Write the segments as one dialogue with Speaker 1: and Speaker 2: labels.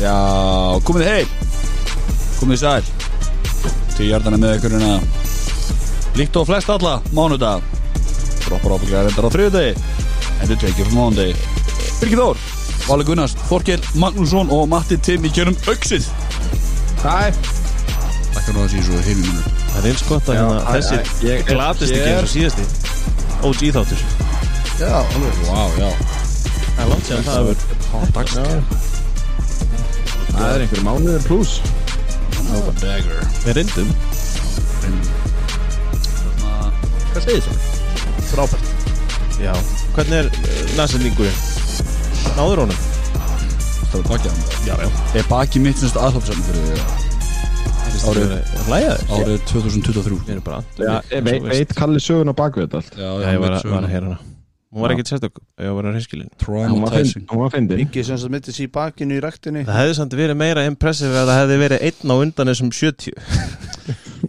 Speaker 1: Já, komið heim Komið sæl Til hjartana með ykkur hérna Líkt og flest alla, mánudag Droppar ábygglega reyndar á þriðudegi En þið tekið frá mánudegi Birgir Þór, Vali Gunnars, Þorkel Magnússon og Matti Tim í kjörum auksið
Speaker 2: Hæ
Speaker 1: Þakkar nú að sé svo heim í munum
Speaker 3: Það er eins gott að
Speaker 2: Já,
Speaker 3: hérna,
Speaker 2: æ, æ,
Speaker 3: þessi
Speaker 2: ég er
Speaker 3: glatist ekki
Speaker 2: hér.
Speaker 3: eins og síðasti OG þáttur
Speaker 2: Já, alveg
Speaker 1: Vá, já
Speaker 3: Það er langt séðan það er
Speaker 2: Það er einhver mánuður pluss
Speaker 1: Dagger
Speaker 3: Við reyndum
Speaker 1: Hvað segir þetta? Frábært
Speaker 3: Já Hvernig er næsendingurinn? Náður honum?
Speaker 1: Það er bakið hann
Speaker 3: Já, já
Speaker 1: Er bakið mitt semst aðhaldsamni fyrir því Árið-
Speaker 3: Hlæðaður
Speaker 1: árið 2023
Speaker 3: Við erum bara andlum
Speaker 2: Já, veit, veit Kalli sögun á bakvið þetta allt
Speaker 1: Já,
Speaker 3: Já, ég var að, var að
Speaker 1: hérna
Speaker 3: heyra hana Hún var ekkert sérstök Ég var að hinskilin
Speaker 2: Hún var fyndin-
Speaker 1: Traumatizing
Speaker 2: hún var fyndin
Speaker 4: Ingi sem sem mittið sér í bakinu í ræktinni
Speaker 3: Það hefði samt verið meira impressive að það hefði verið einn á undan þessum 70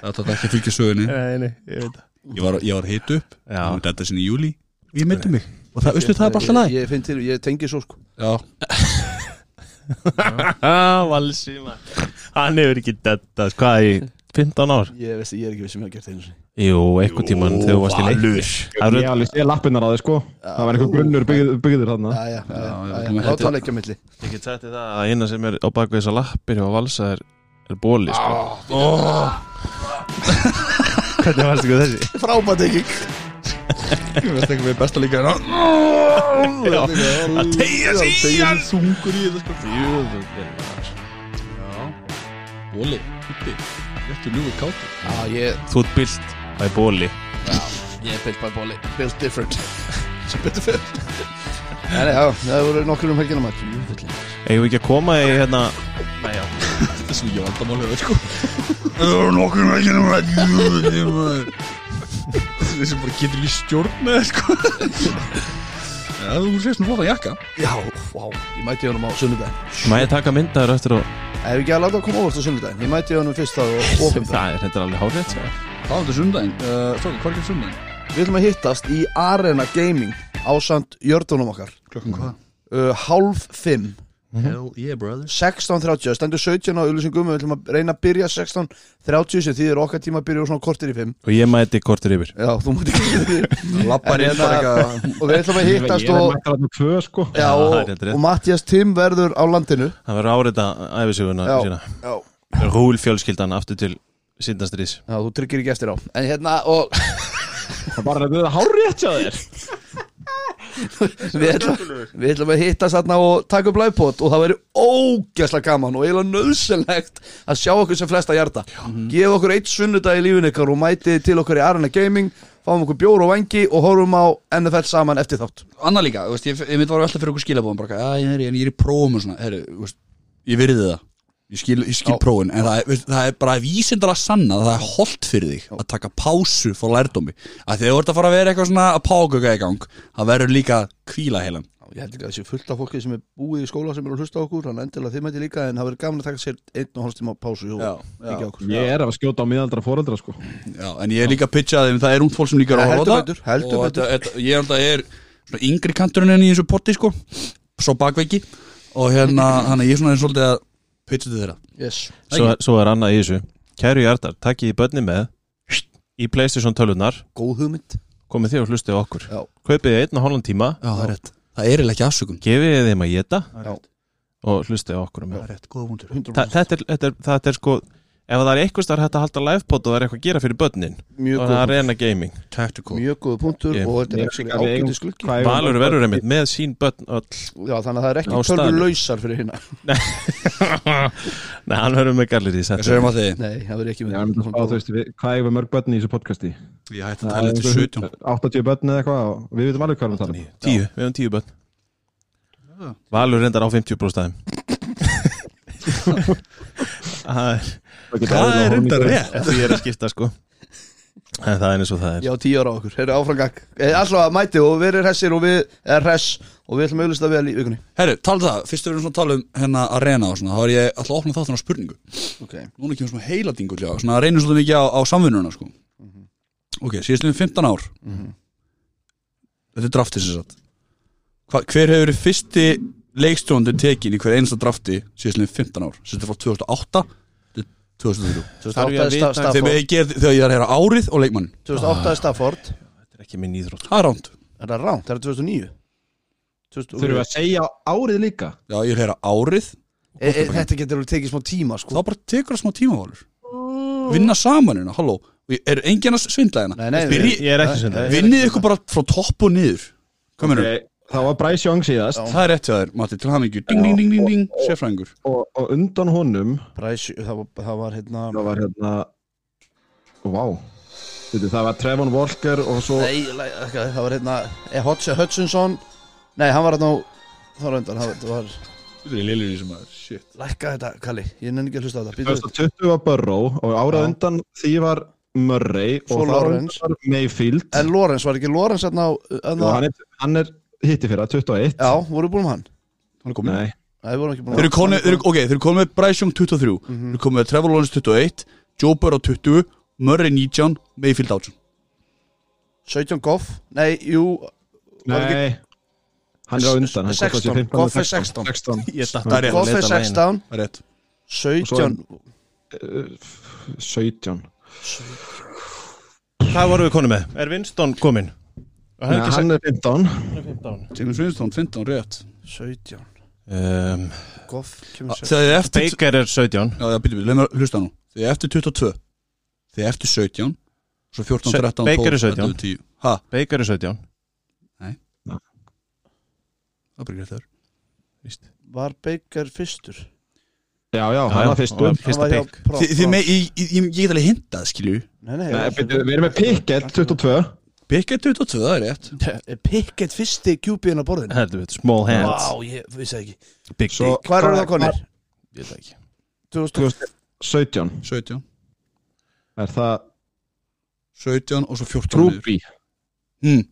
Speaker 1: Þetta átti ekki að fylgja sögunni
Speaker 3: Nei, nei, ég veit það
Speaker 1: Ég var, ég var hitt upp
Speaker 3: Já.
Speaker 1: Hún dætti sinni í júli Ég myndi mig Og það, veistu, það er bara alltaf
Speaker 4: Ég, ég finn til, ég tengi svo sko
Speaker 1: Já,
Speaker 3: Ah, Valsi, maður Hann hefur ekki detta, hvað, í 15 ár?
Speaker 4: Ég veist, ég er ekki við sem ég hafa gert einu sinni
Speaker 3: Jú, eitthvað tíman þegar þú varst í leik Það
Speaker 2: Ég
Speaker 3: eru-
Speaker 2: alveg sé lappinnar að þið sko Það var einhver grunnur byggð- byggður þarna
Speaker 4: Æja,
Speaker 1: já,
Speaker 4: æja,
Speaker 1: þetta-
Speaker 4: láta hann ekki að milli
Speaker 3: Ég get sagt þér það að eina sem er á baku þessar lappir og valsa er, er bóli sko.
Speaker 4: Ah,
Speaker 3: Hvernig varst ekki þessi?
Speaker 4: Frábært ekki Ég veist ekki við besta líka hérna Það tegja sig í hann Sungur í þetta sko
Speaker 1: Óli, hútti Þetta er ljúið kátt
Speaker 4: Já, ég,
Speaker 3: Þú ert byllt Það er bóli
Speaker 4: ég er built by bóli Built different Sem betur fyrr Nei, nei, já, það voru nokkur um helgina maður Jú,
Speaker 3: Eigum við ekki að koma í hérna Nei, já
Speaker 1: Þetta er svo ég vandamál hefur sko Það var nokkur með ekki nema Þessi bara getur líst stjórn með sko Já, þú sést nú flóta jakka
Speaker 4: Já, vá, ég mæti honum á sunnudaginn
Speaker 3: Má ég taka myndaður eftir og
Speaker 4: Ef ekki að láta að koma óvart á sunnudaginn Ég mæti honum fyrst á ofundaginn
Speaker 3: Það er þetta alveg hárið
Speaker 1: Það var þetta sundaginn uh, Stóki, hvað er ekki sundaginn?
Speaker 4: Við ætlum að hittast í Arena Gaming Ásand Jördunum okkar
Speaker 1: Klokkan hvað?
Speaker 4: uh, Hálf fimm
Speaker 1: Hell yeah, brothers
Speaker 4: 16.30, það stendur 17 á auðlýsingum Við ætlum að reyna að byrja 16.30 sem þýðir okkar tíma að byrja úr svona kortir í fimm
Speaker 3: Og ég mæti kortur yfir
Speaker 4: Já, þú múti ekki
Speaker 1: Lappar
Speaker 4: En
Speaker 1: ég bara
Speaker 4: hérna-
Speaker 1: eitthvað
Speaker 4: Og við ætlum að
Speaker 2: Ég er
Speaker 4: hittast og,
Speaker 2: mættur þarna tvö sko
Speaker 4: já,
Speaker 3: Já, það er
Speaker 4: og,
Speaker 3: rétt, rétt.
Speaker 4: og Mattias Tim verður á landinu
Speaker 3: Það verður árið að æfisuguna
Speaker 4: Já.
Speaker 3: sína
Speaker 4: Já,
Speaker 3: Rúl fjölskyldan aftur til sindastrís
Speaker 4: já þú tryggir ekki eftir á En hérna, og
Speaker 2: Það bara þetta er hárrétt hjá þér
Speaker 4: við ætlum, við ætlum að hittast þarna og taka upp livepod og það væri ógæslega gaman og eiginlega nöðsynlegt að sjá okkur sem flesta hjarta Mhm. gefa okkur eitt sunnudag í lífin ykkar og mætið til okkur í Arena Gaming fáum okkur bjór og vangi og horfum á NFL saman eftir þátt
Speaker 1: Anna líka, þú veist, ég, ég mitt var alltaf fyrir okkur skilabóðum bara, að ég, heyrðu, en ég er í prófum og svona, herri, þú veist, ég virði það ég skil, ég skil
Speaker 4: Já.
Speaker 1: prófin, en það er, veist, það er bara vísindar að sanna að það er holdt fyrir þig að taka pásu frá lærdómi að þegar þú ert að fara að vera eitthvað svona að págöka í gang það verður líka kvíla heilan
Speaker 4: ég held ekki að þessi fullt af fólki sem er búið í skóla sem er að hlusta á okkur, hann endilega þið mæti líka en það verður gaman að taka sér einn og hálfstíma pásu og
Speaker 1: Já,
Speaker 4: ekki okkur
Speaker 2: Ég er að skjóta á miðaldra fóreldra sko
Speaker 1: Já, en ég er líka að pitcha þeim, það er ungt fólk sem líka er að
Speaker 4: Ja,
Speaker 1: horfa
Speaker 4: heldur
Speaker 1: á
Speaker 4: betur,
Speaker 1: það
Speaker 4: heldur
Speaker 1: og
Speaker 4: betur.
Speaker 1: þetta- þetta- ég held að ég er svona yngri kanturinn enn í þessu potti sko, svo bakveggi og hérna, þannig að ég er svona eins svolítið að pitcha til þeirra
Speaker 4: yes.
Speaker 3: svo, svo er annað í þessu Kæru hjartar, takkið í börni með Í Playstation tölunar
Speaker 4: góð hugmynd
Speaker 3: Komið þér og hlustið á okkur
Speaker 4: Já.
Speaker 3: Kaupið þið einn og hálfan tíma
Speaker 1: Já, það er rétt Það er eiginlega ekki afsökun
Speaker 3: Gefið þeim að geta
Speaker 4: Já.
Speaker 3: Og hlustið á okkur um
Speaker 1: Það er rétt, góða vundur
Speaker 4: 100%.
Speaker 3: Þa- þetta er, þetta er, þetta er sko ef það er eitthvað starf hægt að halda livepod og það er eitthvað að gera fyrir börnin
Speaker 4: mjög
Speaker 3: og það er
Speaker 4: góð
Speaker 3: arena gaming
Speaker 1: Tactical
Speaker 4: Mjög góð punktur
Speaker 3: Ég-
Speaker 4: og þetta
Speaker 2: Ég-
Speaker 4: er ekki
Speaker 2: Við eigum-
Speaker 4: ágætið skuggi
Speaker 2: Hvað eigum
Speaker 3: Valur
Speaker 2: við-
Speaker 3: verður einmitt með sín börn öll
Speaker 4: Já, þannig að það er
Speaker 3: Á
Speaker 4: ekki
Speaker 3: staðnum.
Speaker 4: tölvur lausar fyrir hérna
Speaker 3: Nei, hann verður með galleri í
Speaker 1: Hvað
Speaker 3: setja
Speaker 1: segir maður þig?
Speaker 4: Nei, það verður ekki
Speaker 2: Já,
Speaker 4: með
Speaker 2: en
Speaker 4: Svona
Speaker 2: þá, þú
Speaker 4: góð-
Speaker 2: veist, við- Hvað eigum við mörg börn í þessu podcasti?
Speaker 1: Ég hætti að tala eftir 17
Speaker 2: 80 börn eða eitthvað og Við veitum alveg hvað við erum að tala um.
Speaker 3: Tíu, við hefum tíu börn Valur reyndar á 50 bróstaðum Það er
Speaker 1: Það er reyndar rétt
Speaker 3: því ég er að skipta sko en það er eins og það er
Speaker 4: Já, tíu ára á okkur, heyrðu áframgang Alltaf mæti og við erum hressir og við erum hress og við ætlum að auðvitað vel í vikunni
Speaker 1: Herru, tala það, fyrst við erum svona að tala um hérna arena og svona Þá er ég alltaf að opna þáttan á spurningu
Speaker 4: Ok,
Speaker 1: Núna kemur svona heiladingu til það Svona að reynum svolítið mikið á, á samvinnuna sko
Speaker 4: Mhm.
Speaker 1: Ok, síðast liðum 15 ár Þetta er draftið sem sagt hva, hver hefur verið fyrsti leikstjóndir tekin í hver einasta drafti síðastlega 15 ár, sem þetta frá 2008 til 2003
Speaker 3: þarf ég að
Speaker 4: 2008 er
Speaker 3: vita- Ah.
Speaker 1: þegar
Speaker 4: Sta- Stafford
Speaker 1: ég, ger, þegar ég er að heyra árið og leikmann
Speaker 4: 2008 er Stafford
Speaker 3: Þetta er ekki minn íþrótt sko.
Speaker 1: það er ránt,
Speaker 4: Er það ránt? Það er 2009 2000
Speaker 2: Þurfum við að segja árið líka
Speaker 1: já ég er að heyra árið
Speaker 4: e, e, Þetta getur alveg tekið smá tíma
Speaker 1: þá
Speaker 4: sko
Speaker 1: bara tekur það smá tímavalur vinna saman hérna, halló Og ég- er enginn að svindla hérna
Speaker 4: Nei, nei,
Speaker 1: Byrji-
Speaker 3: Ég er ekki sem
Speaker 4: Nei,
Speaker 3: það
Speaker 4: nei.
Speaker 1: vinnið ykkur bara frá topp og niður kominu, okay.
Speaker 2: Ok, Það var Bryce Young síðast
Speaker 1: það er rétt hjá þér Matti, til hamingju, ding, ding, ding, ding, ding sérfræðingur,
Speaker 2: og, og undan honum
Speaker 4: Bræs, það, var, það var hérna
Speaker 2: það var hérna Vá Þetta, það var Trevon Walker og svo
Speaker 4: Nei, la- ok, það var hérna e, Hodge Hutchinson Nei, hann var hérna á Það var undan, það var- það var
Speaker 1: þú er lillur í sem aður, shit
Speaker 4: Lækka þetta, Kalli, ég nenni ekki að hlusta á þetta Býtu upp
Speaker 2: 2020 var Burrow og árað
Speaker 4: Já.
Speaker 2: undan því var Murray
Speaker 4: Svo
Speaker 2: og þar á
Speaker 4: Lawrence.
Speaker 2: undan var Mayfield
Speaker 4: En Lorenz, var ekki Lorenz hérna á
Speaker 2: og
Speaker 4: hérna,
Speaker 2: hann er, hann er hitti fyrir 21
Speaker 4: Já, voru við búin um hann?
Speaker 1: hann er komin
Speaker 2: Nei,
Speaker 4: Nei, við vorum ekki búin um
Speaker 1: Þeir eru komið, þeir eru, ok, þeir eru komið með Bryce Young 23 Þeir eru komið með Trevor Lawrence 21 Joe Burrow 20, Murray 19 Mayfield 18
Speaker 4: 17 Goff, nei, jú var ekki-
Speaker 2: nei Hann er á undan, hann
Speaker 4: 16,
Speaker 2: kostar sér 15
Speaker 4: Goff er 16.
Speaker 2: 16
Speaker 3: Ég datt
Speaker 1: Það er rétt.
Speaker 4: Goff er 16,
Speaker 1: Það er rétt
Speaker 4: 17
Speaker 2: Eh, 17
Speaker 3: Hvað vorum við konum með? Er Winston kominn? Og
Speaker 2: Nei,
Speaker 3: hann er ekki
Speaker 2: Hann er 15
Speaker 3: 15
Speaker 1: James Winston 15 rétt
Speaker 4: 17
Speaker 3: um,
Speaker 4: Goff kemur
Speaker 1: Þegar
Speaker 4: sér
Speaker 1: þið er eftir
Speaker 3: Baker er 17
Speaker 1: Já, já, býtum við, leið mér að hlusta nú Þegar þið er eftir 22 Þegar þið er eftir 17 Svo 14,
Speaker 3: Se-
Speaker 1: 13,
Speaker 3: Baker er
Speaker 1: 12,
Speaker 3: 17.
Speaker 1: 11, 10 Ha,
Speaker 3: Baker er 17
Speaker 1: það byrgir þér
Speaker 3: víst.
Speaker 4: Var Baker fyrstur?
Speaker 2: Já, já, hann var fyrstur
Speaker 3: hann var Fyrsta
Speaker 4: Hann var hjá
Speaker 3: pick
Speaker 4: Pro-
Speaker 1: Þið, þið
Speaker 4: Pro-
Speaker 1: með, ég, ég, ég ég get alveg hintað, skilju
Speaker 4: Nei, nei,
Speaker 2: Nei,
Speaker 4: ég-
Speaker 2: byrju, Við erum með Pickett 22
Speaker 1: Pickett 22, það er rétt
Speaker 4: Er Pickett fyrsti QB-in á borðinu?
Speaker 3: Heldur við, small hands
Speaker 4: Vá, ég vissi það ekki
Speaker 3: Big
Speaker 2: Svo-
Speaker 3: dick
Speaker 4: Hvað eru það konir?
Speaker 3: Ég veit það ekki
Speaker 4: 2000
Speaker 2: 2017
Speaker 1: 17,
Speaker 2: Er það
Speaker 1: 17 og svo 14 niður.
Speaker 2: Trúbi
Speaker 1: Hmm.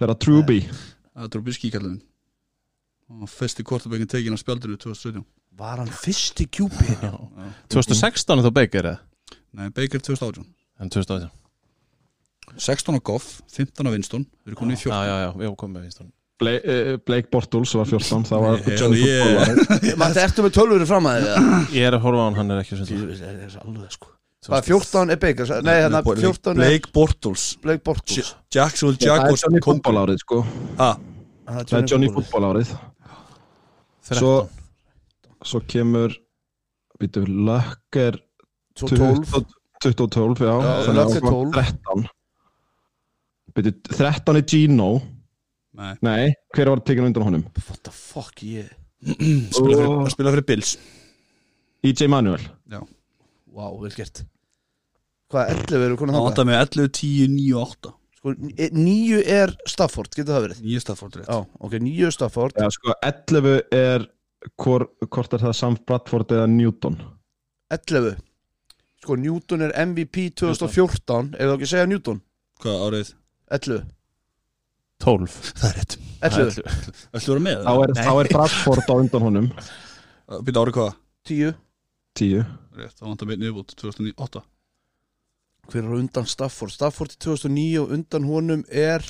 Speaker 2: Þeirra Trúbi
Speaker 1: Það er Trúbi skíkallin Og fyrsti kortabækin tekin á spjaldinu 2017
Speaker 4: Var hann fyrsti QB-in?
Speaker 3: 2016 er þá Baker eða?
Speaker 1: Nei, Baker 2018
Speaker 3: En 2018
Speaker 1: 16 á Goff, 15 á Winston Við erum komin í
Speaker 3: Já,
Speaker 1: 14
Speaker 3: já, já, við erum komið með Winston
Speaker 2: Blake, eh, Blake Bortles var 14 Það var
Speaker 1: Hell
Speaker 2: John
Speaker 1: yeah.
Speaker 2: Football
Speaker 4: Maður ertu með tölvuru fram að þig?
Speaker 3: Ég er að horfa á hann, hann er ekki
Speaker 4: Ég
Speaker 3: sem
Speaker 4: veist, það er alveg sko Hvað, 14 er Baker?
Speaker 2: eh,
Speaker 4: Nei, hérna 14 er
Speaker 1: Blake Bortles
Speaker 4: Blake Bortles
Speaker 1: Jacksonville
Speaker 2: Það er
Speaker 1: Jaguars
Speaker 2: Johnny
Speaker 1: Kóngó.
Speaker 2: Football árið sko
Speaker 1: Ah,
Speaker 2: Það er Johnny Football árið Svo,
Speaker 3: 13
Speaker 2: svo kemur Býtu, Luck er
Speaker 4: 12
Speaker 2: 2012 Já,
Speaker 4: Já,
Speaker 2: þannig að
Speaker 4: Luck
Speaker 2: það
Speaker 4: er
Speaker 2: var
Speaker 4: 12.
Speaker 2: 13 Býtu, 13 er Gino
Speaker 1: Nei,
Speaker 2: Nei, hver var tekinn undan honum?
Speaker 4: What the fuck, ég
Speaker 1: spila fyrir,
Speaker 2: Ó.
Speaker 1: að spila fyrir Bills
Speaker 2: EJ E Manuel
Speaker 4: Vá, vel gert Hvað, 11 eru
Speaker 1: Það
Speaker 4: konar þangað?
Speaker 1: vantar með 11, 10, 9 og 8
Speaker 4: Sko, 9 er Stafford, getur það verið?
Speaker 1: Nýja staðfólk rétt
Speaker 4: Já, ok, 9 er Stafford
Speaker 2: Já, sko, 11 er hvor, Hvort er það Sam Bradford eða Newton?
Speaker 4: 11 Sko, Newton er MVP 2014 Ef þú ekki segja Newton
Speaker 1: Hvað árið?
Speaker 4: 11
Speaker 3: 12
Speaker 1: Það er rétt
Speaker 4: 11
Speaker 1: Ættu að vera með
Speaker 2: Þá er, þá er Bradford á undan honum
Speaker 1: Býta árið hvað?
Speaker 4: 10
Speaker 2: 10
Speaker 1: Rétt, það vantar með niðurbútt 2008
Speaker 4: Hver er á undan Stafford? Stafford í 2009 og undan honum er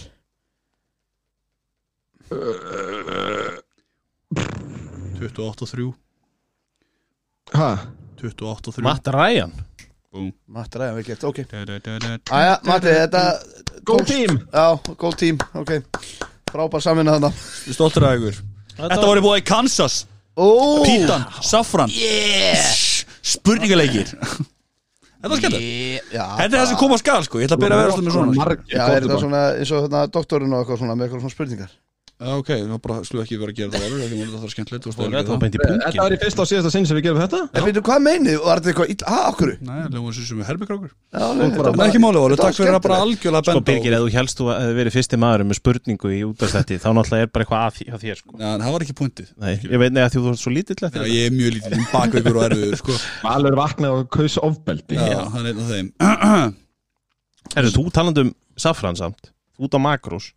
Speaker 2: Uh,
Speaker 1: 28 og 3
Speaker 2: Hæ?
Speaker 1: 28 og 3
Speaker 3: Matt Ryan
Speaker 4: Matt Ryan, vel gert, ok
Speaker 1: Matt
Speaker 4: Æja, Matti, þetta
Speaker 2: Góð tím!
Speaker 4: Já, góð tím, ok Frábær saminna þarna
Speaker 1: Við stoltur að ykkur Þetta voru búið í Kansas
Speaker 4: Ó,
Speaker 1: Pítan, Safran yeah. Spurningaleikir Þetta var skemmt
Speaker 4: Já,
Speaker 1: Þetta er það sem kom á skal sko Ég ætla að byrja að vera svolítið með svona
Speaker 2: Margir
Speaker 4: Já, er þetta
Speaker 2: quarterback.
Speaker 4: svona eins og þarna doktorinn og eitthvað svona með eitthvað svona spurningar
Speaker 1: Já, ok, við bara slúið ekki vera að gera það alveg Það var skemmtilegt, þú veist
Speaker 3: Þetta var
Speaker 1: það
Speaker 3: beint í
Speaker 2: Þetta
Speaker 3: punkin
Speaker 2: var í fyrsta og síðasta sinni sem við gerum þetta
Speaker 4: En veitum, hvað meinið? Var þetta eitthvað illa? Hæ, okkur?
Speaker 1: Nei, það var sem við herbygrákur
Speaker 4: Já, nei, þetta
Speaker 1: Það er ekki máli, Óli,
Speaker 4: þetta var
Speaker 1: takk fyrir að bara algjörlega
Speaker 3: Sko
Speaker 1: benda
Speaker 3: Birgir, ef þú helst þú hefði verið fyrsti maður með spurningu í útastætti þá náttúrulega er bara eitthvað að því- að þér sko
Speaker 1: Já, en það var ekki pointið
Speaker 3: Nei, ég veit nega því þú ert svo lítill
Speaker 1: Já,
Speaker 3: eftir þetta.
Speaker 1: ég er mjög lítið um bakveikur og erfiður sko
Speaker 2: Valur vaknaði og kaus ofbeldi
Speaker 1: Já, það er einn af þeim
Speaker 3: Herru, þú talandi um safran samt Þú út á makrós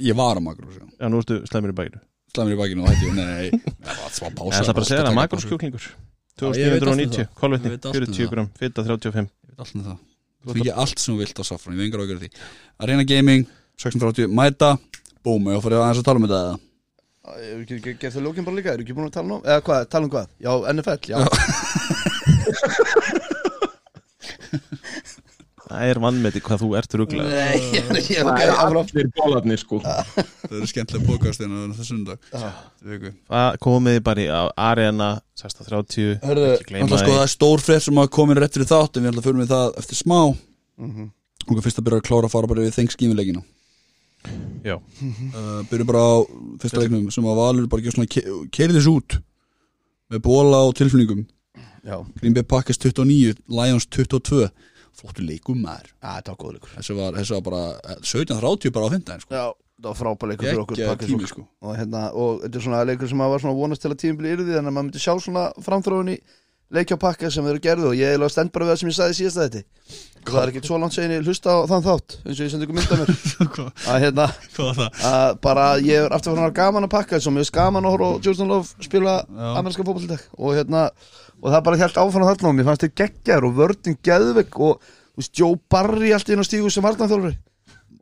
Speaker 1: Ég var á makrós, já
Speaker 3: Já, nú ertu slæmur í bæru
Speaker 1: Slæð mér í bakinu og hætti ég, nei, nei, nei Það var smá
Speaker 3: Ég
Speaker 1: pása
Speaker 3: ætla bara að segja það,
Speaker 1: Taka pásu.
Speaker 3: makróskjúklingur
Speaker 1: Já, ég veit allt um
Speaker 3: 2990,
Speaker 1: það.
Speaker 3: kolvetni,
Speaker 1: Ég veit allt um
Speaker 3: 40
Speaker 1: það.
Speaker 3: gram, fita 35
Speaker 1: Ég veit allt um það Þú fengið allt sem þú vilt á Safran, ég vengar á að gera því Arena Gaming, 630, mæta Búm, ég fyrir aðeins að tala um þetta eða
Speaker 4: Ef við ekki gert það lókin bara líka, eru ekki búin að tala um Eða hvað, tala um hvað? Já, NFL, já
Speaker 3: Það er vannmeti hvað þú ert rugglega
Speaker 4: Nei, ég er ekki, ok,
Speaker 2: Það er
Speaker 4: áfram
Speaker 2: allir bólarnir sko
Speaker 1: Það eru skemmtilega bókastina þennan þessum dag Viku.
Speaker 3: Komið bara í á Arena 630
Speaker 1: Hörðu,
Speaker 3: ekki gleyma
Speaker 1: alltaf sko það er stór frétt sem að komin rétt fyrir þátt en við ætlum að fyrir með það eftir smá mm -hmm. og fyrst að byrja að klára að fara bara við þengskímuleikina
Speaker 3: því. Já.
Speaker 1: uh, byrjum bara á fyrsta leiknum sem að Valur bara ekki svona keiriðis út með bóla og tilflingum
Speaker 4: Já,
Speaker 1: Green Bay Packers 29, Lions 22 flottu leikum maður
Speaker 4: Á, þetta var góð leikur
Speaker 1: þessu var, þessu var bara eh, 17.30 bara á fymtdæðin sko.
Speaker 4: Já, það var frábær leikur fyrir okkur
Speaker 1: ekki
Speaker 4: Packers
Speaker 1: tími
Speaker 4: fólk.
Speaker 1: sko.
Speaker 4: og, hérna, og þetta er svona leikur sem maður var svona að vonast til að tímum blir yfir því Þannig að maður myndi sjá svona framþróun í leikja pakka sem þeir eru gerðu Og ég er alveg stend bara við það sem ég sagði síðast að þetta Það er ekki svo langt segni hlusta á þann þátt Eins og ég sendi ykkur mynd af mér Að hérna,
Speaker 1: hvað var það?
Speaker 4: að bara ég er aftur fyrir gaman að pakka Svo mér er gaman að horfa á Jordan Love spila
Speaker 1: Já.
Speaker 4: ameríska fótballtæk og, hérna, og það bara held áfram þarna og mér fannst þér geggjar og vördin geðvegg og þú veist, Joe Barry allt í einu stígu sem vartanþjólari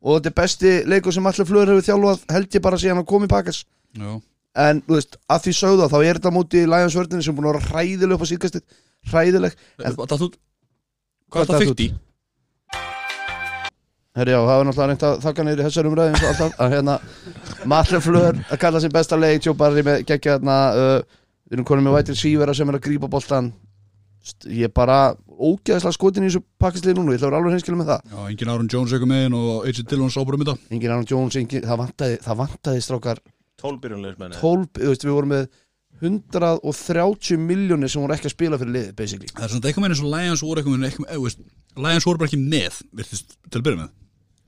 Speaker 4: og þetta er besti leikur sem allir flöður hefur þjálfað held ég bara síðan að komi pakkas
Speaker 1: Já.
Speaker 4: en þú veist, að því sögða þá er þetta á móti Lions vördinni sem er búin að vera hræðileg upp á síðkastið hræðileg
Speaker 1: Eh, datt út?
Speaker 4: Hvað
Speaker 1: hvað er það
Speaker 4: datt
Speaker 1: fyrst í?
Speaker 4: Herri já, það var náttúrulega reynd að þakka neyri þessar umræði eins og alltaf að hérna Matli Flör að kalla sér besta leik Joe Barry með geggja þarna uh, við erum konum með vætir sívera sem er að grípa boltan St- ég er bara ógeðslega skotin í þessu pakkisli núna ég ætla að vera alveg hreinskilum með það
Speaker 1: Já, engin Aaron Jones eitthvað með hinn og AJ Dillon sábúr um þetta
Speaker 4: Engin Arnold Jones, engin, það vantaði, það vantaði strákar
Speaker 3: 12 byrjunleismenni
Speaker 4: 12, þú veist, við vorum með 130 miljónir sem voru ekki að spila fyrir liðið basically
Speaker 1: Það er svona eitthvað með eins og Lions voru eitthvað með eitthvað, eða, eh, veist, Lions voru bara ekki með virtist, til að byrja með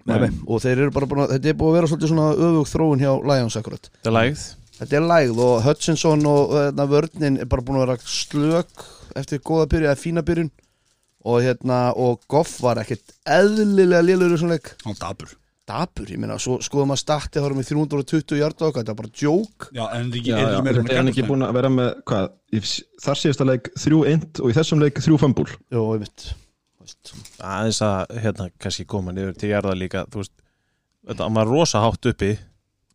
Speaker 4: Nei. og þeir eru bara, bara, þetta er búið að vera svolítið svona öfug þróun hjá Lions akkurat
Speaker 3: Það er lægð
Speaker 4: Þetta er lægð og Hutchinson og hérna, vörninn er bara búin að vera slök eftir góða byrjun eða fína byrjun og hérna og Goff var ekkert eðlilega lélugur í svona leik
Speaker 1: Hann var dabur
Speaker 4: Dabur, ég meina, svo skoðum að starti þá erum við 320 hjarta okkar, þetta er bara djók
Speaker 1: Já, en er ekki,
Speaker 2: Já,
Speaker 1: er
Speaker 2: já,
Speaker 1: ekki meira
Speaker 2: Er hann ekki búin að vera með hvað, í s- þar síðasta leik þrjú eint og í þessum leik þrjú fembúl
Speaker 4: Jó, ég mitt
Speaker 3: aðeins að hérna kannski koma niður til jarða líka þú veist, þetta, hann var rosa hátt uppi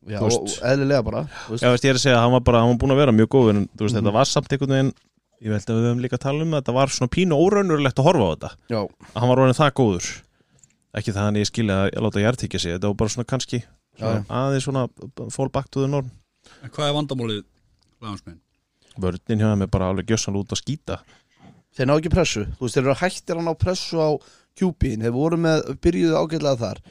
Speaker 4: Já,
Speaker 3: Þú
Speaker 4: og,
Speaker 3: veist.
Speaker 4: og eðlilega bara þú veist.
Speaker 3: Já, veist, ég er að segja að hann var bara, hann var búin að vera mjög góð en þú veist,
Speaker 4: Mhm.
Speaker 3: þetta var samt einhvern veginn ég veit að við höfum líka að tala um að þetta var svona pínu óraunurlegt að horfa á þetta,
Speaker 4: Já,
Speaker 3: að hann var orðin það góður ekki það hann ég skilja að láta jartíkja sig þetta var bara svona kannski svona,
Speaker 4: Já,
Speaker 3: aðeins svona fall back to the norm
Speaker 1: En hvað er vandamálið Lions með?
Speaker 3: vörðin hjá hann er bara alveg gjössan út að skýta
Speaker 4: þeir ná ekki pressu þú veist, þeir eru hættir að ná pressu á QB-in, þeir voru með, byrjuðu ágætlega þar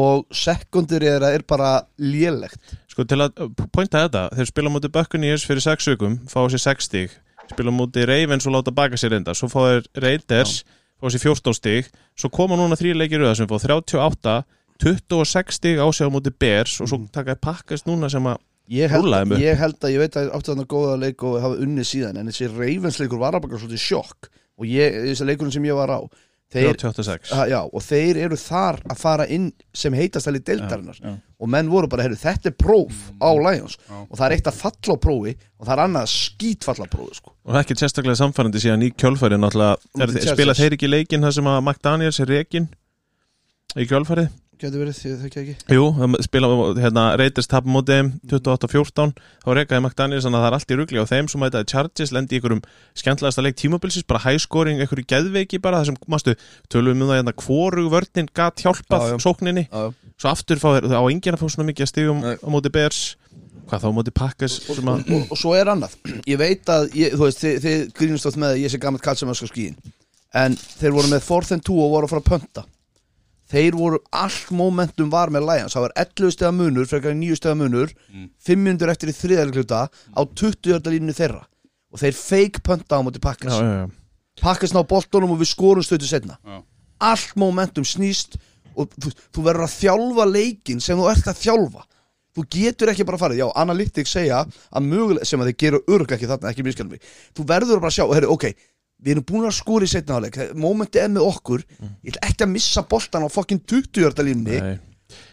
Speaker 4: og sekundir er, er bara lélegt
Speaker 3: Sko til að pointa þetta, þeir spila á móti Buccaneers fyrir 6 vikum, fá sér 6 stíg spila á móti Ravens og láta baka sér enda svo fá þeir Raiders, fá sér 14 stíg svo koma núna þrý leikir auða sem fá 38, 26 stíg á sér á móti Bears og svo
Speaker 4: Mm.
Speaker 3: taka þeir pakkast núna sem að
Speaker 4: Ég held,
Speaker 3: Rúllaði mig.
Speaker 4: ég held að ég veit að þeir áttu þarna góða leik og hafa unnið síðan en þessi reyfensleikur var að baka svolítið sjokk og ég, þessi leikurinn sem ég var á þeir,
Speaker 3: 36
Speaker 4: ha, já, og þeir eru þar að fara inn sem heitast alveg deildarinnar og menn voru bara, heyrðu, þetta er próf á Lions og það er eitt að falla á prófi og það er annað að skítfalla á prófi sko.
Speaker 3: og ekkert sérstaklega samfærandi síðan í kjölfæri náttúrulega, er,
Speaker 4: Móti
Speaker 3: þeir- spila
Speaker 4: Chargers.
Speaker 3: þeir ekki leikin þar sem að McDaniels er reikin í kjölfæri
Speaker 4: Gæti verið, ég þekki ekki
Speaker 3: Jú, það spila hérna, Raiders tap á móti þeim 28-14 þá reykaði McDaniels þannig að það er allt í rugli og þeim sem mætaði Chargers lendi í einhverjum skemmtilegasta leik tímabilsins, bara hæskóring, einhverju geðveiki bara það sem, mástu, tölum við um það hérna hvorug vörninn gat hjálpað
Speaker 4: Já, já.
Speaker 3: sókninni
Speaker 4: Já, já.
Speaker 3: svo aftur fá þeir, á enginn að fá svona mikið að stigum
Speaker 4: Nei.
Speaker 3: á móti Bears, hvað þá á móti Packers sem að,
Speaker 4: og, og svo er annað ég veit að, ég, þú veist, þið, þið grínust oft með að ég sé gammalt kall sem öskar skíin en þeir voru með 4 and 2 og voru að fara að pönta þeir voru allt momentum var með Lions það var 11 stega munur, frekar 9 stega munur 5 minnur eftir í þriðalikluta á 20 hjarta línu þeirra og þeir fake pönta á móti
Speaker 3: já,
Speaker 4: Packers
Speaker 3: já, já.
Speaker 4: Pakkast ná boltunum og við skorum stötu setna
Speaker 1: Já.
Speaker 4: Allt momentum snýst og þú, þú verður að þjálfa leikinn sem þú ert að þjálfa Þú getur ekki bara farið, já, analytics segja að mögulega, sem að þeir gera örg ekki þarna, ekki miskjálmi Þú verður bara að sjá, herri, ok, við erum búin að skora í setna áleik Momenti er með okkur, ég ætla ekki að missa boltan á fokkin 20 hjarta línni
Speaker 3: Nei,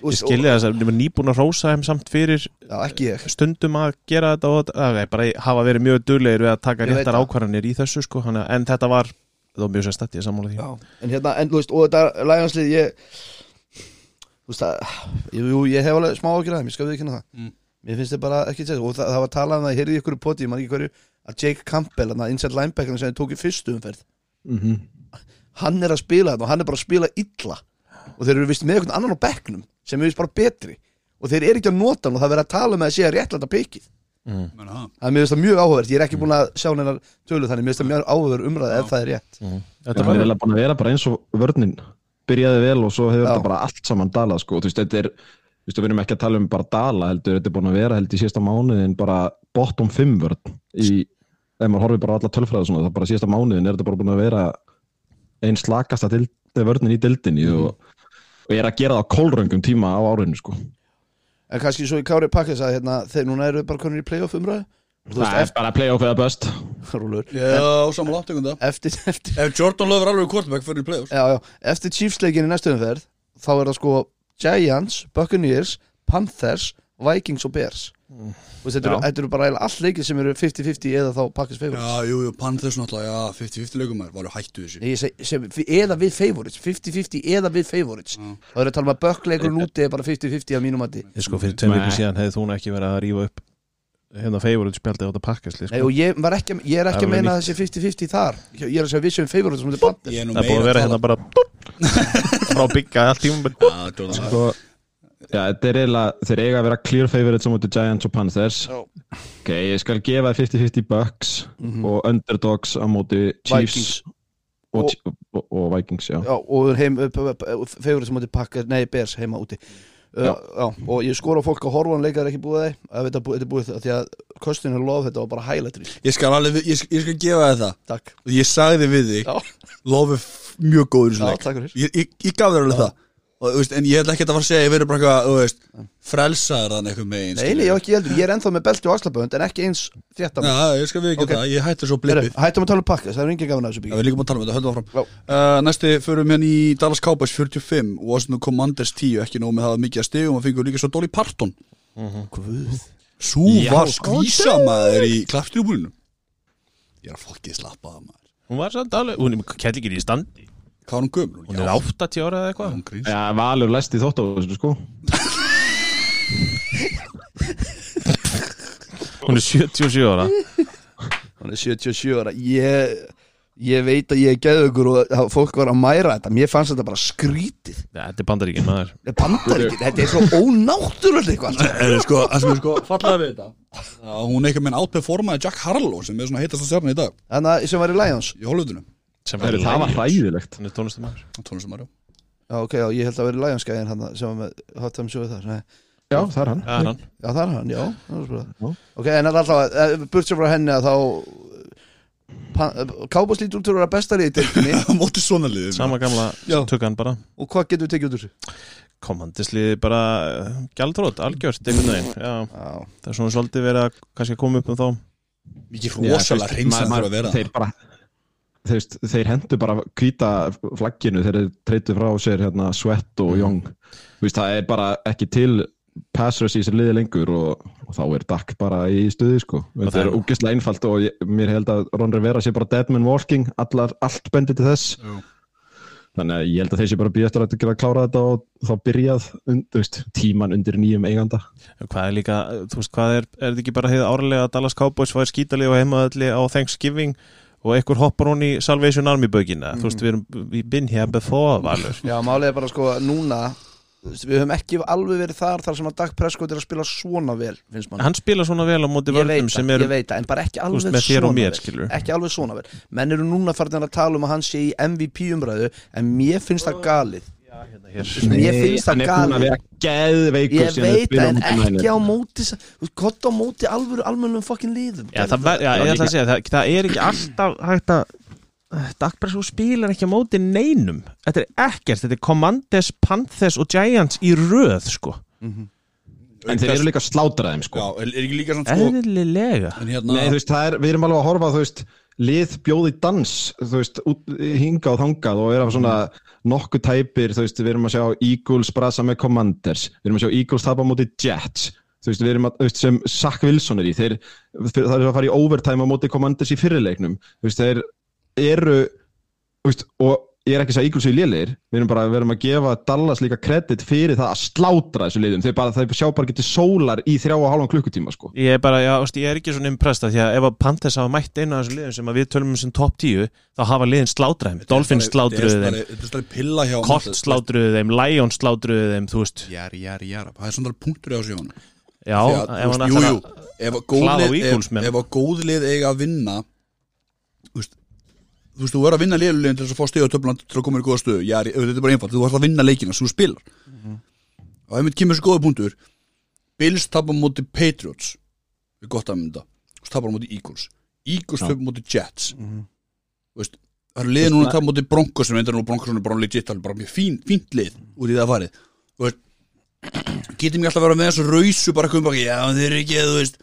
Speaker 3: ég skilja þess að ég var nýbúin að rósa þeim samt fyrir
Speaker 4: Já, ekki ég
Speaker 3: stundum að gera þetta og að, bara hafa verið mjög duglegir við að taka
Speaker 4: Ég veit
Speaker 3: réttar
Speaker 4: það.
Speaker 3: ákvarðanir í þessu sko, hana, en þetta var, það var mjög sérstætt ég er sammála því
Speaker 4: Já, en hérna, en þú veist, og þetta Lions-lið, ég þú veist að, jú, ég hef alveg smá okkur að þeim, ég skal við ekki það Mér finnst þið bara ekki sér og það, það var talað um það, ég heyrði í ykkur poti, ég man ekki hverju að Jake Campbell, hann að innsett linebackerinn sem þið tók í fyrstu umferð
Speaker 2: mm -hmm.
Speaker 4: hann er að spila þetta og hann er bara að spila illa og þeir eru vist með einhvern annan á bekknum sem er vist bara betri og þeir eru ekki að nota hann og það er verið að tala með að sé að réttlæta pikið
Speaker 1: Menna Mm. það.
Speaker 4: það er mér finnst það mjög áhugavert, ég er ekki búin að sjá hennar tölu þannig, mér finnst það mjög áhugaverð umræða ef það er rétt
Speaker 3: Þetta
Speaker 2: Þetta var
Speaker 3: var
Speaker 2: eiginlega búin að vera bara eins og vörnin byrjaði vel og svo hefur
Speaker 4: Já.
Speaker 2: þetta bara allt saman dalað sko. og þú veist, þetta er þú veist, við erum ekki að tala um bara dala heldur, þetta er búin að vera heldur í síðasta mánuðin bara bottom 5 vörn í, ef maður horfir bara á alla tölfræða og svona, það bara síðasta mánuðin er þetta bara búin að vera einn slakasta dild, vörnin í dildinni og,
Speaker 4: Mhm.
Speaker 2: og ég er að gera það á kólröngum tíma á árinu sko.
Speaker 4: en kannski svo í Kári Pakkas að hérna, þeir núna eru bara konur í playoff umræðu og þú
Speaker 2: það
Speaker 4: veist,
Speaker 2: er bara playoff eða best
Speaker 4: eftir, rúlur,
Speaker 1: Já, samanlega áttökunda
Speaker 4: eftir, eftir,
Speaker 1: Ef Jordan Love er alveg kvortbæk fyrir playoffs
Speaker 4: já, já, eftir Chiefs-leikin í næstu umferð þá er það sko Giants, Buccaneers, Panthers Vikings og Bears Þú veist, þetta, eru,
Speaker 2: Já.
Speaker 4: þetta eru bara eiginlega allt leikir sem eru 50-50 eða þá Pakkas favorites
Speaker 1: Já, jú, jú, Panthers náttúrulega, já, 50-50 leikum er, varu hættu þessu
Speaker 4: Nei, ég seg, sem, eða við favorites 50-50 eða við favorites
Speaker 1: Já.
Speaker 4: það eru að tala um að bökkleikurinn úti er bara 50-50 á mínum mati
Speaker 3: Ég sko fyrir tveim vikum
Speaker 2: Nei.
Speaker 3: síðan hefði þú ekki verið að rífa upp hérna favorite spjaldið á þetta pakkasli
Speaker 4: Nei,
Speaker 3: sko.
Speaker 4: og ég, var ekki, að- ég er
Speaker 3: Það
Speaker 4: ekki að
Speaker 3: var
Speaker 4: meina
Speaker 3: nýtt.
Speaker 4: þessi 50-50 þar ég ég er að segja við sem favorites sem þetta bandið
Speaker 1: Ég er nú
Speaker 3: Það er búið
Speaker 1: meira
Speaker 3: að vera hérna bara frá byggja allt tíma
Speaker 1: Já, Jordan Love
Speaker 2: sko, já, þetta er eiginlega þeir eiga að vera clear favorite sem mútið Giants og Panthers
Speaker 4: Já.
Speaker 2: ok, ég skal gefa þér 50-50 Bucks og Underdogs á móti Chiefs
Speaker 4: Mhm. Vikings
Speaker 2: og,
Speaker 4: Og-
Speaker 2: og, og, og Vikings, já
Speaker 4: já, og heim, eh, upp- upp- upp- favorites sem þetta pakka nei, Bears heima úti Uh,
Speaker 2: Já.
Speaker 4: já, og ég skora á fólk að horfa hann leikar ekki búið þeim að þetta er búið, þetta er búið það því að kostinu lof þetta var bara hælættur
Speaker 1: Ég skal alveg, við- ég, sk- ég skal gefa þér það
Speaker 4: takk
Speaker 1: Og Ég sagði við þig,
Speaker 4: já,
Speaker 1: Love er f- mjög góður í
Speaker 4: já,
Speaker 1: þessum leik
Speaker 4: takk fyrir
Speaker 1: ég, ég, ég gaf þér alveg það og, þú veist, En ég ætla ekki að fara að segja, ég verður bara eitthvað, þú veist Frelsaður þann eitthvað megin
Speaker 4: nei, nei, ég, var ekki, heldur, ég er ennþá með belti og axlabönd en ekki eins þétta
Speaker 1: Já, ég skal við ekki
Speaker 4: Ok.
Speaker 1: það, ég hættu svo
Speaker 4: Heyrðu,
Speaker 1: blippið
Speaker 4: hættum að tala um pakka, það er engin gafin að þessu
Speaker 1: Já,
Speaker 4: byggjum
Speaker 1: við líkum að tala um þetta, höldum áfram uh, Næsti, förum hérna í Dallas Cowboys 45 Washington Commanders 10, ekki nóg með það var mikið að stigum og fengur líka svo Dolly Parton
Speaker 4: Guð.
Speaker 1: Sú
Speaker 3: Já,
Speaker 1: var skvísa maður í klappstjúbúlinu Ég er að fokkið slappa það maður
Speaker 3: Hún var samt alveg, hún er kællingir í standi
Speaker 1: Hvað er hún gömur?
Speaker 3: Hún er 80 ára eða eitthvað
Speaker 1: Hún grýns
Speaker 2: Já, Valur læst í þótt á þessu sko
Speaker 3: Hún er 77 ára
Speaker 4: hann er 77 ára ég, ég veit að ég geði ykkur og að fólk var að mæra þetta mér fannst þetta bara skrítið
Speaker 3: Nei, Þetta er bandaríkin maður
Speaker 4: bandaríkin, þetta er svo ónáttúrulega eitthvað
Speaker 1: Er það sko, það sem er sko fallaði við þetta Já, Hún er eitthvað með outperformaði Jack Harlow sem er svona heitast að stjarni í dag
Speaker 4: þannig að sem var í Lions
Speaker 1: í Hollywoodinu
Speaker 3: sem
Speaker 2: það, það var hræðilegt
Speaker 3: Hún er tónlistamæður
Speaker 1: Tónlistamæri
Speaker 4: já ok, já, ég held að vera í Lions gæðin hann sem var með hot time show þar nei.
Speaker 2: Já, það er hann
Speaker 3: Það er hann
Speaker 4: já það er hann, já það var bara-
Speaker 2: Já.
Speaker 4: ok, en alltaf, eh, burt sér frá henni að þá Kábos lítur út úr að vera besta liði í deildinni
Speaker 1: Móti svona liðið
Speaker 3: Sama gamla
Speaker 4: Já.
Speaker 3: tökkan bara
Speaker 4: og hvað getur við tekið út úr þessu?
Speaker 3: Komandisliði bara eh, gjaldrót, algjört einhvern veginn
Speaker 4: Mm.
Speaker 3: Já,
Speaker 4: Já.
Speaker 3: það er svona svolítið verið að kannski koma upp um þá
Speaker 1: Mikið
Speaker 2: Já,
Speaker 1: rosalega
Speaker 2: þú veist,
Speaker 1: reyns
Speaker 2: maður-
Speaker 1: að þurfa að vera
Speaker 2: Þeir bara Þeir, veist, þeir hendu bara kvíta flagginu þegar þeir treytu frá sér hérna Svett
Speaker 4: Mm.
Speaker 2: og Young Þú veist, Það er bara ekki til passröss í sér liði lengur og, og þá er Dak bara í stuði sko. Þetta
Speaker 3: það
Speaker 2: er
Speaker 3: er-
Speaker 2: úkislega einfalt og ég, mér held að Ron Rivera sé bara deadman walking allar, allt bendi til þess
Speaker 1: Jú.
Speaker 2: Þannig að ég held að þeir sé bara býjast að þetta gera að klára þetta og þá byrjað und, þú veist, tíman undir nýjum eiganda
Speaker 3: Hvað er líka, þú veist, hvað er, er þetta ekki bara heið árlega að Dallas Cowboys var skítalið og heimaðalli á Thanksgiving og einhver hoppar hún í Salvation Army bögina Þú veist, við erum, við been here before valur
Speaker 4: Já, málið er bara sko að núna þú veist, Við höfum ekki alveg verið þar þar sem að Dag Prescott er að spila svona vel finnst mann
Speaker 3: Hann spila svona vel á móti
Speaker 4: Ég veit
Speaker 3: vörðum sem
Speaker 4: það,
Speaker 3: eru
Speaker 4: ég veit það, en bara ekki
Speaker 3: veist,
Speaker 4: alveg
Speaker 3: með þér og
Speaker 4: svona
Speaker 3: mér,
Speaker 4: vel.
Speaker 3: skilurðu.
Speaker 4: Ekki alveg svona vel Menn eru núna farin að tala um að hann sé í MVP umræðu En mér finnst það galið Mér finnst það
Speaker 2: Hann er búin að
Speaker 4: galið
Speaker 2: vera geðveikur
Speaker 4: Ég
Speaker 2: síðan þeir
Speaker 4: veit
Speaker 2: spila
Speaker 4: það, en
Speaker 2: á móti
Speaker 4: ekki á
Speaker 2: Niners.
Speaker 4: móti sa- Þú veist, Gott á móti alvöru almennum fokkin liðum
Speaker 3: Já, það, ver, já, ég ætla að segja, það, það er ekki alltaf hægt að Dagbrasó spilar ekki á móti neinum Þetta er ekkert, þetta er Commanders, Panthers og Giants í röð, sko
Speaker 2: En þeir eru líka að slátra þeim
Speaker 1: Já,
Speaker 2: sko.
Speaker 1: er er ekki líka svona sko
Speaker 3: Eðlilega
Speaker 1: En hérna
Speaker 2: Nei, þú veist, það er, við erum alveg að horfa þú veist, lið bjóði dans þú veist, út, hinga og þangað og erum svona nokkuð tæpir þú veist, við erum að sjá Eagles brasa með Commanders við erum að sjá Eagles tapa á móti Jets þú veist, við erum að, þú veist, sem Sack Wilson er í þeir, það er að fara í overtime á móti Commanders í fyrirleiknum, þú veist, þeir eru þú veist, og ég er ekki að segja Eagles séu lélegir við erum bara við erum að gefa Dallas líka kredit fyrir það að slátra þessu liðum þeir, bara, þeir sjá bara getið sólar í þrjá og hálfan klukkutíma sko.
Speaker 3: Ég er bara, já, veist, ég er ekki svona impressed að því að ef að Panthers hafa mætt einu af þessum liðum sem að við tölum um sem top 10 þá hafa liðin slátraðum, Dolphins slátruðu þeim
Speaker 1: Þetta er stærri pilla hjá
Speaker 3: Colt slátruðu þeim, Lions slátruðu þeim þú veist,
Speaker 1: Jæra, jæra, jæra Það er svona punktur í þessu hjá hann
Speaker 3: já
Speaker 1: Því að,
Speaker 3: ef
Speaker 1: þú veist, Jú, jú, ef að góðlið
Speaker 3: hann ætlar að- hlaða á
Speaker 1: ef,
Speaker 3: Eagles menn.
Speaker 1: ef að góðlið eiga að vinna Þú veist Þú veist, þú verður að vinna liðulegin til þess að fá stegið á töflan til að koma í góða stöðu, já, þetta er bara einfalt þú ætlar að vinna leikina sem þú spilar
Speaker 3: Mhm.
Speaker 1: og ef við kemur þessu góða punktur Bills tapar móti Patriots við gott að mynda, þú tapar móti Eagles Eagles tapar móti Jets
Speaker 4: Mhm.
Speaker 1: þú veist, það eru liðið núna að tapar móti Broncos sem endur nú Broncos er bara legit, það er bara mjög fín, fínt lið úr í það farið þú veist, getum ég alltaf að vera með þessu rausu bara komum baki, já þeir eru ekki þú veist,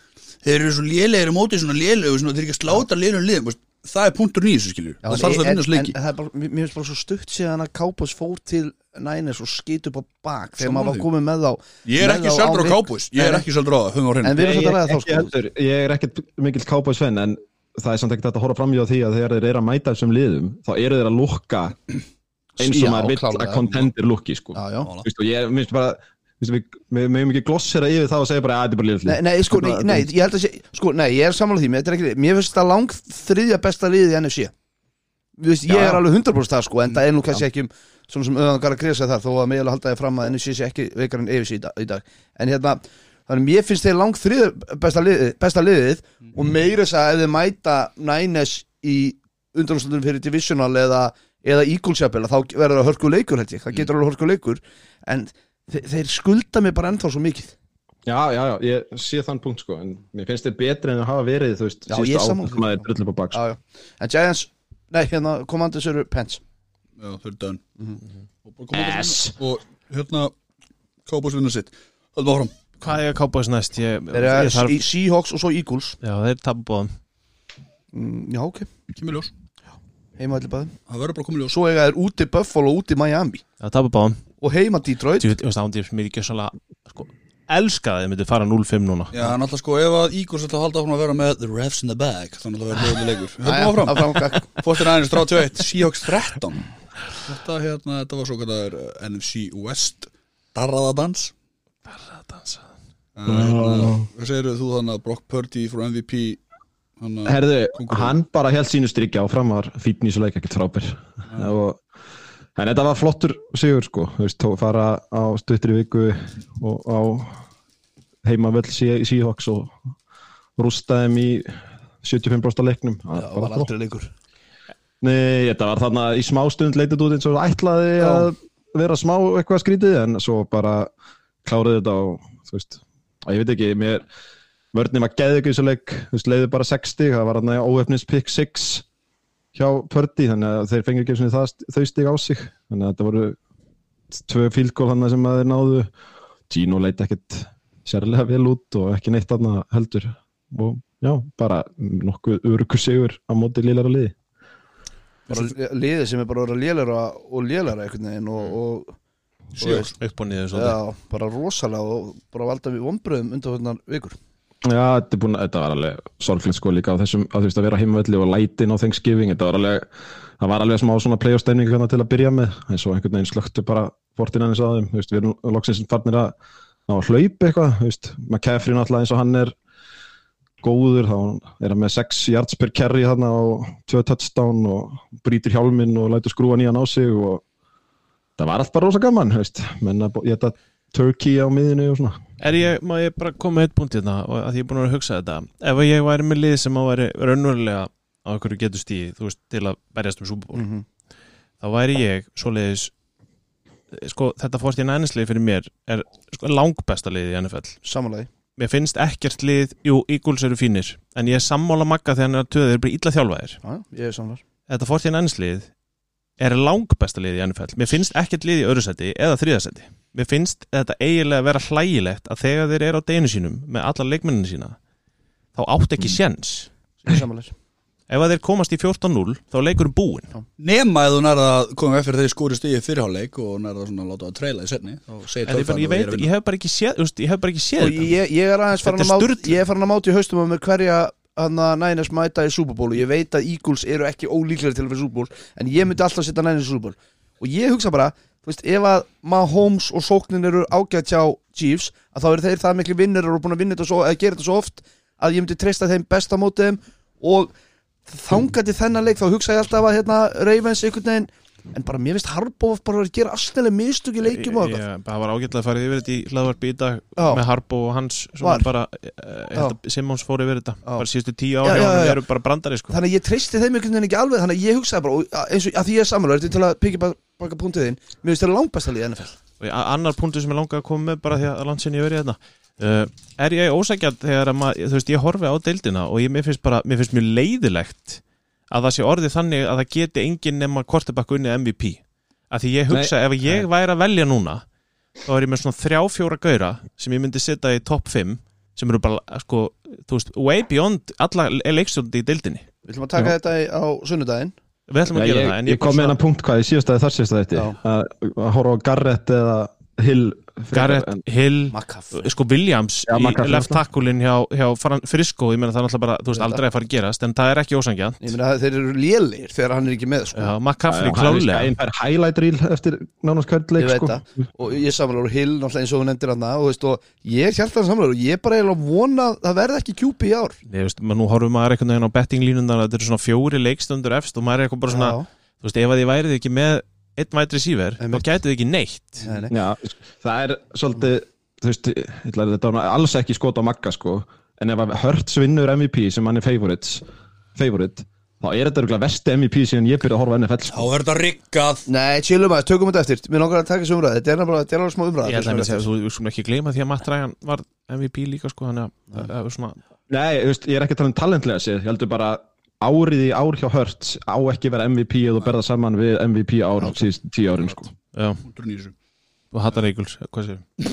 Speaker 1: þeir eru svo lélegir á móti svona lélegir, svona, þeir eru ekki að sláta lélegum liðum þú veist, það er punktur nýjus, skiljur það þarf það að vinna
Speaker 4: en
Speaker 1: sleiki
Speaker 4: það er bara, mér mér finnst bara svo stutt síðan að Kápos fór til Niners og skýt upp á bak þegar maður
Speaker 1: Sammála
Speaker 4: var
Speaker 1: því.
Speaker 4: komið með þá
Speaker 1: ég er
Speaker 4: með
Speaker 1: ekki
Speaker 4: þá
Speaker 1: sjöldur á
Speaker 4: vik-
Speaker 1: kápus, ég er
Speaker 4: Nei,
Speaker 1: ekki sjöldur á það höfum á hreinu
Speaker 4: En við erum
Speaker 2: Ég-
Speaker 4: þetta að ræða
Speaker 2: ekki
Speaker 4: þá sko
Speaker 2: heldur, ég er ekkert mikill kápaðis fenn en það er samt ekkert hægt að horfa framjá því að þegar þeir eru að mæta þessum liðum þá eru þeir að lukka eins og
Speaker 4: Já,
Speaker 2: maður vill
Speaker 4: klárlega.
Speaker 2: að contender lukki sko.
Speaker 4: Já, já
Speaker 1: Mála.
Speaker 2: Veistu, og ég minnst bara veistu, við- við mögum ekki glossera yfir það og segja bara að þetta er bara liðlið
Speaker 4: Nei, nei, sko, nei, nei, ég held að sé Sko, nei, ég er sammála því, mér þetta er ekki Mér finnst það lang þriðja besta liðið í NFC Þú veist, ég
Speaker 2: Já.
Speaker 4: er alveg 100% það sko En það er nú kannski ekki um Svona sem öðangar að kresa þar Þó að mig alveg halda ég fram að NFC sé ekki veikar en EFC í dag- í dag En hérna, þannig mér finnst þeir lang þriðja besta liðið, besta liðið
Speaker 2: Mhm.
Speaker 4: Og meira þess að ef þeir mæta Nines í undanúslandunum fyrir Divisional Eða, eða Eagles jafnvel, að Þá verður það hörku leikur, held ég
Speaker 2: Mhm.
Speaker 4: Það getur alveg hörku leikur En þe þeir skulda mig bara ennþá svo mikið
Speaker 2: já, já, já, ég sé þann punkt sko en mér finnst þeir betri en að hafa verið þú veist,
Speaker 4: Já, ég
Speaker 2: síðustu
Speaker 4: er sammála
Speaker 2: átt
Speaker 4: því.
Speaker 2: sem maður er drullið på bak sko.
Speaker 4: já, já. En Giants, nei hérna Commanders eru Pence
Speaker 1: Já, þau eru dönn
Speaker 4: Mhm.
Speaker 1: Og bara koma út að finna- Og hérna Cowboys vinna sitt Haldum áfram
Speaker 3: hvað er að kápa þess næst ég,
Speaker 4: Þeir eru
Speaker 3: ég þarf,
Speaker 4: Se- Seahawks og svo Eagles
Speaker 3: já, þeir tappa bóðum
Speaker 4: mm, Já, ok,
Speaker 1: Kemur ljós
Speaker 4: heima allir bæðum
Speaker 1: Það verður bara komið ljós
Speaker 4: Svo eiga þeir úti Buffalo, úti Miami
Speaker 3: það tappa bóðum,
Speaker 4: Og heima Detroit
Speaker 3: þú veist ándið sem ég ekki svolítið sko, elska að þeir myndi fara 0-5 núna
Speaker 1: Já, náttúrulega sko Ef að Ígurs ætla að halda áfram að vera með The refs in the bag Þannig að það verður lögulega leikur Haldum áfram
Speaker 4: áfram
Speaker 1: Fóttir aðeins 31 Seahawks 13 Þetta hérna Þetta var svo kallar uh, NFC West Darraðadans Darraðadans uh, Hvað segir þú þannig að Brock Purdy Frá MVP Þannig að
Speaker 2: Herðu,
Speaker 1: Kóngurinn.
Speaker 2: hann bara held sínu strikja og fram var fítn í svo leik ekkert frábær og, en þetta var flottur sigur sko, þú veist, tó- fara á stuttri viku og á heimavöll Sí- Seahawks og rústaði þeim í 75% af leiknum Það
Speaker 4: Það
Speaker 2: bara
Speaker 4: var aldrei leikur
Speaker 2: Nei, þetta var þarna í smá stund leitið út eins og ætlaði að vera smá eitthvað skrítið en svo bara kláraði þetta og þú veist, að ég veit ekki, mér vörðin var geðið ekki þessu leik, þú veist, leiði bara 60, það var þarna óöfnis pick 6 hjá Pördi, þannig að þeir fengið ekki svona það, þau stig á sig, þannig að þetta voru tvö fílgól hann sem að þeir náðu Gino leit ekkert sérlega vel út og ekki neitt annað heldur og já, bara nokkuð örugur sigur á móti lílara liði
Speaker 4: Bara liðið sem er bara að vera lélæra og lélæra einhvern veginn og, og, og veist,
Speaker 3: upp og niður svolítið
Speaker 4: já, bara rosalega og bara valda við vonbröðum undanfjörnar vikur
Speaker 2: Já, þetta, er búin, þetta var alveg sorglegt sko líka á þessum að þú veist að vera heimavelli og lætin á Thanksgiving þetta var alveg, það var alveg smá svona playoff stemning hérna til að byrja með, en svo einhvern veginn slöktu bara fortinan eins að þeim, þú veist, við erum loksins farnir að ná að hlaupa eitthvað, þú veist, McCaffrey náttúrulega eins og hann er góður, þá er hann með 6 yards per carry þarna og 2 touchdown og brýtir hjálminn og lætur skrúa nýjan á sig og það var allt bara rosa gaman, þú veist, menna, ég þetta turkey á miðinu og svona.
Speaker 3: Er ég, má ég bara koma með eitt punkt hérna og að því ég er búin að vera að hugsa þetta ef að ég væri með lið sem að væri raunverulega á einhverju getur stíði, þú veist, til að berjast um súbúból,
Speaker 4: Mhm.
Speaker 3: þá væri ég svoleiðis, eh, sko þetta fórst í nænislið fyrir mér er sko, langbesta liðið í NFL
Speaker 4: Samanlagi
Speaker 3: mér finnst ekkert lið, jú, Eagles eru fínir en ég er sammála magga þegar hann er að töða þeir eru bara illa þjálfaðir,
Speaker 4: Já, já, ég er samanlagi
Speaker 3: þetta fórst í nænislið er langbesta liðið í NFL mér finnst ekkert lið í öðru seti eða þriðasetti mér finnst þetta eiginlega að vera hlægilegt að þegar þeir eru á deginu sínum með alla leikmenninu sína þá átt
Speaker 4: Mm.
Speaker 3: ekki sjens
Speaker 4: Samanlagi
Speaker 3: ef að þeir komast í 14-0 þá er leikurinn búinn
Speaker 1: Nema eða þú nærða að koma eftir þeir skóri stíði fyrirháleik og nærða svona að láta að treyla í setni og segja
Speaker 3: en ég, bara, ég, veit, ég hef bara ekki séð, þú veist, ég hef bara ekki séð
Speaker 4: og hérna. ég, ég er aðeins farin
Speaker 3: Þetta
Speaker 4: að
Speaker 3: er
Speaker 4: máta
Speaker 3: sturlun.
Speaker 4: ég er farin að máta í haustum á mér hverja hana, Niners mæta í Super Bowl og ég veit að Eagles eru ekki ólíklegri til að vera í Super Bowl en ég myndi alltaf setja Niners í Super Bowl og ég hugsa bara, þú veist, ef að Mahomes og sóknin eru ágætt hjá Chiefs að þá eru þeir það miklu vinnir og eru búin að vinna þetta svo, eða gera þetta svo oft að ég myndi treysta þeim besta mótið þeim og þangandi þennan leik þá hugsa ég alltaf að hérna Ravens einhvern veginn en bara mér finnst Harboð bara að gera astilega mistök í leikjum og eitthvað
Speaker 3: Já, það var ágætlega að fara yfir þetta í hlaðvarp í dag
Speaker 4: Já.
Speaker 3: með Harbo og hans
Speaker 4: Var.
Speaker 3: svona bara, eh, ég held að Simons fór yfir þetta bara síðustu tíu
Speaker 4: Já,
Speaker 3: ári
Speaker 4: já, já.
Speaker 3: og eru bara brandari sko.
Speaker 4: þannig að ég treysti þeim einhvern veginn ekki alveg þannig að ég hugsaði bara, og, að- eins og að því ég er sammálaður til að pikið baka punktið þinn, mér finnst þetta langbæsta lið í NFL
Speaker 3: og ég- a- annar punktu sem ég langaði að koma með bara því að landsinni ég verið hérna uh, er ég ósækjald þegar að maður, þú veist, ég horfi á deildina og ég, mér finnst bara, mér finnst mjög leiðilegt að það sé orðið þannig að það geti enginn nema kortabakk unni MVP að því ég hugsa, ef ég væri að velja núna þá er ég með svona þrjá, fjóra gaura sem ég myndi setja í topp 5 sem eru bara, sko, þú veist, way beyond alla leikstjórnandi í deildinni
Speaker 4: Við ætlum að taka þetta í- á sunnudaginn
Speaker 3: við ætlum að
Speaker 2: ég,
Speaker 3: gera
Speaker 2: ég,
Speaker 3: það, en
Speaker 2: ég kom með hennar punkt hvað í síðasta eða þar síðasta þetta
Speaker 4: Já.
Speaker 2: að, að horfa á Garrett eða Hill frekar en-
Speaker 3: Garrett Hill
Speaker 4: Makaf
Speaker 3: sko Williams í
Speaker 2: Já, McCaffrey
Speaker 3: left
Speaker 2: náttúrulega.
Speaker 3: tackle-in hjá, hjá Fran- Frisco, ég meina það er náttúrulega bara, þú veist, aldrei að fara að gerast, en það er ekki ósangjarn
Speaker 4: Ég meina að þeir eru lélegir þegar hann er ekki með sko.
Speaker 3: McCaffrey
Speaker 2: Já, hann er
Speaker 3: klálega
Speaker 2: einn fær highlight reel eftir nánast hvert
Speaker 4: Ég
Speaker 2: leik
Speaker 4: veit
Speaker 2: sko.
Speaker 4: það Og ég er sammálaður og Hill náttúrulega eins og hún nefndir hann og, veist, og ég er hjartan sammálaður og ég er bara eiginlega vona að það verði ekki kjúpi í ár
Speaker 3: Nei, veist, maður nú horfum maður einhvern veginn á bettinglínundar þetta eru svona fjóri leikstundur efst og maður er eitthvað bara svona,
Speaker 4: Já,
Speaker 3: þú veist, ef að þið værið ekki með einn vætri síver, þá
Speaker 4: Einmitt.
Speaker 3: gætið þið ekki neitt
Speaker 4: nei, nei.
Speaker 2: Já, sko, það er svolítið þú veist, ég ætla að þetta var alls ekki skot á Magga sko, en ef að Hurts vinnur MVP sem hann er favorites favorite, þá er þetta örugglega versti MVP síðan ég byrja að horfa á NFL sko.
Speaker 1: er þetta rikkað
Speaker 4: nei chillum aðeins, tökum þetta eftir Mér langar að taka þessu umræði, þetta er náttúrulega þetta er alveg smá umræði
Speaker 3: ég ætla að segja, þú skulum ekki gleyma því að Matt Ryan var MVP líka, sko, þannig að það er svona,
Speaker 2: Nei, þú veist, ég er ekki að tala um talentlega sér, ég heldur bara árið í ár hjá Hurts á ekki vera MVP eða berða saman við MVP ár síðust tíu árin sko.
Speaker 3: já,
Speaker 1: Ég
Speaker 3: þú hattar Eagles hvað séu,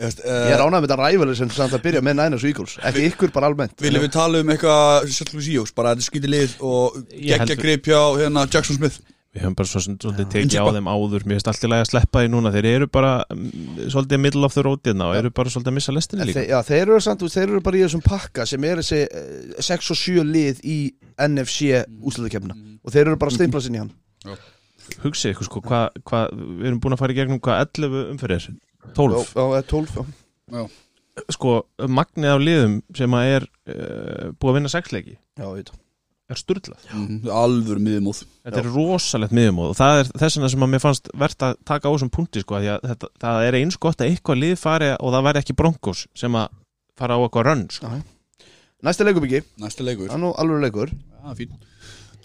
Speaker 4: Ég
Speaker 1: uh,
Speaker 4: er ánægð með þetta ræfæli sem samt að byrja með Niners og Eagles Ekki ykkur bara almennt
Speaker 1: Viljum við tala um eitthvað Sjöldlum Seahawks, bara þetta er skýti lið og
Speaker 3: Ég held-
Speaker 1: geggja grip hjá hérna, Jackson Smith
Speaker 3: við höfum bara svo sem svolítið
Speaker 1: Eins
Speaker 3: tekið
Speaker 1: og
Speaker 3: á
Speaker 1: bara-
Speaker 3: þeim áður, mér finnst allt í lagi að sleppa því núna þeir eru bara mm, svolítið middle of the road hérna og eru bara svolítið að missa lestinni
Speaker 4: En
Speaker 3: líka
Speaker 4: Þeir, já, þeir eru samt, þeir eru bara í þessum pakka sem er þessi 6 og 7 lið í NFC úslutakefna og þeir eru bara að stimpla sinni í hann
Speaker 3: hugsið ykkur sko, hvað, hvað, við erum búin að fara í gegnum hvað 11 umferðir, 12
Speaker 4: Já, já, 12, já
Speaker 3: sko, magnið af liðum sem að er uh, búið að vinna sexleiki
Speaker 4: Já, ég veit það.
Speaker 3: er sturglað,
Speaker 1: Mhm, Alvöru miðumóð
Speaker 3: þetta er rosalegt miðumóð og það er þess vegna sem að mér fannst verðt að taka á þessum punkti sko, af því að þetta, það er eins gott að eitthvað lið fari og það væri ekki bronkos sem að fara á eitthvað rönn sko.
Speaker 4: Næsta leikubyggi,
Speaker 1: Næsta leikur
Speaker 4: hann og alveg leikur
Speaker 1: ah, fín.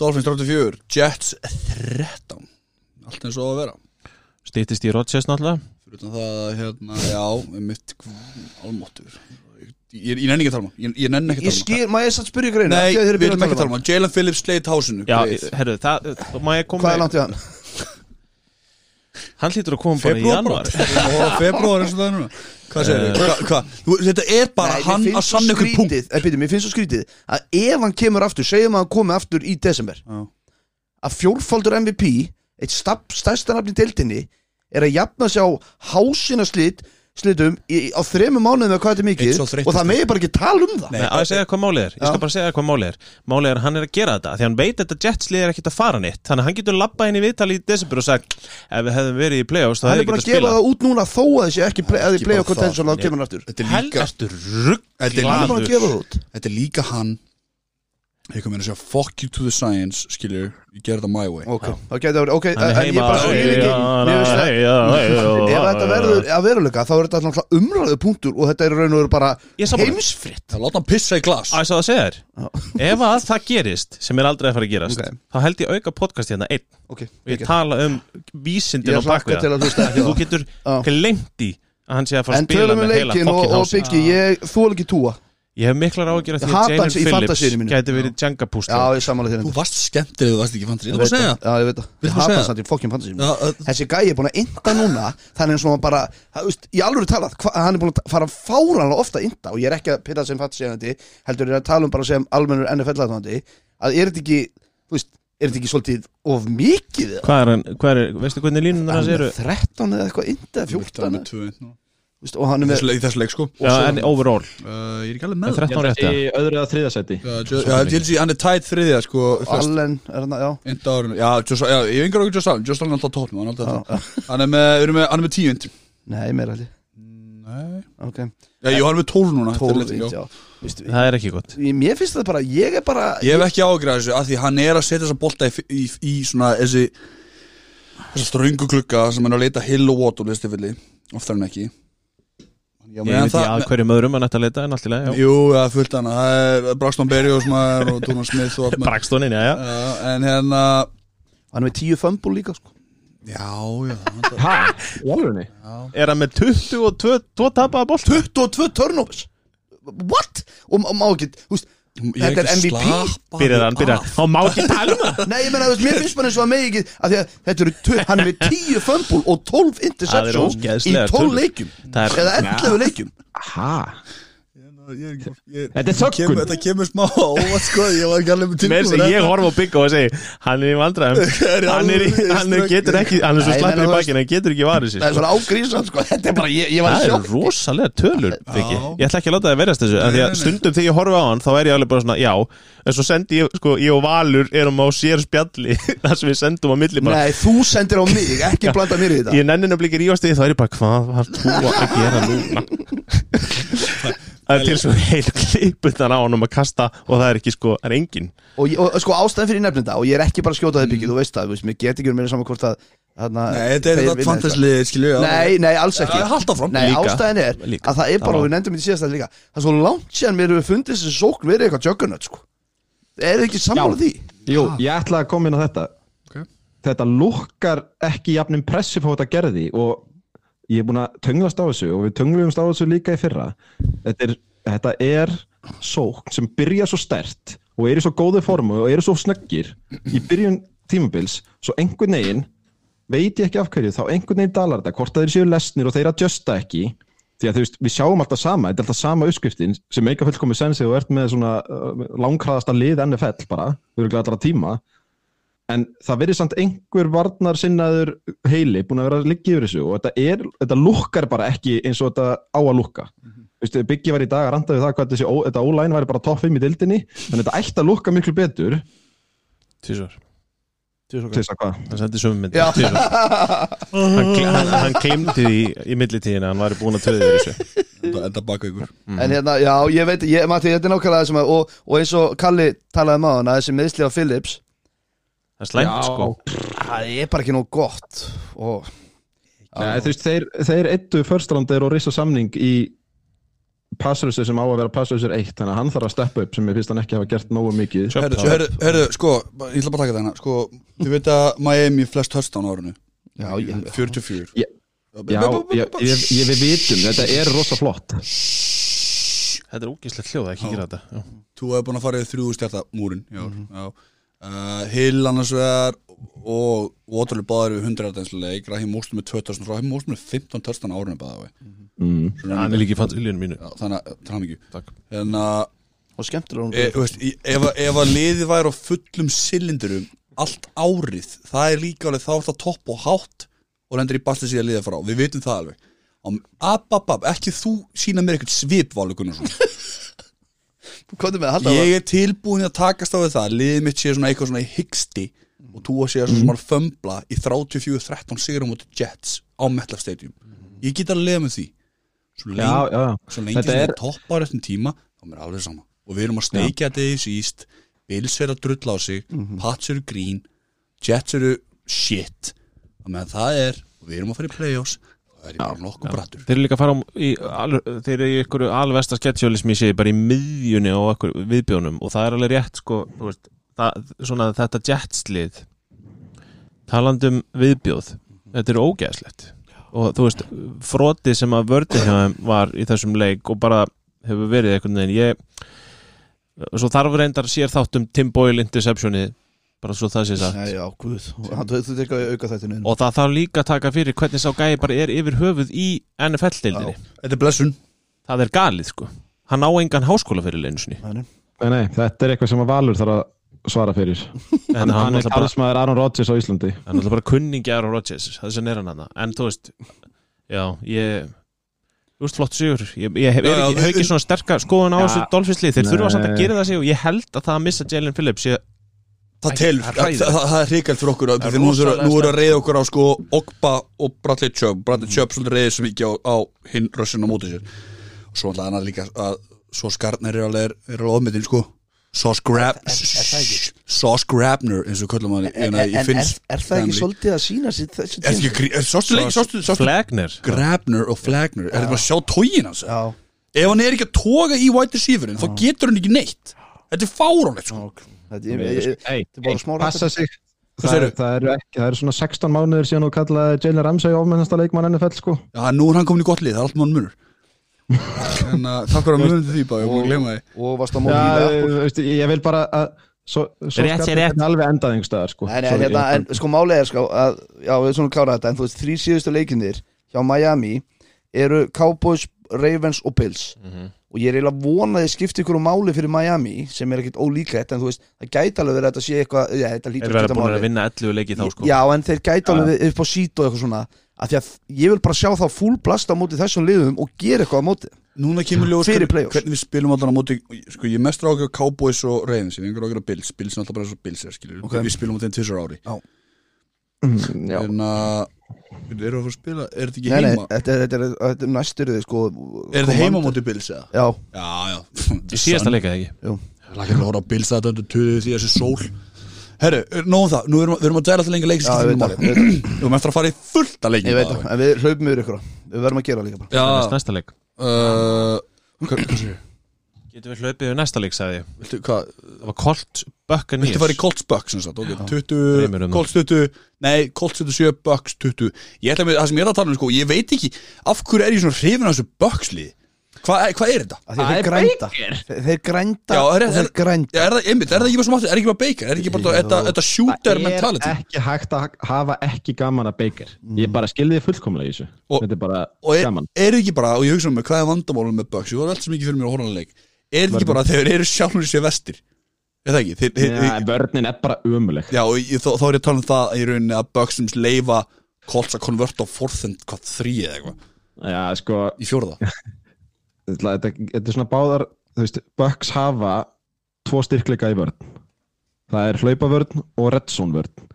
Speaker 1: Dolphins 34, Jets 13 Allt eins og á að vera
Speaker 3: stýttist í Rodgers náttúrulega
Speaker 1: Fyrir utan það, að, hérna, já, mitt Almóttur Ég, ég nenni ekki að tala um hann. ég, ég nenni ekki
Speaker 4: Ég
Speaker 1: að tala um hann.
Speaker 4: skýr, maður er satt spyrja greina
Speaker 1: Nei, við viljum ekki tala um hann. Jalen Phillips sleit hásinu
Speaker 3: Já,
Speaker 1: grið.
Speaker 3: herru, það, má
Speaker 1: um
Speaker 3: ég koma
Speaker 4: Hvað er langt í hann?
Speaker 3: Hann hlýtur að koma bara í
Speaker 1: bara.
Speaker 3: januar
Speaker 1: Ó, februar eins og það er núna Hvað segir þið? Hva, hva? Þetta er bara
Speaker 4: Nei, mér
Speaker 1: hann
Speaker 4: finnst
Speaker 1: að sanna
Speaker 4: svo
Speaker 1: ykkur punkt
Speaker 4: skrítið- Eh, býttu, Mér finnst svo skrítið að ef hann kemur aftur, segjum að hann komi aftur í desember
Speaker 1: Já.
Speaker 4: að fjórfaldur MVP eitt stab- stærsta nafn í deildinni er að jafna sig á hásina slit slitum í, á þremur mánuðum eða hvað þetta er
Speaker 1: Eitt
Speaker 4: mikið
Speaker 1: sá þreyttur.
Speaker 4: og það megi bara ekki tala um það
Speaker 1: Nei,
Speaker 3: Nei, á ég að segja hvað málið er, ég skal
Speaker 4: Já.
Speaker 3: bara segja hvað málið er Málið er að hann er að gera þetta, því hann veit að þetta jetslið er ekkit að fara nýtt Þannig að hann getur labbað inn í viðtali í desember og sagt Ef við hefðum verið í playoffs, þá
Speaker 4: hann er
Speaker 3: hefði
Speaker 4: búin
Speaker 3: getað
Speaker 4: að gefa
Speaker 3: spilað
Speaker 4: það út núna þó að þessi ekki play, að
Speaker 1: Ekki
Speaker 4: þið play
Speaker 1: bara
Speaker 4: og contention
Speaker 1: það.
Speaker 4: þá kemur hann aftur
Speaker 1: Þetta er líka
Speaker 3: Helgastu rugg
Speaker 1: Þetta er
Speaker 4: hann er búin að gefa
Speaker 3: Gladur
Speaker 4: það út
Speaker 1: þetta er líka hann ég kom inn að segja fuck you to the science skilur, ég gerði það my way
Speaker 4: ok, þá getur það verið ok,
Speaker 3: Hann
Speaker 4: en
Speaker 3: er
Speaker 4: en ég
Speaker 3: heima
Speaker 4: bara skil ekki mér finnst það- ef þetta verður að veruleika þá er þetta náttúrulega umræðu punktur og þetta er í raun og veru bara
Speaker 3: Ég er sammála.
Speaker 4: heimsfritt
Speaker 1: það láta hann pissa í glas
Speaker 3: Á ég sá það að segja þér Ef að það gerist, sem er aldrei að fara að gerast
Speaker 4: Ok.
Speaker 3: Þá held ég auka podcast hérna einn
Speaker 4: ok,
Speaker 3: Og ég
Speaker 4: ok.
Speaker 3: tala um vísindin
Speaker 4: ég
Speaker 3: og
Speaker 4: hlakka
Speaker 3: bakveða
Speaker 4: til að hlusta
Speaker 3: Því þú getur
Speaker 4: Já.
Speaker 3: glemt í að hann sé að fara að
Speaker 4: en
Speaker 3: spila
Speaker 4: tölum við
Speaker 3: með heila
Speaker 4: leikin og,
Speaker 3: fokkin
Speaker 4: og
Speaker 3: hásin
Speaker 4: byggi ég þól ekki ah. túa
Speaker 3: Ég hef miklar ágjör að því
Speaker 4: Ég
Speaker 3: að
Speaker 4: hata
Speaker 3: Jalen
Speaker 4: hans í fantasíunni
Speaker 3: Phillips
Speaker 4: mínu.
Speaker 3: gæti verið Jenga púsla
Speaker 4: já, ég samanlega þér
Speaker 1: þú
Speaker 4: endur.
Speaker 1: varst skemmtir þú varst ekki fantasy ég ætla bara að segja
Speaker 4: Já, ég veit það.
Speaker 1: Viltu
Speaker 4: Ég
Speaker 1: bara
Speaker 4: hata
Speaker 1: segja?
Speaker 4: samt í fokkin fantasy
Speaker 1: Já, uh,
Speaker 4: Þessi gæi er búin að ynda núna Þannig eins og hann bara það, veist, Í alvöru talað, hva, hann er búin að fara fáranlega ofta að ynda Og ég er ekki að pyrra sem fantasy-eigandi Heldur ég er að tala um bara sem almennur NFL-aðnandi Að er þetta ekki, þú veist Er þetta ekki svolítið of mikið?
Speaker 3: Hvað er hann, hvað er, veistu hvernig línunar hans
Speaker 4: Hann er
Speaker 3: eru?
Speaker 4: 13 eða eitthvað ynda, 14
Speaker 1: með 2-1 núna.
Speaker 4: veist, og hann er með
Speaker 1: Þessu leik, þessu leik sko
Speaker 3: Já, en overall,
Speaker 1: Uh, Ég er ekki alveg
Speaker 3: en
Speaker 1: með
Speaker 3: 13
Speaker 2: Í
Speaker 3: rétt eða?
Speaker 2: öðru eða þriða seti
Speaker 1: Já, Joe- já, ég held að hann er tætt þriðja sko flest
Speaker 4: Allen er hann, já
Speaker 1: Enda árinu Já, Josh- já, ég yngur okkur Josh Allen Josh Allen er alltaf tóknum Hann er alltaf þetta Hann er með, við erum með, hann er með tíu ind
Speaker 4: Nei, meira held ég
Speaker 1: Nei
Speaker 4: Ok,
Speaker 1: Já, jú, hann er með tól núna eftir
Speaker 4: tólf
Speaker 1: leikinn, já.
Speaker 4: já Vistu,
Speaker 3: Það er ekki gott
Speaker 4: ég- Mér finnst það bara, ég er bara
Speaker 1: Ég hef ekki ágjörð þessu af Því hann er að setja þessa bolta í, í, í svona þessi Þessa ströngu klukka sem hann er að leita hill og water listifilli Oftar en ekki Já,
Speaker 3: Ég veit ekki að
Speaker 1: það
Speaker 3: hverjum öðrum hann ætti að leita en allt í lagi, já.
Speaker 1: Jú, það er fullt hana Það er Braxton Berrios maður og Thomas Smith og allt maður
Speaker 3: Braxtonin, já, já
Speaker 1: Já, En hérna
Speaker 4: Hann er með tíu fömbul líka, sko
Speaker 1: Já, já hann-
Speaker 2: Hæ? Í alvörunni?
Speaker 3: Er hann með 22 tvo tapaða bolt?
Speaker 4: 22 turnovers What? Og má- má ekki, þú veist
Speaker 1: Ég
Speaker 4: Þetta er
Speaker 1: ekki
Speaker 4: MVP.
Speaker 1: slappaður
Speaker 3: Byrjar hann, byrjar hann Há má ekki tala um það
Speaker 4: Nei, ég menna, þú veist, mér finnst bara eins og að megi ekki að því að þetta eru, tve- hann er með 10 fömbul og 12 interceptions
Speaker 3: Það eru
Speaker 4: í
Speaker 3: ógeðslegar
Speaker 4: 12
Speaker 3: tölur.
Speaker 4: leikjum
Speaker 3: Það er
Speaker 4: eða 11 leikjum
Speaker 2: Hæ?
Speaker 1: Hérna, Ég- ég-
Speaker 2: Þetta er þöggun.
Speaker 1: Þetta kemur smá óvart sko Ég var ekki alveg með
Speaker 3: Með þess
Speaker 1: tilbúin
Speaker 3: að ég horfa á Biggo og segi Hann er í vandræðum Hann, er, í- hann er- getur ekki, hann er svo
Speaker 4: Nei, ég
Speaker 3: slappur
Speaker 4: meina,
Speaker 3: í
Speaker 4: þú
Speaker 3: bakinn Hann getur ekki varðið
Speaker 4: Það
Speaker 3: sér
Speaker 4: er
Speaker 3: sko.
Speaker 4: svona ágrísan, sko Þetta er bara, ég, ég var
Speaker 3: Það
Speaker 4: sjokk
Speaker 3: er rosalega tölur Biggi.
Speaker 1: Já.
Speaker 3: Ég ætla ekki að láta það verjast þessu af Því
Speaker 1: nei,
Speaker 3: að
Speaker 1: nei.
Speaker 3: stundum þegar ég horfa á hann Þá er ég alveg bara svona, já En svo sendi ég, sko, ég og Valur Erum á sér spjalli Það sem við sendum á milli bara
Speaker 4: Nei, þú sendir á mig, ekki blanda mér í þetta
Speaker 3: Ég nenni nefnilega ekki rífast í því Þá er ég bara, hvað var þú að gera núna? Það er til svo heil kliputan á hann um að kasta Og það er ekki, sko, það er engin
Speaker 4: og, ég- og sko ástæðan fyrir nefnda og ég er ekki bara að skjóta þig byggið, þú veist það þú veist, mér get ekki verið meira saman hvort að þarna,
Speaker 1: Nei, þetta er
Speaker 4: þeir
Speaker 1: þetta
Speaker 4: vinna eitthvað.
Speaker 1: fantasliðið skilju já.
Speaker 4: Nei, nei, alls ekki
Speaker 1: Já, halda fram.
Speaker 4: Nei,
Speaker 3: Líka.
Speaker 4: ástæðan er
Speaker 3: Líka.
Speaker 4: að það er bara,
Speaker 3: Það
Speaker 4: og
Speaker 3: var-
Speaker 4: við nefndum þetta í síðasta líka það er svo langt séðan mér hefur fundist þessi sókn verið eitthvað jökkunöt, sko Er þið ekki sammála því?
Speaker 2: Jú, ég ætla að koma inn á þetta
Speaker 1: Ok.
Speaker 2: Þetta lukkar ekki jafn impressif á þetta gerði og ég er búin að tunglast á þessu og við tunglumst á þessu líka í fyrra Þetta er, þetta er sókn sem byrja svo stert og er í svo góðu formu og eru svo snöggir í byrjun tímabils svo einhvern veginn veit ég ekki af hverju, þá einhvern veginn dalar þetta hvort að þeir séu lesnir og þeir að justa ekki því að þú veist, við sjáum alltaf sama þetta er alltaf sama uppskriftin sem eiga fullkomi sensi og ert með svona uh, langkraðasta lið NFL bara, við erum allra tíma en það verður samt einhver varnar sinnaður heili búin að vera að liggja yfir þessu og þetta, er, þetta lukkar bara ekki eins og þetta á að lukka mm -hmm. Byggi var í dag að randa við það hvað þessi, ó- þetta ólæn væri bara topp 5 í dildinni en þetta ætti að lukka miklu betur
Speaker 3: Tvísvar
Speaker 2: til þess að hvað
Speaker 3: hann sendi sömu myndi hann, gl- hann, hann glimti því í millitíðina hann var búin að töðu þessu
Speaker 1: Þetta þetta baka ykkur
Speaker 4: En hérna, já, ég veit, ég, Matti, þetta er nákvæmlega þessum að og, og eins og Kalli talaði um á hana þessi meðsli á Phillips
Speaker 3: það er slæmt sko
Speaker 4: Það er bara ekki nóg gott og
Speaker 2: Nei, þú veist, þeir, þeir eittu förstrandir og risa samning í passurusur sem á að vera passurusur eitt þannig að hann þarf að steppa upp sem ég finnst hann ekki hafa gert nógu mikið
Speaker 3: Sjöfn,
Speaker 1: Herðu,
Speaker 3: það var-
Speaker 1: herðu, herðu, sko, bara- ég ætla bara að taka þetta hérna Sko, þið veit að Miami flest höstán árinu
Speaker 4: Já, ég,
Speaker 1: 44
Speaker 2: Já, Já, ég, ég, ég við vitum, þetta er rosa flott
Speaker 3: þetta er ógíslegt hljóð að ekki gera þetta Já.
Speaker 1: Þú hefur búin að fara í þrjú stjarta múrin Já,
Speaker 2: Mhm.
Speaker 1: já Uh, Hill annars vegar og Waterloo báður við 100 aðeinsleik Rahim Óstum með 2000 Rahim Óstum með 15 törstan árinu báður
Speaker 2: mm.
Speaker 1: við
Speaker 3: hann er líka í fantilíunum mínu
Speaker 1: Já, þannig að Hérna, það er mikið
Speaker 3: Takk.
Speaker 1: en að
Speaker 4: og skemmtur hún
Speaker 1: e, þú veist, í- ef, að- ef að liðið væri á fullum silindurum allt árið það er líka alveg þá er það topp og hátt og lendur í bastið síðan liðið frá við vitum það alveg Am, ab, ab, ab, ekki þú sína mér eitthvað svipválu Gunnarsson
Speaker 4: Hvað er með að halda það?
Speaker 1: ég er tilbúin að takast á við það liðið mitt sé svona eitthvað svona í hyggsti og þú að sé
Speaker 2: Mhm.
Speaker 1: svona svona fömbla í 34-13 sigurum út Jets á Metal Stadium ég get að liða með því svo lengi,
Speaker 2: Mhm. Já, já,
Speaker 1: svo
Speaker 2: já
Speaker 1: lengi
Speaker 2: Þetta
Speaker 1: sem
Speaker 2: er,
Speaker 1: það toppar eftir tíma þá er mér alveg sama og við erum að steikja þetta í síst Bills er að drulla á sig
Speaker 2: Mhm.
Speaker 1: Pats eru grín Jets eru shit og meðan það er og við erum að fara í playoffs það er ég bara nokkuð brattur
Speaker 3: þeir eru líka að fara á í, al, þeir eru í einhverju alvesta sketsjóli sem ég sé bara í miðjunni á okkur viðbjónum og það er alveg rétt sko þú veist, það, svona þetta jetslið talandum viðbjóð þetta er ógeðslegt og þú veist, froti sem að vördi hjá þeim var í þessum leik og bara hefur verið einhvern veginn ég, svo þarf reyndar sér þátt um Tim Boyle interceptionið bara svo það sé sagt
Speaker 4: Nei, já, guð, hann þú þú tekur auka þetta
Speaker 3: og það þarf líka að taka fyrir hvernig sá gæi bara er yfir höfuð í NFL-deildinni
Speaker 1: þetta er blessun
Speaker 3: það er galið sko hann á engan háskóla fyrir leinsinni
Speaker 2: nei, nei, þetta er eitthvað sem að Valur þarf að svara fyrir
Speaker 3: en
Speaker 2: Hann, hann er
Speaker 3: náttúrulega bara,
Speaker 2: talsmaður Aron Rodgers á Íslandi
Speaker 3: hann náttúrulega bara kunningi Aaron Rodgers þess að nera hann hann en þú veist já, ég þú veist, flott sigur ég, ég hef
Speaker 1: Já,
Speaker 3: er
Speaker 1: já,
Speaker 3: ekki,
Speaker 1: við-
Speaker 3: hef ekki svona sterka skoðun á
Speaker 2: Já.
Speaker 3: þessu Dolphinslið, þeir þurfa samt að
Speaker 2: Nei.
Speaker 3: gera það sig og ég held að það að missa Jalen Phillips ég,
Speaker 1: Það telur,
Speaker 3: það er
Speaker 1: það,
Speaker 3: hræðilegt.
Speaker 1: það, það er hrikald fyrir okkur
Speaker 3: Það er
Speaker 1: Þegar nú eru
Speaker 3: rosalega
Speaker 1: nú eru að reyða okkur á sko Ogba og Bradley Chubb Bradley Chubb svolítið reyðið svo mikið á, á hinn rössin á móti sér og svo ætlaði hann að líka að Sauce Gardner er alveg, er alveg ofmyndin sko Sauce Grab Sauce Grabner eins og köllum hann í-
Speaker 4: En,
Speaker 1: hérna
Speaker 4: en
Speaker 1: í
Speaker 4: er,
Speaker 1: Finns
Speaker 4: er það ekki
Speaker 1: family.
Speaker 4: svolítið að sína sér þessu
Speaker 1: Er ekki grí- er Sauce leik- Sauce- Sauce
Speaker 3: Flagner
Speaker 1: Grabner og Flagner Er þetta bara að sjá tógin hans?
Speaker 4: Já,
Speaker 1: Ef hann er ekki að toga í white receiverin þá getur hann ekki neitt Þetta er fáránlegt sko
Speaker 4: þetta ég- ég- ég-
Speaker 2: Hey,
Speaker 4: þetta er bara smá rætt
Speaker 2: passa sig
Speaker 1: Hvað
Speaker 2: Það eru
Speaker 1: segirðu?
Speaker 2: það eru ekki, það eru svona 16 mánuðir síðan þú kallaði Jalen Ramsey ofmennasta leikmann NFL sko
Speaker 1: Já, nú er hann komin í gott lið, það er allt mann munur En uh, takk fyrir að munum til því bara, ég búið að glemma því
Speaker 4: og varst á
Speaker 2: Já,
Speaker 4: móti
Speaker 2: þú veist, ég vil bara að svo, svo
Speaker 3: Rétt sé
Speaker 2: skarpið
Speaker 3: rétt.
Speaker 2: er alveg endað einhver staðar sko
Speaker 4: En, en,
Speaker 2: Sorry,
Speaker 4: hérna,
Speaker 2: ég-
Speaker 4: en sko málið er sko að, Já, við erum svona að klára þetta En þú veist, þrý síðustu leikinir hjá Miami Eru Cowboys, Ravens og Bills Og ég er eiginlega vonaði skipti ykkur um máli fyrir Miami Sem er ekkit ólíklegt En þú veist, það gæti alveg verið að þetta sé eitthvað Já, þetta lítur
Speaker 3: er verið
Speaker 4: skipta
Speaker 3: búin
Speaker 4: máli.
Speaker 3: að vinna 11 leiki þá sko
Speaker 4: Já, en þeir gæti alveg upp á sít og eitthvað svona að Því að ég vil bara sjá þá full blast á móti þessum liðum Og gera eitthvað á móti
Speaker 1: Núna kemur ljós
Speaker 4: Fyrir
Speaker 1: hvernig,
Speaker 4: playoffs.
Speaker 1: hvernig við spilum allan á móti Sko, ég er mest rákja á Cowboys og Ravens Ég vengur rákja á Bills, Bills er alltaf bara svo Bills er, skilur
Speaker 4: Ok.
Speaker 1: Við spilum á þeim tvisar ári
Speaker 4: Já.
Speaker 2: Já.
Speaker 1: En að, við erum að fara að spila, er þetta ekki
Speaker 4: Nei, eh, nei,
Speaker 1: heima?
Speaker 4: þetta er, þetta er, þetta er næstur þið sko
Speaker 1: er þetta heima á móti Bills eða?
Speaker 4: Já,
Speaker 1: Já, já
Speaker 3: í síðasta leika eða ekki
Speaker 1: Lækir að horfa á Bills þetta undir töðu því þessi sól Herru, nóðum það, nú erum, við erum að dæla til lengi leik
Speaker 4: já, ég veit það,
Speaker 1: Við
Speaker 4: ég veit það,
Speaker 1: erum eftir að fara í fullt að leikin
Speaker 4: ég veit það En við hlaupum yfir ykkur á. Við verðum að gera það líka bara
Speaker 3: næst
Speaker 1: Já,
Speaker 3: næsta leik
Speaker 1: uh, hvað, hvað séu?
Speaker 3: getum við hlaupið við næsta leik sagði ég
Speaker 1: Viltu, hvað,
Speaker 3: það var Colt Buccaneers
Speaker 1: Viltu fara í Colts Bucks sem sagt, ok, 20,
Speaker 3: Dreymir um það.
Speaker 1: Colts 20 Nei, Colts 27, Bucks 20 Ég ætla með það sem ég er að tala um, sko, ég veit ekki Af hverju er ég svona hrifin af þessu Bucks lið Hvað hva er þetta?
Speaker 4: Af því að þeir grænda Þeir- Þeir grænda
Speaker 1: Já, er-
Speaker 4: og þeir
Speaker 1: er-
Speaker 4: grænda
Speaker 1: Já, er, það, einmitt, er það ekki bara svo mátt, er ekki bara Baker Er ekki bara þetta, þetta shooter
Speaker 2: Það
Speaker 1: mentality
Speaker 2: er ekki hægt að hafa ekki gaman að Baker Ég bara skilði þið fullkomlega í þessu
Speaker 1: Og-
Speaker 2: Þetta er bara
Speaker 1: Og er,
Speaker 2: gaman
Speaker 1: er ekki bara, og ég hugsa um mig, hvað er vandamálum með Bucks Ég var allt sem ekki fyrir mér að horfa á leik Er þetta ekki bara að þeir eru sjálfur sér vestir Er það ekki? Þeir, þeir,
Speaker 2: Já, Vörnin er bara umuleg
Speaker 1: Já, og ég, þá, þá er ég að tala um það í rauninni að Bucks sem leifa Colts að konverta á fourth and hvað þrý eða eitthvað,
Speaker 2: Já, sko,
Speaker 1: í fjórða
Speaker 2: þetta, þetta- þetta er svona báðar þú veist, Bucks hafa tvo styrkleika í vörn það er hlaupavörn og redson vörn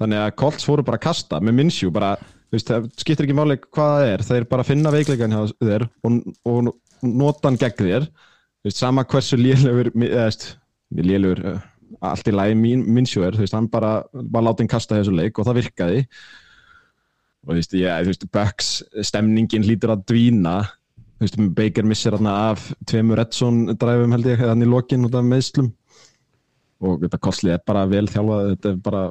Speaker 2: þannig að Colts fóru bara að kasta með minnsjú, bara, þú veist, það skiptir ekki máli hvað það er, þeir bara finna veikleikan hjá þér og, og nota hann gegn þér, þú veist, sama hversu lélugur, eða veist, lélugur allt í lagi mín, minnsjú er þú veist, hann bara, bara láti hann kasta þessu leik og það virkaði og þú veist, ég, þú veist, Bucks stemningin lítur að dvína þú veist, Baker missir hann af tveimur Edson dræfum held ég hann í lokin út af meðslum og þetta kostlið er bara vel þjálfað þetta er bara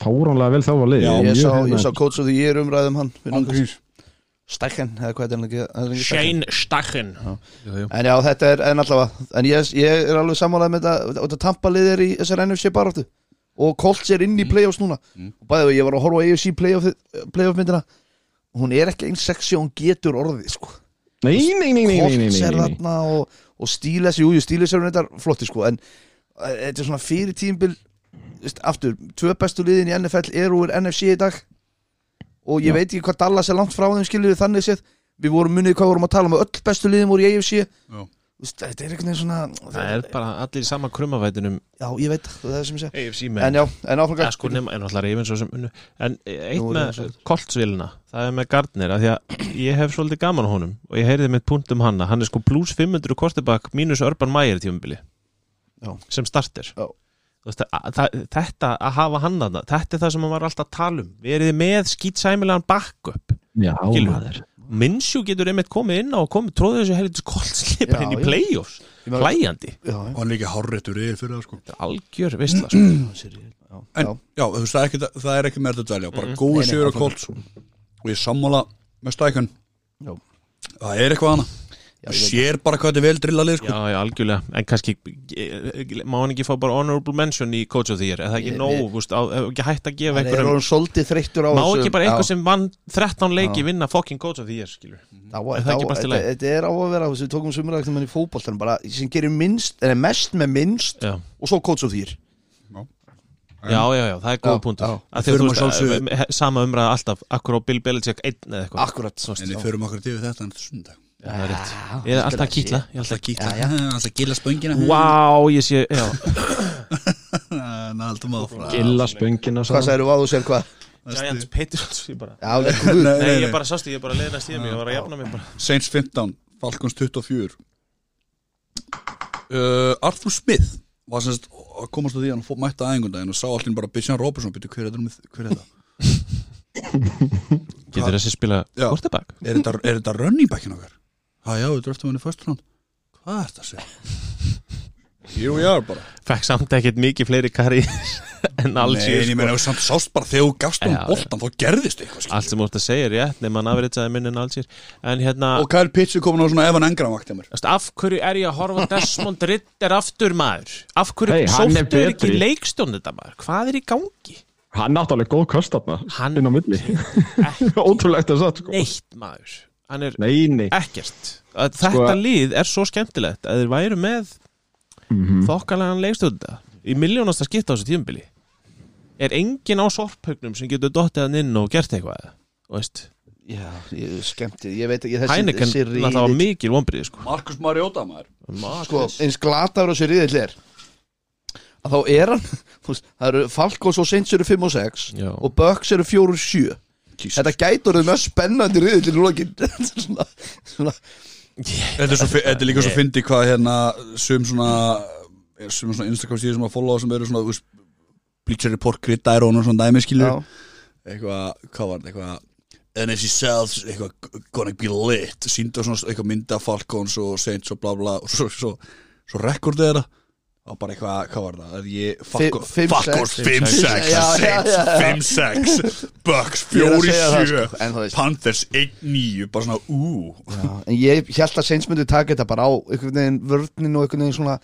Speaker 2: fáránlega vel þjálfað lið
Speaker 1: Já,
Speaker 2: Ég hérna- er
Speaker 4: Ég
Speaker 2: mjög
Speaker 4: sá, ég
Speaker 2: hrifinn
Speaker 4: sá
Speaker 2: af-
Speaker 4: coach of the year umræðum hann fyrir nokkru-
Speaker 1: Angriðs
Speaker 4: Stækken, eða hvað er hann ekki- hann er ekki Stækken.
Speaker 3: Shane Stachen
Speaker 4: En já, þetta er en allavega En ég, ég er alveg sammálað með þetta og Þetta tampalið er í þessar NFC baráttu Og Colts er inn í playoffs núna Og bæði við, ég var að horfa á AFC playoff, playoff myndina Hún er ekki eins sexy og hún getur orðið sko.
Speaker 2: nei, nei, nei, nei, nei, nei,
Speaker 4: Colts er
Speaker 2: nei, nei.
Speaker 4: þarna og, og Steelers, jú, jú, Steelers er þetta flotti sko, en eh, þetta er svona fyrir tímbil veist, aftur, tvö bestu liðin í NFL eru úr NFC í dag og ég veit ekki hvað Dallas er langt frá þeim skilur við þannig séð, við vorum munið hvað við vorum að tala um að öll bestu liðin voru í AFC Vist, þetta er einhvern veginn svona
Speaker 3: það er bara allir í sama krummavætinum
Speaker 4: já, ég veit, það er það sem ég segi
Speaker 3: AFC
Speaker 4: en
Speaker 3: menn
Speaker 4: já, en áfram
Speaker 3: Ja, sko, nema, en alltaf reyfin svo sem unnu En eitt
Speaker 4: Nú,
Speaker 3: með
Speaker 4: Ravens-
Speaker 3: Koltsvílina, það er með Gardner af Því að ég hef svolítið gaman á honum Og ég heyrði mitt punkt um hanna Hann er sko plus 500 kostibak mínus Urban Meyer tímabili
Speaker 4: Já.
Speaker 3: Sem startir
Speaker 4: Já.
Speaker 3: Þú veist, að, það, Þetta að hafa hann þarna Þetta er það sem hann var alltaf að tala um Verið þið með skýtsæmilegan backup
Speaker 2: já,
Speaker 3: Gylfi.
Speaker 2: maður
Speaker 3: Minnsjú getur einmitt komið inn á og komið Tróðið þessu helvitis Koltsvíli
Speaker 4: Já,
Speaker 3: bara inn í
Speaker 4: já.
Speaker 3: playoffs
Speaker 4: meina-
Speaker 3: Hlæjandi,
Speaker 4: já,
Speaker 1: Og hann er líka hárréttur yfir fyrir það sko
Speaker 3: Þetta er algjör veistla sko.
Speaker 4: já, sér, já,
Speaker 1: En
Speaker 4: já,
Speaker 1: já, þú veist, það er ekki, það er ekki með þetta dælja Bara góðu
Speaker 4: Nei, nei,
Speaker 1: sigur á
Speaker 4: áfram.
Speaker 1: Colts Og ég sammála með stækun
Speaker 4: Já.
Speaker 1: Það er eitthvað hana
Speaker 4: Já,
Speaker 1: Það
Speaker 4: ég veit.
Speaker 1: sér bara hvað þetta er vel drilla lið sko
Speaker 3: Já, já, algjörlega, en kannski eh, má hann ekki fá bara honorable mention í coach of the year, er það ekki
Speaker 4: Ég-
Speaker 3: nóg, þú veist, á- ef ekki hægt að gefa
Speaker 4: það er
Speaker 3: einhverjum,
Speaker 4: orðin svolítið þreyttur á
Speaker 3: má ekki bara
Speaker 4: já.
Speaker 3: einhver sem vann 13 leiki vinna fucking coach of the year, skilur
Speaker 4: Þá,
Speaker 3: Er
Speaker 4: þá,
Speaker 3: það ekki bara til
Speaker 4: þetta,
Speaker 3: lagi?
Speaker 4: þetta er á að vera sem við tókum sumuræktum í fótboltanum bara sem gerir minnst, er mest með minnst
Speaker 3: Já,
Speaker 4: og svo coach of the year
Speaker 3: já, já, já, það er góð punktur
Speaker 5: já.
Speaker 3: Af því að
Speaker 5: Förum
Speaker 3: þú
Speaker 5: að sjálfsögðu-
Speaker 3: veist, eh, sama umræða alltaf akkur á Bill Belichick einn eða eitthvað
Speaker 5: Akkurat
Speaker 3: Svo veist,
Speaker 1: En
Speaker 3: já,
Speaker 1: við förum okkur til þetta en sundag
Speaker 3: það er
Speaker 4: Ah,
Speaker 3: rétt. Ég er alltaf að kýtla Ég er alltaf
Speaker 1: Alltaf
Speaker 3: að
Speaker 1: kíkla, alltaf gilla spöngina
Speaker 3: kýtla Vá, ég sé, já
Speaker 1: Ná, haldum áfram
Speaker 2: Gilla spöngina
Speaker 4: Hvað særu á þú sér hvað?
Speaker 3: Giants Patriots, ég bara
Speaker 4: Já, leikum við
Speaker 3: Nei, ég bara sástu, ég bara leiðast í mig, ég var að jafna mig bara
Speaker 1: Saints 15, Falcons 24 uh, Arthur Smith var sem sagt að komast að því að hann fó- mætti aðeingundaginn og sá allir bara Bishan Robertson byrju hver er þetta með- hver er þetta
Speaker 3: Getur þessi spila
Speaker 1: Já.
Speaker 3: quarterback?
Speaker 1: er þetta, er þetta running backin okkar? Ha já, við dröftum hann í first round Hvað er þetta að segja? Here we are bara
Speaker 3: Fekk samt ekkert mikið fleiri karri en alls
Speaker 1: Nei, en ég meina, ef þú samt sást bara þegar þú gafst hann
Speaker 3: Já,
Speaker 1: boltan þá gerðist eitthvað skil.
Speaker 3: Allt sem þú ert að segja er rétt, nema hann afritsaði minni en alls En hérna,
Speaker 1: Og Kyle Pitts er komin á svona Evan Engram vakt hjá mér
Speaker 3: Þú veist, af hverju er ég að horfa á Desmond Ritter aftur maður? Af hverju
Speaker 2: Hey,
Speaker 3: hey,
Speaker 2: hann er
Speaker 3: sóttu er ekki
Speaker 2: betri.
Speaker 3: leikstjórn þetta maður? Hvað er í gangi?
Speaker 2: Hann átti alveg góð köst þarna
Speaker 3: Hann-
Speaker 2: inn á milli Ótrúlegt að satt sko.
Speaker 3: Neitt maður. Hann er
Speaker 2: Nei, Sko- nei
Speaker 3: ekkert. Að Þetta lið er svo skemmtilegt að þeir væru með
Speaker 2: Mhm.
Speaker 3: þokkalegan leikstjórn þetta í miljónasta skipta á þessu tímbili. Er engin á sorphaugnum sem getur dottið hann inn og gert eitthvað? Þú veist,
Speaker 4: Já, ég skemmti, ég veit ekki þessi,
Speaker 3: Heineken
Speaker 4: þessi riðill-
Speaker 3: náttúrulega var mikil vonbrið sko.
Speaker 1: Markus Mariota maður
Speaker 4: sko, eins glataður þessi riðill er að þá er hann þú veist, það eru Falkos og Saints eru 5 og 6
Speaker 3: Já.
Speaker 4: og Bucks eru 4 og 7
Speaker 1: Jesus.
Speaker 4: þetta gæti orðið mjög spennandi riðill í lokin svona, svona,
Speaker 1: Þetta er, svo, fi- þetta er líka svo fyndi hvað hérna sum svona sum svona Instagram síður sem að followa sem eru svona þú veist, Bleacher Report, Grid Iron og svona dæmi skilur
Speaker 4: já,
Speaker 1: eitthvað, hvað var þetta, eitthvað NFC South, eitthvað gonna be lit síndu svona eitthvað mynda Falcons og Saints og bla bla og svo, svo, svo rekordu þeirra og bara eitthvað, hvað var það, er ég Falco-
Speaker 4: fimm,
Speaker 1: Falcons
Speaker 4: sex.
Speaker 1: 5-6
Speaker 4: Já, já, já, já.
Speaker 1: Saints 5-6 Bucks
Speaker 4: Ég er að segja það, sko,
Speaker 1: 4-7
Speaker 4: en þú veist.
Speaker 1: Panthers 1-9 bara svona, ú
Speaker 4: já, en ég held að Saints myndi taka þetta bara á einhvern veginn vörnin og einhvern veginn svona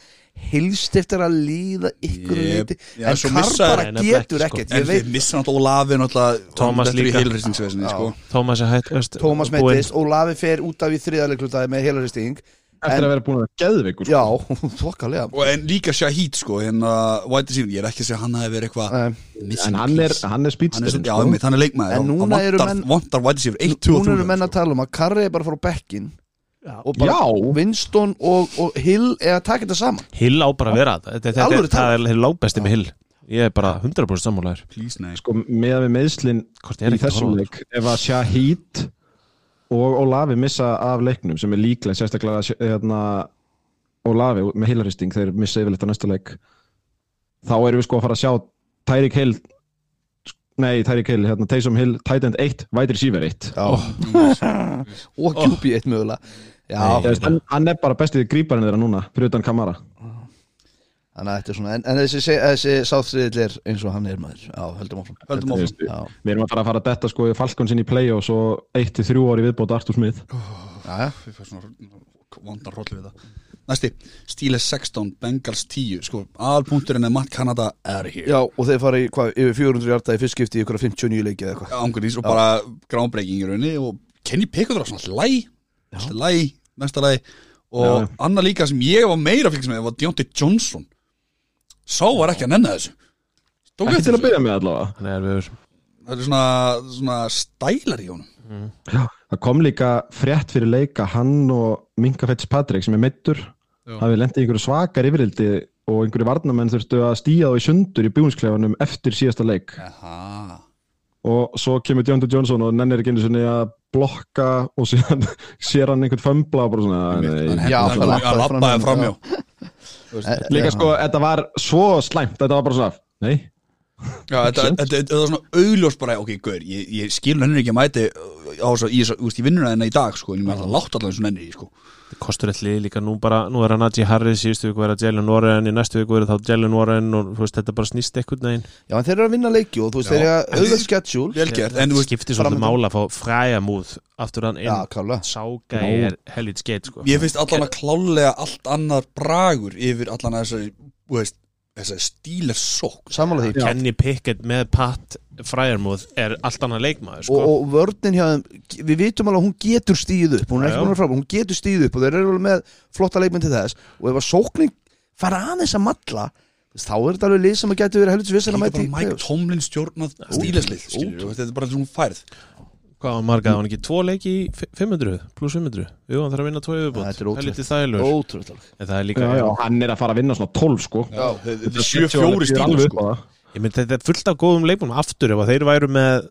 Speaker 4: helst eftir að líða ykkur
Speaker 1: Ég-
Speaker 4: liti,
Speaker 1: Já,
Speaker 4: en
Speaker 1: svo
Speaker 4: Carr
Speaker 1: missa-
Speaker 4: bara
Speaker 3: Nei, nefnilega ekki,
Speaker 4: getur
Speaker 3: sko.
Speaker 4: ekkert
Speaker 1: En
Speaker 4: ég veit,
Speaker 1: þið missa náttúrulega Olavi náttúrulega hann
Speaker 3: Thomas
Speaker 1: dettur
Speaker 3: líka.
Speaker 1: í heilræstingsvesinni, sko.
Speaker 3: Thomas er hætt veist,
Speaker 4: Thomas
Speaker 3: búinn.
Speaker 4: meittist, Olavi fer út af í þriðarleiklutaði með heilaristýing
Speaker 2: Eftir að vera búin að vera geðveikur sko.
Speaker 4: já, þokkalega
Speaker 1: Og en líka Shahid sko hérna White Receiver, ég er ekki að segja að hann hafi verið eitthvað
Speaker 4: Nei.
Speaker 1: missing
Speaker 2: En hann er, sko.
Speaker 1: piece.
Speaker 2: hann er
Speaker 1: hann er,
Speaker 2: spýtsturinn
Speaker 1: svona- já, einmitt, hann er leikmaður
Speaker 4: En
Speaker 1: og-
Speaker 4: núna
Speaker 1: og
Speaker 4: eru
Speaker 1: vantar-
Speaker 4: menn-
Speaker 1: vantar White Receiver 1, 2 og
Speaker 4: Nún
Speaker 1: 3
Speaker 4: eru menn að tala um að Karri er bara að fara á bekkin og bara
Speaker 2: Já.
Speaker 4: Winston og, og Hill eða taka þetta saman
Speaker 3: Hill á bara að vera þetta Þetta- þetta-
Speaker 4: Alvöru
Speaker 3: þetta- Það er lágbesti með Hill Ég er bara 100% sammálaður
Speaker 1: please nei
Speaker 2: sko, með að við meðslin
Speaker 3: Hvort ég er
Speaker 2: í
Speaker 3: ekki að
Speaker 2: þessum
Speaker 3: horfa á
Speaker 2: leik ef að Shahid og Olavi missa af leiknum sem er líklega sérstaklega að Sha- hérna, Olavi með heilaristing þeir missa yfirleitt á næsta leik þá erum við sko að fara að sjá Tyreek Hill nei Tyreek Hill, hérna, Taysom Hill, Titan 1 Vætir Sýver 1
Speaker 4: Oh, og QB eitt mögulega Já,
Speaker 2: Ég veist, hann, hann er bara bestið gríparinn þeirra núna fyrir utan Kamara
Speaker 4: þannig að þetta er svona en, en þessi, se- þessi sáþriðill er eins og hann er maður Já, höldum áfram
Speaker 1: höldum
Speaker 2: Þú
Speaker 1: áfram
Speaker 2: veist,
Speaker 4: Já,
Speaker 2: við erum að fara að fara að detta sko í Falkonsinn í play og svo 1-3 ári viðbóta Artur Smith
Speaker 4: já, já
Speaker 1: Ég fæ svona vondar rollu við það næsti Steelers 16 Bengals 10 sko aðalpunkturinn er Matt Canada er hér
Speaker 4: Já, og þeir fara í hvað, yfir 400 hjarta í fyrstskipti í ykkur 59 leiki eða eitthvað
Speaker 1: ángurins og bara groundbreaking í rauninni og Kenny Pickett var svona læ læ, mesta læ og
Speaker 2: Já.
Speaker 1: annað líka sem ég var meira fylgst með var Deontay Johnson sá var ekki að nenna þessu Tók
Speaker 2: ekki
Speaker 1: eftir
Speaker 2: til að
Speaker 1: þessu.
Speaker 2: byrja með allavega
Speaker 3: Nei, við erum
Speaker 1: það er svona, svona stælar í honum
Speaker 2: Það kom líka frétt fyrir leika hann og Minka Fitzpatrick sem er meittur hafið lendið í einhverju svakar yfirildi og einhverju varnamenn þurftu að stíja þá í sundur í búinsklefanum eftir síðasta leik
Speaker 1: Aha.
Speaker 2: og svo kemur Djóndur Jónsson og nennir ekki einu sinni að blokka og síðan sér hann einhvern fömbla og bara svona nei.
Speaker 4: Já,
Speaker 1: hann
Speaker 4: bara labbaði
Speaker 1: lappaði
Speaker 4: fram
Speaker 1: fram
Speaker 4: hjá.
Speaker 1: hjá
Speaker 4: Eh,
Speaker 2: Líka sko, þetta var svo slæmt þetta var bara svona, nei
Speaker 1: Já, þetta þetta- þetta- þetta var svona augljós bara ok, gaur, ég, ég skil henni ekki að mæti á þess að, ég, úst, ég vinnur henni í dag sko, en ég með alltaf látt allavega eins og henni sko.
Speaker 3: Þetta kostur eitthvað líka nú bara, nú er hann Najee Harris í síðustu viku verið að Jalen Warren, í næstu viku verið þá Jalen Warren og þú veist, þetta bara snýst eitthvað neginn
Speaker 4: Já, en þeir eru að vinna leiki og þú veist, þeir eru að auðvitað schedule
Speaker 1: vel gert, en þú veist,
Speaker 3: skiptir svolítið mála að fá fræja múð aftur hann
Speaker 4: Já,
Speaker 3: inn,
Speaker 4: klála
Speaker 3: sáka
Speaker 2: Já.
Speaker 3: er helvit skeitt sko
Speaker 1: ég finnst allan að klálega allt annar bragur yfir allan að þessari, þú veist, þessari stílar sók
Speaker 4: Sammála því
Speaker 3: Kenny Pickett með Pat fræjarmúð er allt annað leikmaður sko
Speaker 4: og, og vörnin hjá þeim, við vitum alveg að hún getur stíð upp, hún
Speaker 3: Já,
Speaker 4: er ekki
Speaker 3: já.
Speaker 4: búin að frábæra hún getur stíð upp og þeir eru alveg með flotta leikmenn til þess og ef að sókning fara aðeins að matla Þú veist, þá er þetta alveg lið sem að geti verið helvits vissin að
Speaker 1: Líka
Speaker 4: mæti
Speaker 1: bara Mike Tomlin stjórnað stíleslið skilur, Þetta er bara svona færð
Speaker 3: Hvað var marga, var hann ekki tvo leiki í fi- 500 pluss 500? Jú, hann þarf að vinna tvo yfirbútt
Speaker 4: þetta er ótrúlegt.
Speaker 3: lítið þægilegur
Speaker 4: Ótrúlega
Speaker 3: En það er líka,
Speaker 2: já, já, hann er að fara að vinna svona 12 sko
Speaker 1: Þetta er 7-4
Speaker 2: Ég er
Speaker 1: stíl
Speaker 2: alveg
Speaker 1: sko.
Speaker 2: upp á það.
Speaker 3: ég myndi þetta er fullt af góðum leikmum aftur ef að þeir væru með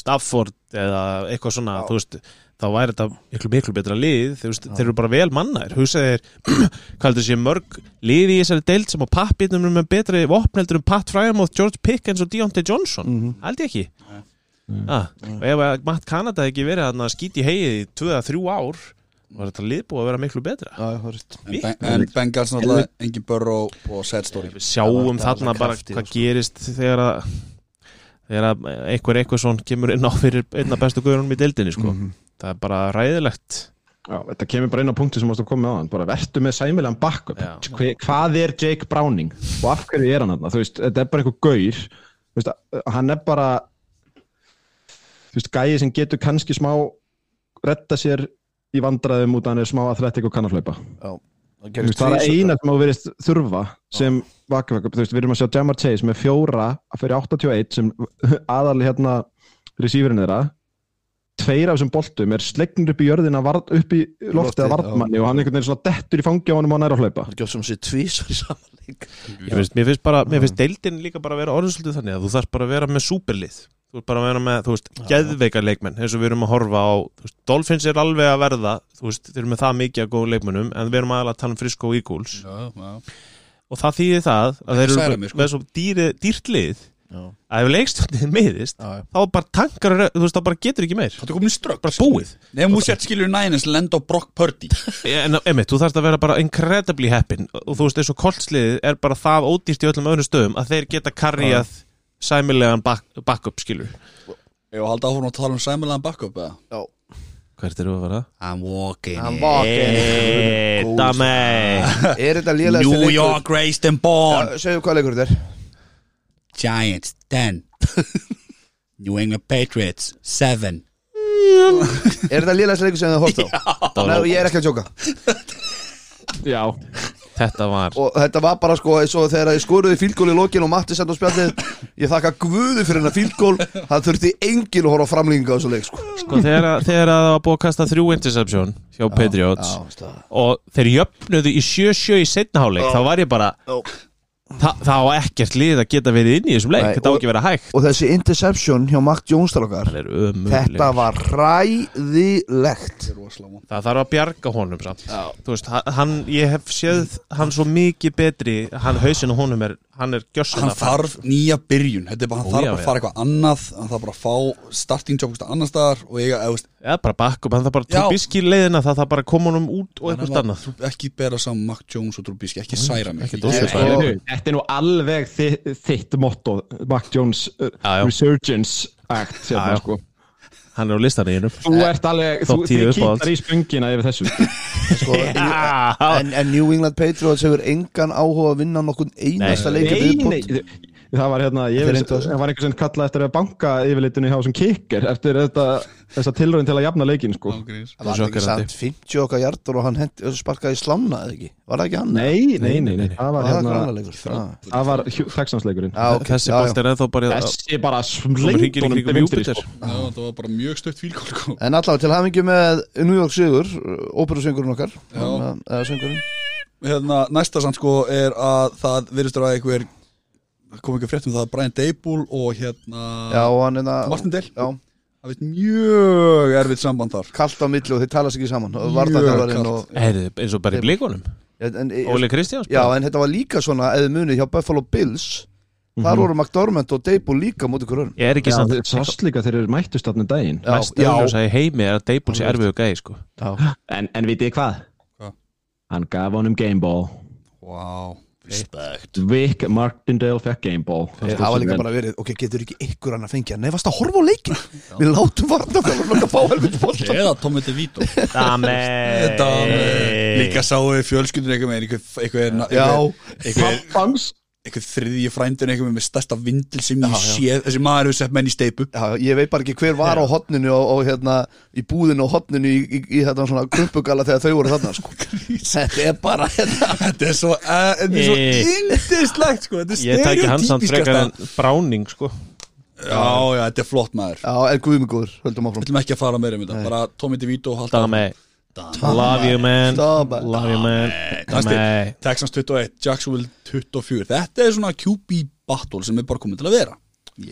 Speaker 3: Stafford eða eitthvað svona, þú veist þá væri þetta miklu, miklu betra lið þú veist, þeir eru bara vel mannaðir hugsaði þeir, hvað heldur sé mörg lið í þessari deild sem á pappirnum eru með betri vopneldur um Pat Fryermuth, George Pickens og Deontay Johnson, mm
Speaker 2: Mhm.
Speaker 3: held ég ekki ah, og ef að Matt Canada ekki verið þarna að skýti heið í 2-3 ár, var þetta lið búið að vera miklu betra
Speaker 1: En Ben- En Bengals náttúrulega Engin Burrow og Sad Story
Speaker 3: við sjáum
Speaker 4: Það var- það var
Speaker 3: þarna bara
Speaker 4: krafti,
Speaker 3: hvað
Speaker 4: sko.
Speaker 3: gerist þegar að þegar að einhver eitthvað svon kemur inn á fyrir einna bestu guðunum í deildinni sko.
Speaker 4: Mhm.
Speaker 3: það er bara ræðilegt
Speaker 2: Já, þetta kemur bara inn á punkti sem mást að koma með á hann bara vertu með sæmilegan backup
Speaker 3: Já.
Speaker 2: Hve- hvað er Jake Browning og af hverju er hann þarna, þú veist, þetta er bara einhver gaur þú veist, hann er bara þú veist, gæi sem getur kannski smá retta sér í vandræðum út að hann er smá að þrætti eitthvað kannaflaupa Þú veist, það er eina sem á verið þurfa sem vakavakab, þú veist, við erum að sjá Jamar Chase með fjóra að fyrir 81 sem aðal hérna receiverin þeirra tveir af þessum boltum er slegnur upp í jörðina vart, upp í loftið að
Speaker 4: Loftið,
Speaker 2: vartmanni og hann einhvern veginn svona dettur í fangi á honum og hann er að hlaupa
Speaker 4: Það gjóðs um sér tvís í saman leik
Speaker 3: mér finnst, mér finnst, bara, mér finnst deildin líka bara að vera orðinsöldið þannig að þú þarf bara að vera með súperlið þú ert bara að vera með, þú veist, geðveika leikmenn eins og við erum að horfa á, þú veist, Dolphins er alveg að verða, þú veist, þeir eru með það mikið að góða leikmennum, en við erum aðalega að tala um Frisco Eagles og það þýðir það að þeir eru
Speaker 1: særa
Speaker 3: bara
Speaker 1: mig, sko.
Speaker 3: með svo dýri, dýrt lið að ef leikstjórnið meðist þá bara tankar, þú veist, þá bara getur ekki meir
Speaker 1: Þetta er komin í strögg
Speaker 3: bara búið
Speaker 1: Nefnum þú sett skilur nænins Lend á Brock Purdy
Speaker 3: en emitt, þú þarfst að vera bara incredibly happy og þú veist, eins og koltsliðið er bara það ódýrt í öllum öðrum stöðum að þeir geta karriðað sæmilegan back, backup skilur
Speaker 1: Ég var haldið áfram að tala um sæmilegan backup eða?
Speaker 3: hvert eru að fara?
Speaker 1: I'm walking
Speaker 4: Hann var
Speaker 3: Hey, dame
Speaker 4: Er þetta lélega
Speaker 1: New York raised and born
Speaker 4: Segðu hvað leikur þetta er
Speaker 1: Giants 10 New England Patriots 7
Speaker 4: Er þetta lélega leikur sem þið horft á Nei, og ég er ekki að tjóka
Speaker 2: Já,
Speaker 3: þetta var
Speaker 4: Og þetta var bara sko eins og þegar ég skoruði fílgól í lokin og Matti sett á spjallið Ég þakka guðu fyrir hennar fílgól Það þurfti engin að horfa á framlýninga á þessu leik sko
Speaker 3: sko, þegar, að- þegar að það var búið að kasta þrjú interception hjá Patriots
Speaker 4: Já, veist það.
Speaker 3: og þeir jöfnuðu í 7-7 í setnaháleik þá var ég bara Þa, það á ekkert lið að geta verið inn í þessum leik
Speaker 4: Nei,
Speaker 3: þetta á
Speaker 4: og-
Speaker 3: ekki að vera hægt
Speaker 4: Og þessi interception hjá Matti Jónstalokkar
Speaker 3: Það er ömurlegur.
Speaker 4: Þetta var ræðilegt
Speaker 3: það þarf að bjarga honum samt Þú veist, ha- hann, ég hef séð hann svo mikið betri hann hausinn á honum er, hann er gjössan
Speaker 1: Hann þarf nýja byrjun Þetta er bara, hann
Speaker 3: Ó,
Speaker 1: þarf
Speaker 3: já,
Speaker 1: bara að
Speaker 3: já.
Speaker 1: fara eitthvað annað Hann þarf bara að fá starting job eitthvað annar staðar og eiga, eða, veist,
Speaker 3: eða bara bakkum, hann þarf bara
Speaker 1: Já.
Speaker 3: trúbíski leiðina það þarf bara að koma honum út og eitthvað annað
Speaker 1: ekki bera saman Mac Jones og Trubisky ekki særa mig
Speaker 3: ekkert
Speaker 1: Ég-
Speaker 3: ósvipað.
Speaker 2: þetta er nú, þetta er nú alveg þitt, þitt motto Mac Jones uh,
Speaker 3: Já, já.
Speaker 2: Resurgence Act
Speaker 3: Já, já.
Speaker 2: hérna, sko.
Speaker 3: hann er á listanum í
Speaker 2: Þú ert alveg, þú
Speaker 3: Topp tíu
Speaker 2: þið
Speaker 3: uppáhalds.
Speaker 2: kýtar í spöngina yfir þessu
Speaker 3: hennum
Speaker 4: sko. en, en New England Patriots hefur engan áhuga að vinna nokkurn einasta leik í
Speaker 2: Nei, nei,
Speaker 4: viðbót.
Speaker 2: það var hérna ég
Speaker 4: Þetta er
Speaker 2: veist,
Speaker 4: reyndar.
Speaker 2: það var einhver sem kallaði eftir að banka yfirleitinu hjá sem kikker eftir þetta, þessa tilraun til að jafna leikin sko.
Speaker 4: Það var ekki
Speaker 3: sjokkerandi.
Speaker 4: samt 50 okkar hjartur og hann hendi, og sparkaði í slána eða ekki Var það ekki hann?
Speaker 2: nei, nei, nei, nei, það var
Speaker 4: var það
Speaker 2: hérna
Speaker 4: grannar leikur
Speaker 1: Ah.
Speaker 4: Já,
Speaker 2: það var Texansleikurinn
Speaker 4: ok,
Speaker 3: þessi
Speaker 4: já, já.
Speaker 3: bótt er ennþá bara
Speaker 2: þessi bara
Speaker 3: Komur hringir í
Speaker 2: slengdunum
Speaker 3: kringum Júpiter
Speaker 2: sko.
Speaker 1: Já, það var bara mjög sko. stökt fílkól
Speaker 4: En allavega til hafingju með New York Sigur, óperusöngurinn okkar eh, eða söngurinn
Speaker 1: hérna, Næsta samt sko er að það virðist að einhver kom ekki frétt um það að Brian Dable og hérna
Speaker 4: Já, og hann er það
Speaker 1: Martin Dale
Speaker 4: Já,
Speaker 1: Það veit mjög erfitt samband þar
Speaker 4: kallt á milli og þeir tala sig ekki saman og
Speaker 1: Mjög
Speaker 4: varnarþjálfarinn
Speaker 1: kalt.
Speaker 4: og
Speaker 3: er, eins og bara í blíkonum
Speaker 4: en, en,
Speaker 3: Óli Kristjáns
Speaker 4: Já,
Speaker 3: bara.
Speaker 4: en þetta var líka svona eða munið hjá Buffalo Bills Þar
Speaker 3: Mhm.
Speaker 4: voru McDormand og Dable líka mútið hverjum
Speaker 3: ég er ekki samt
Speaker 2: sást líka þeir eru mættust þarna um daginn
Speaker 4: Já,
Speaker 3: mest auðvitað í heimi er að Deibul sé erfið og gæði sko
Speaker 4: já,
Speaker 2: en, en vitið þið hvað?
Speaker 1: Hvað?
Speaker 2: hann gaf honum gameball
Speaker 1: Vá, respekt
Speaker 2: Vic Martindale fekk gameball
Speaker 4: Eh, það var líka bara verið Ok, getur ekki ykkur hann að fengja Nei, varst að horfa á leikin Við látum varnarþjálfarinn að fá helviti bólt
Speaker 1: Eða Tommy DeVito
Speaker 3: Dame
Speaker 1: Þetta eh, Líka sáu við fjölskyldur eitthvað með einhver, einhver, einhver,
Speaker 4: Já,
Speaker 1: einhver
Speaker 2: pappans
Speaker 1: einhver þriðji frændin einhver með stærsta vindil sem ég séð þessi maður hefur sett menn í steipu
Speaker 4: Já, ég veit bara ekki hver var á hotninu og, og hérna, í búðinu og hotninu í, í, í þetta svona krumpugala þegar þau voru þarna sko. Þetta er bara hérna,
Speaker 1: þetta er svo, uh, þetta er svo
Speaker 3: Ég-
Speaker 1: yndislegt sko, þetta er
Speaker 3: Ég tæki hans samt frekar
Speaker 1: stereotypískasta
Speaker 3: en Browning sko
Speaker 1: já, já, þetta er flott maður
Speaker 4: Já, en guðmigúður, höldum
Speaker 1: við
Speaker 4: áfram
Speaker 1: ætlum ekki að fara meira um þetta, bara Tommy DeVito og halda
Speaker 3: Dame Love you man
Speaker 4: Dame.
Speaker 3: Love you man
Speaker 1: Dame.
Speaker 3: Dame
Speaker 1: Texans 21, Jacksonville 24 þetta er svona QB battle sem er bara komið til að vera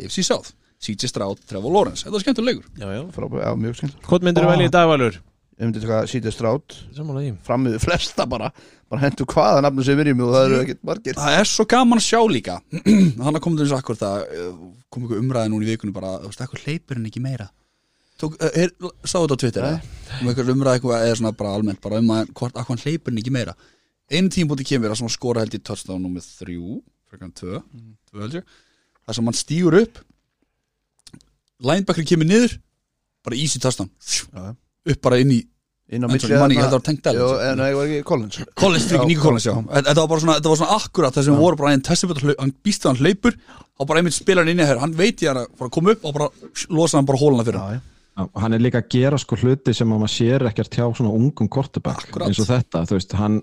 Speaker 1: EFC South, CJ Stroud, Trevor Lawrence þetta er skemmtilegur
Speaker 3: Já, já
Speaker 4: Frá, Já, mjög skemmt
Speaker 3: Hvort myndir þú velja í dagvalur?
Speaker 4: Ég myndi taka sítið strát
Speaker 3: Sammála ég
Speaker 4: frammiðu flesta bara bara hentu hvaða nafnum sem er í mig og það eru ekkert margir
Speaker 1: það er svo gaman að sjá líka hann að koma til þess að akkur það eh, kom ykkur umræði núna í vikunum bara, þú veist, akkur hleypur hann ekki meira Tók, eh, er, sá þetta á Twitter eða? um ykkur umræði eitthvað eða svona bara almennt bara um að hvort akkur hann hleypur hann ekki meira einu tímpúti kemur að svona skora held í touchdown nummið þrjú, frekar tvö, tvö held ég það sem hann stígur upp linebacker kemur niður bara easy touchdown
Speaker 4: Já.
Speaker 1: upp bara inn í
Speaker 4: inn á
Speaker 1: Anthony
Speaker 4: milli
Speaker 1: Manning, ég held að það
Speaker 4: þarna-
Speaker 1: var Tank Dell,
Speaker 4: Jú,
Speaker 1: sko.
Speaker 4: en það var ekki Collins
Speaker 1: Collins, fyrir ekki Nico Collins, já Þetta var bara svona, þetta var svona akkurat það sem voru bara einn testiböld, hann býst að hann hlaupur og bara einmitt spilar hann inn í hér, hann veit ég hann að fara að koma upp og bara losa hann bara hólana fyrir hann
Speaker 4: já, já.
Speaker 2: Já, og hann er líka að gera sko hluti sem að maður sér ekkert hjá svona ungum kortebakk
Speaker 1: Akkúrat.
Speaker 2: eins og þetta, þú veist, hann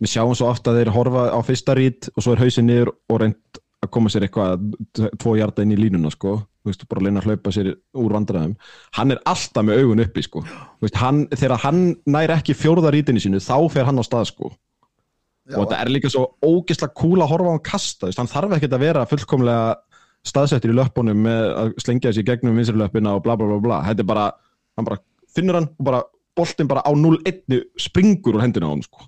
Speaker 2: við sjáum svo ofta að þeir horfa á fyrsta rít og svo er hausin niður og reynd að koma sér eitthvað, t- tvo hjarta inn í línuna sko, þú veist, bara leina að hlaupa sér úr vandræðum, hann er alltaf með augun uppi sko, þú veist, hann, þegar hann nær ekki fjórða rítinu sínu, þá fer hann á stað sko, og þetta er líka svo ógeðslega cool að horfa á hann kasta, þú veist, hann þarf ekkert að vera fullkomlega staðsettir í löppunum með að slengja þessi gegnum vinsirlöppina og bla bla bla bla þetta er bara, hann bara finnur hann og bara boltinn bara á 0-1 springur úr hendina á hann sko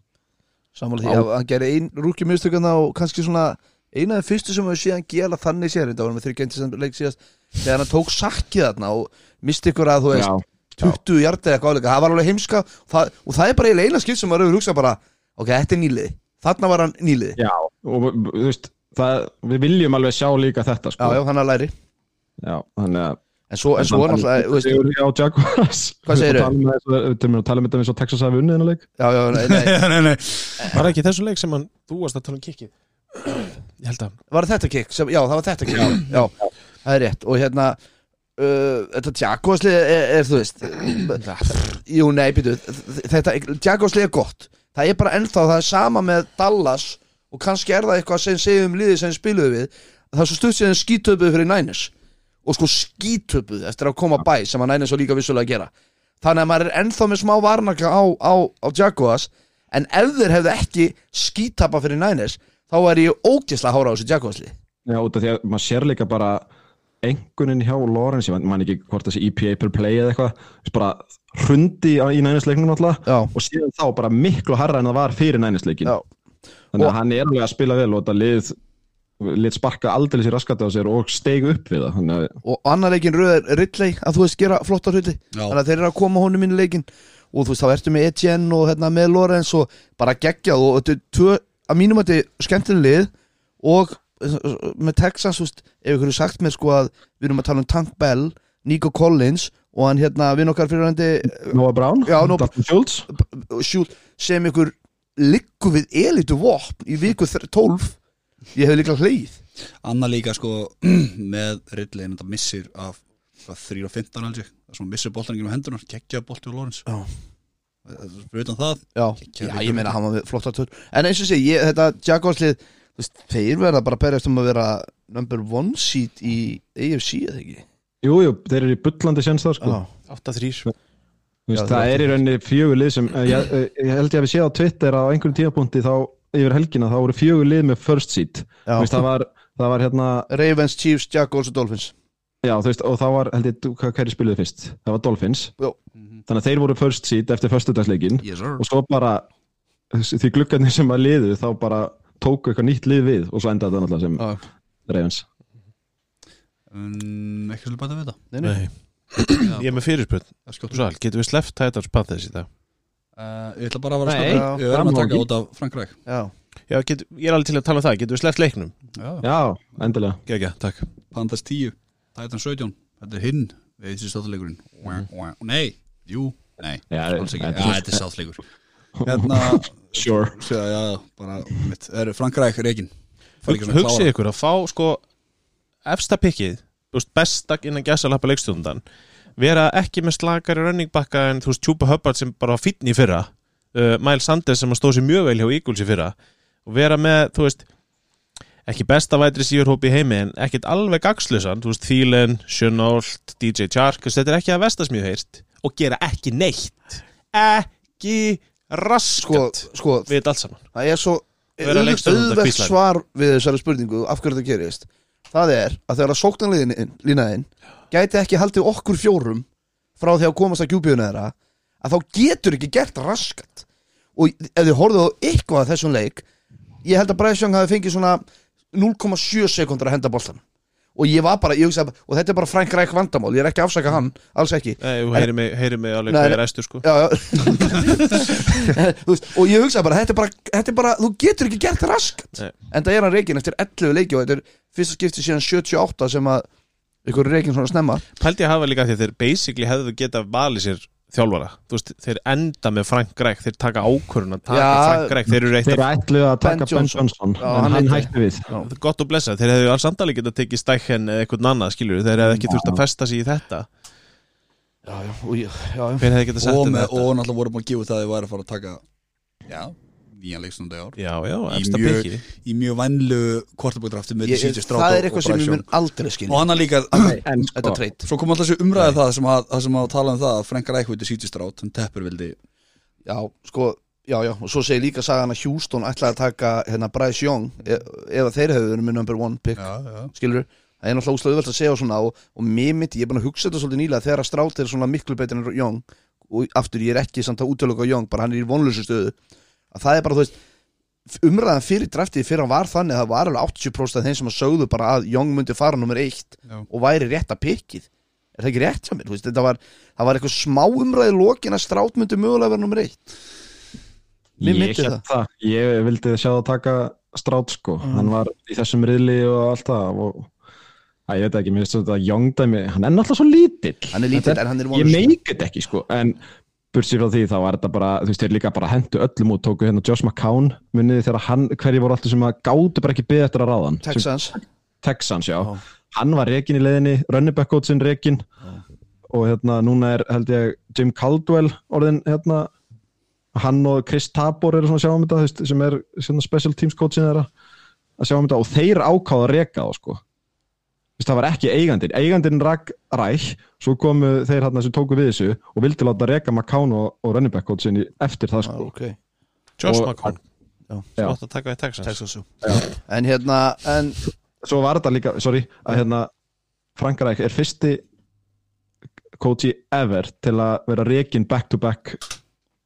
Speaker 4: sammála því, já, hann gerir ein rúki mistökana og kannski svona eina af þeim fyrstu sem við síðan gera þannig sér þetta varum við þurfi gentið sem leik síðast þegar hann tók sakkið þarna og misti ykkur að þú veist
Speaker 2: Já,
Speaker 4: 20 hjarta eitthvað áleika, það var alveg heimska og það, og það er bara eiginlega eina skipt sem maður hefur hugsað bara ok, þetta er nýlið, þarna var hann nýlið já,
Speaker 2: já, og þú veist það, við viljum alveg sjá líka þetta sko
Speaker 4: já, hann að læri
Speaker 2: já þannig að
Speaker 4: en svo, en svo er náttúrulega, þú veist,
Speaker 2: Sigur á Jaguars
Speaker 4: Hvað segirðu?
Speaker 2: Þú erum að tala með þetta eins og Texas hafi unnið hennar leik
Speaker 4: já, já, nei, nei,
Speaker 1: Nei, nei,
Speaker 3: Var ekki í þessum leik sem hann Þú varst að tala um kikkið Ég held að
Speaker 4: var þetta kikk sem, já það var þetta kikk já, það er rétt og hérna uh, þetta Jaguarslið er, er þú veist jú nei býtu þetta Jaguarslið er gott það er bara ennþá það er sama með Dallas og kannski er það eitthvað sem segjum um liðið sem spiluðu við það er svo stutt sem skítöpuð fyrir Niners og sko skítöpuð eftir að koma bæ sem að Niners var líka vissulega að gera þannig að maður er ennþá með smá varnaka á, á, á Jaguars en ef þeir hefðu ekki skítapa fyrir Niners þá er ég ógeðslega hára á þessu Jaguarsli
Speaker 2: Já, út af því að maður sér líka bara engunin hjá Lawrence, ég man ekki hvort þessi EPA per play eða eitthvað þú veist, bara hrundi á- í nænisleiknum alltaf
Speaker 4: Já.
Speaker 2: og síðan þá bara miklu harra en það var fyrir nænisleikin
Speaker 4: Já.
Speaker 2: þannig
Speaker 4: Og-
Speaker 2: að hann er alveg að spila vel og þetta lið, lið sparka aldrei sér raskat á sér og steig upp við það þannig að
Speaker 4: og annar leikin röð er Ridley að þú veist gera flottar hluti
Speaker 1: Já.
Speaker 4: þannig að þeir eru að koma honum inn í leikin og þú veist þá ertu með Etienne og hérna, með Lorenz og bara geggjað og þetta er tvö að mínum að þetta er skemmtileg lið og eh, með Texas þú veist, ef ykkur er sagt mér sko að við erum að tala um Tank Bell, Nico Collins og hann hérna vinn okkar fyrirhandi eh,
Speaker 2: Noah Brown,
Speaker 4: Já, Noah-
Speaker 2: Dalton Schultz
Speaker 4: Sjúl sem ykkur liggu við elitu vopn í viku þr- 12 ég hef líklega hleyð
Speaker 1: Anna líka sko með Ridley en þetta missir af hvað, 3 og 15 held ég, það sem missir boltaningin á hendunar, geggja bolti á Lawrence Eh,
Speaker 4: Já.
Speaker 1: Fyrir utan það,
Speaker 4: Já,
Speaker 1: Geggjaður
Speaker 4: já
Speaker 1: leikur.
Speaker 4: ég meina hann var með flottar tör En eins og sé, ég, þetta Jaguarslið þú veist, Þeir verða bara að berjast um að vera Number one seat í AFC eða ekki
Speaker 2: Jú, jú, þeir eru í bullandi séns það sko
Speaker 3: 8-3
Speaker 2: Þú veist,
Speaker 4: Já,
Speaker 2: það
Speaker 4: það
Speaker 2: er í rauninni fjögur lið sem eh, ég, eh, ég held ég að við séð á Twitter að á einhverjum tíðapunkti þá yfir helgina þá voru fjögur lið með first seat
Speaker 4: Já.
Speaker 2: Þú veist, það, var, það var hérna
Speaker 4: Ravens, Chiefs, Jaguars og Dolphins
Speaker 2: Já, þú veist, og það var, held ég, hvað hverju spiluðu fyrst? Það var Dolphins.
Speaker 4: Já.
Speaker 2: Þannig að þeir voru first seed eftir förstudagsleikin
Speaker 1: yes sir
Speaker 2: og svo bara því gluggarnir sem að liðu þá bara tóku eitthvað nýtt lið við og svo endaði það náttúrulega sem
Speaker 4: Já.
Speaker 2: Ravens.
Speaker 1: um, Ekki svolítið bæta við það
Speaker 4: Nei, nei.
Speaker 3: Nei Ég er með fyrirspöld
Speaker 1: Það er skjótt.
Speaker 3: Sal, getum við sleppt Tætars Panthers í dag?
Speaker 1: Eh, Ég ætla bara að vera
Speaker 2: Nei,
Speaker 1: að skjóta Við verðum að taka
Speaker 2: framlokkin.
Speaker 1: út af Frank Ræk
Speaker 4: Já,
Speaker 3: Já, get, ég er alveg til að tala um það, getum við sleppt leiknum?
Speaker 2: Já, endilega.
Speaker 3: Gægja, takk
Speaker 1: Panthers 10, Titans 17 Þetta er hinn, við erum sáttleikurinn mm. Nei, jú, nei
Speaker 2: Já,
Speaker 1: alls ekki,
Speaker 2: þetta
Speaker 1: já,
Speaker 2: er-
Speaker 1: þetta er sáttleikur Hérna,
Speaker 2: Sure.
Speaker 1: sjá, já, bara mitt, er Frank Ræk reikin
Speaker 3: Hug- hugsið ykkur að fá sko efsta pikkið, þú veist, besta innan gæsa lappa leikstjóndan vera ekki með slakari running backa en þú veist Tjúpa Hubbard sem bara var fínn í fyrra uh, Miles Sanders sem að stóð sér mjög vel hjá Eagles í fyrra og vera með, þú veist ekki besta vætri síðurhóp í heimi en ekkert alveg gagslusan, þú veist Thielen, Sjönolt, DJ Chark þú veist, þetta er ekki að vestas mjög heyrt og gera ekki neitt ekki
Speaker 4: sko,
Speaker 3: raskat
Speaker 4: sko,
Speaker 3: við þetta allt saman
Speaker 4: það er svo
Speaker 3: Vera leikstjórnandi að
Speaker 4: auðvelt
Speaker 3: hvísla.
Speaker 4: svar við þessari spurningu af hverju það gerist það er að þegar að sóknarlínaðin línaðin gæti ekki haldið okkur fjórum frá því að komast að gjúbíðuna þeirra að þá getur ekki gert raskat og ef þið horfðu á eitthvað af þessum leik ég held að Bræðsjöng hafi fengið svona 0,7 sekundar að henda boltan og ég var bara, ég hugsa og þetta er bara Frank Ræk vandamál, ég er ekki að afsaka hann alls ekki,
Speaker 3: Nei, þú heyri mig, heyri mig alveg
Speaker 4: Nei,
Speaker 3: hvað
Speaker 4: nei.
Speaker 3: ég er æstur sko
Speaker 4: já, já. Þú veist, og ég hugsa bara þetta, er bara þetta er bara, þú getur ekki gert raskat
Speaker 3: Nei.
Speaker 4: en það er hann reikin eftir 11 leiki og þetta er fyrsta skipti síðan 78 sem að ykkur reikin svona snemma
Speaker 3: Pældi ég hafa líka því að þeir basically hefðu getað valið sér þjálfara Þú veist, þeir enda með Frank Gregg, þeir taka ákvörun að taka
Speaker 4: Já.
Speaker 3: Frank Gregg Þeir eru eitt
Speaker 2: Þeir ætlu að taka
Speaker 4: Ben
Speaker 2: Ben
Speaker 4: Johnson.
Speaker 2: Johnson
Speaker 4: Já,
Speaker 2: en
Speaker 4: hann
Speaker 2: hann
Speaker 4: hætti.
Speaker 2: hætti við
Speaker 3: af gott og blessað Þeir hefðu alls andali getað tekið stækken eða eitthvað annað skilur Þeir hefðu ekki þurft að festa sig í þetta
Speaker 4: já, já, og ég, já, já.
Speaker 3: Hver hefði getað sett
Speaker 1: og,
Speaker 3: um
Speaker 1: með,
Speaker 3: þetta
Speaker 1: og náttúrulega vorum að gefa út það að þið væri að fara að taka já, nýjan leikstundi ár
Speaker 3: Já, já,
Speaker 1: Í
Speaker 3: efsta
Speaker 1: mjög-
Speaker 3: piki
Speaker 1: í mjög vænlu kvartabugdrafti með
Speaker 4: Ég,
Speaker 1: CJ Stroud
Speaker 4: það er
Speaker 1: og-
Speaker 4: eitthvað
Speaker 1: og
Speaker 4: sem ég
Speaker 1: Bryce
Speaker 4: mun aldrei
Speaker 1: Young. og
Speaker 4: skilja
Speaker 1: hann er líka
Speaker 2: En
Speaker 4: þetta
Speaker 2: sko,
Speaker 4: treyt
Speaker 1: svo kom alltaf þessi umræða það sem að, það sem að tala um það að Frank Rækviti CJ Stroud hann teppur vildi
Speaker 4: já, sko, já, já, og svo segir líka sagan að Houston ætlaði að taka hérna Bryce Young e eða þeir hefur verið með number one pick
Speaker 1: já,
Speaker 4: skilur það er náttúrulega óslega auðvelt að segja og svona og, og mér mitt, ég er búin að hugsa þetta svolítið nýlega þegar að Strát er svona miklu betur en Young og aftur ég er ekki samt að útlöka Young bara hann er í vonlösu stöðu að það er bara þú veist f- umræðan fyrir draftið fyrir hann var þannig að það var alveg 80% af þeim sem að sögðu bara að Young myndi fara nummer eitt
Speaker 1: Já.
Speaker 4: og væri rétt að pikkið er það ekki rétt hjá mér, þú veist, þetta var það var eitthvað smá umræði lokin að Strát myndi mögulega vera nummer eitt Mér
Speaker 2: ég
Speaker 4: myndi
Speaker 2: hélt
Speaker 4: það. Mm.
Speaker 2: það, ég vildi sjá það taka strát sko, hann var í þessum riðli og allt það og Æ, ég veit ekki, mér finnst þetta að Young dæmi, hann er náttúrulega svo lítill
Speaker 4: hann er lítill
Speaker 2: Þetta
Speaker 4: en hann er í
Speaker 2: ég
Speaker 4: vonlösu
Speaker 2: meik þetta ekki sko en bursið frá því þá var þetta bara þú veist, þeir líka bara hendu öllum út, tóku hérna Josh McCown muniði þegar hann, hverji voru alltaf sem að gátu bara ekki beðið eftir að ráðan Sem-
Speaker 4: Texans
Speaker 2: Texans, já,
Speaker 4: Já.
Speaker 2: hann var rekin í leiðinni running back coachin rekin og hérna núna er held ég Jim Caldwell orðin hérna hann og Chris Tabor eru svona að sjá um þetta þú veist, sem er svona special teams coachin þeirra að sjá um þetta og þeir ákáða að reka þá sko Þú veist, það var ekki eigandin, eigandin rak ræk svo komu þeir hérna sem tóku við þessu og vildi láta reka McCown og, og running back coachin í- eftir það
Speaker 4: Ah,
Speaker 2: sko
Speaker 4: okay.
Speaker 3: Josh
Speaker 2: Og-
Speaker 3: McCown
Speaker 4: Já.
Speaker 3: Þú átt að taka í Texas
Speaker 4: Texans. en hérna, en
Speaker 2: svo var þetta líka, sorry að hérna, Frankaræk er fyrsti coachi ever til að vera rekin back to back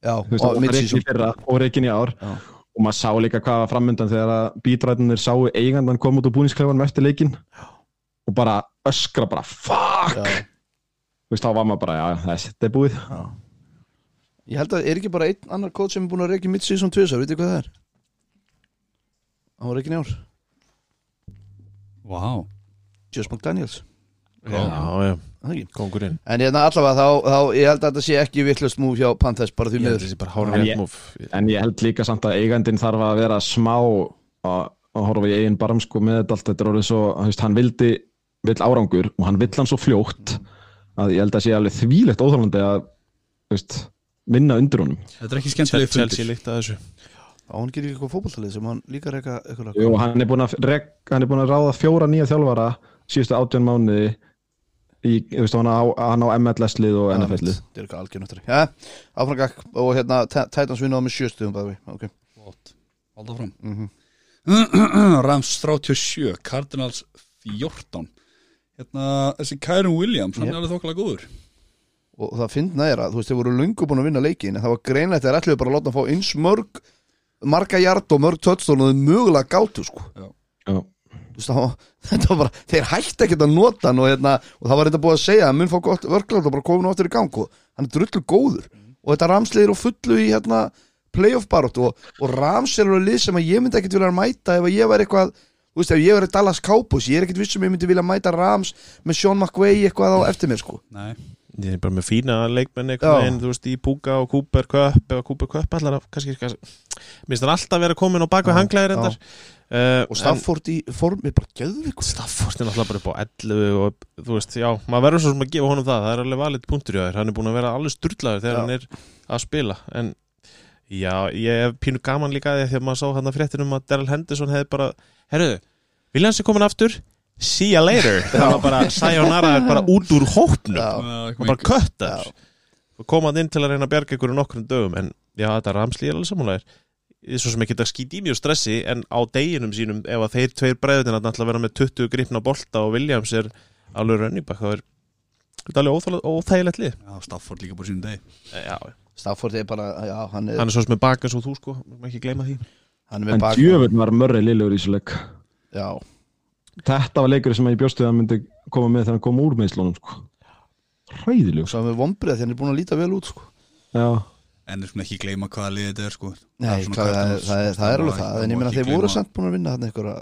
Speaker 4: já,
Speaker 2: þú veist,
Speaker 4: og
Speaker 2: og
Speaker 4: Mitchell
Speaker 2: rekin í fyrra og rekin í ár
Speaker 4: Já.
Speaker 2: og maður sá líka hvað var framöndan þegar að bítræðinir sáu eigandan kom út úr búningsklefanum eftir leikin og bara öskra bara fuck
Speaker 4: Já.
Speaker 2: þú veist, þá var maður bara, já, þessi, þetta er búið
Speaker 4: Ég held að er ekki bara einn annar kóð sem er búin að reykja mitt síðan tvisar, veitir hvað það er? Hann var reikin í ár,
Speaker 1: wow.
Speaker 4: Josh McDaniels
Speaker 3: Já, já,
Speaker 4: er það ekki?
Speaker 3: kongurinn
Speaker 4: En hérna allavega þá, þá, ég held að þetta sé ekki vittlust múf hjá Panthers bara því
Speaker 3: Ég held
Speaker 4: miður
Speaker 3: þessi bara
Speaker 2: En
Speaker 3: hárið
Speaker 2: ég-
Speaker 3: rétt múf
Speaker 2: en ég held líka samt að eigandin þarf að vera smá að að horfa í eigin barm sko með þetta allt þetta er orðið svo, þú veist, hann vildi vill árangur og hann vill hann svo fljótt að ég held að sé alveg þvílegt óþálandi að, þú veist, vinna undir honum
Speaker 1: þetta er ekki
Speaker 3: Chelsea
Speaker 1: skemmtileg
Speaker 3: Chelsea
Speaker 1: fundir
Speaker 3: líkt að þessu
Speaker 4: Á hann gerir eitthvað fótboltalið sem hann líka reyka eitthvað
Speaker 2: og hann er búin að, rek, hann er búin að ráða fjóra nýja þjálfara síðustu átján mánuði í, þú veist, hann á, hann á MLS-lið og NFL-lið
Speaker 4: Það Ah, er eitthvað algjörnöttari Já, áfram gakk og hérna T- Titans vinnaði með sjöstuðum bæði okay.
Speaker 1: halda fram
Speaker 4: mm -hmm.
Speaker 1: Rams 37, Cardinals 14 hérna, þessi Kyron Williams, hann
Speaker 4: Yep.
Speaker 1: er alveg þokkalega góður
Speaker 4: og, og það finna er að, þú veist, þeir voru lungu búin að vinna leikin en það var greinlegt þeir ætluðu bara að láta hann fá eins mörg marga hjart og mörg tötstónu og þeir mögulega gátu sko
Speaker 2: Já.
Speaker 4: Þú veist, það var- þetta var bara, þeir hætti ekkert að nota hann og, hérna, og það var þetta búið að segja að mun fá gott vörklátt og bara komin áttur í gang og hann er drullu góður og þetta ramsliðir og fullu í hérna, playoff barótt og, og rams er alveg lið sem að ég myndi ekkert vilja mæta ef að ég væri eitthvað þú veist, ef ég væri Dallas Cowboys, ég er ekkert vissum ég myndi vilja mæta rams með Sean McVay eitthvað á eftir mér sko
Speaker 1: Nei.
Speaker 3: Ég er bara með fína leikmenn
Speaker 4: Já.
Speaker 3: einhvern veginn, þú veist, í Puka og Cooper Cup eða Cooper Cup allar að, kannski, kannski minnst hann alltaf vera komin á bakveg hanglæðir
Speaker 4: já.
Speaker 3: endar uh,
Speaker 4: og Stafford í formi bara gæðvikur
Speaker 3: Stafford er náttúrulega bara upp á 11 og þú veist, já, maður verður svo sem að gefa honum það það er alveg valið punktur í þér, hann er búin að vera alveg sturlaður þegar
Speaker 4: Já.
Speaker 3: hann er að spila en já, ég hef pínu gaman líka því að því að maður sá hann að fréttinum að Daryl Henderson hefði bara, herruðu Viljans er komin aftur, see ya later það var bara, Sayonara er bara út úr hópnum og bara köttar og koma hann inn til að reyna að bjarga ykkur nokkrum dögum en já, þetta ramslý er alveg samanlægir svo sem ekki þetta skýt í mjög stressi en á deginum sínum ef að þeir tveir bræðutina ætla að vera með 20 gripna bolta og Williams er alveg rönnibak það er þetta er alveg óþægilegt, óþægilegt lið
Speaker 1: Já, Stafford líka bara sínum deg
Speaker 3: Eh, já,
Speaker 4: Stafford er bara, já, hann er,
Speaker 3: hann er svo sem er baka svo þú sko, má ekki gleyma því
Speaker 4: hann er
Speaker 2: En
Speaker 4: með bak
Speaker 2: djöfurn var mörri liðlegur í þessu leik
Speaker 4: já,
Speaker 2: Þetta var leikur sem ég bjóstu að hann myndi koma með þegar hann kom úr meðslunum sko. Hræðilegur
Speaker 4: svo hann er vombrið því hann er búin að líta vel út sko.
Speaker 2: Já,
Speaker 1: En er svona ekki gleyma hvaða liðið þetta er sko
Speaker 4: Nei,
Speaker 1: svona
Speaker 4: það, það,
Speaker 1: Cardinals.
Speaker 4: það, er, það er alveg
Speaker 1: má-
Speaker 4: það en
Speaker 1: má
Speaker 4: ég meina
Speaker 1: ekki
Speaker 4: þeir voru
Speaker 1: gleyma-
Speaker 4: samt búin að vinna hann einhverja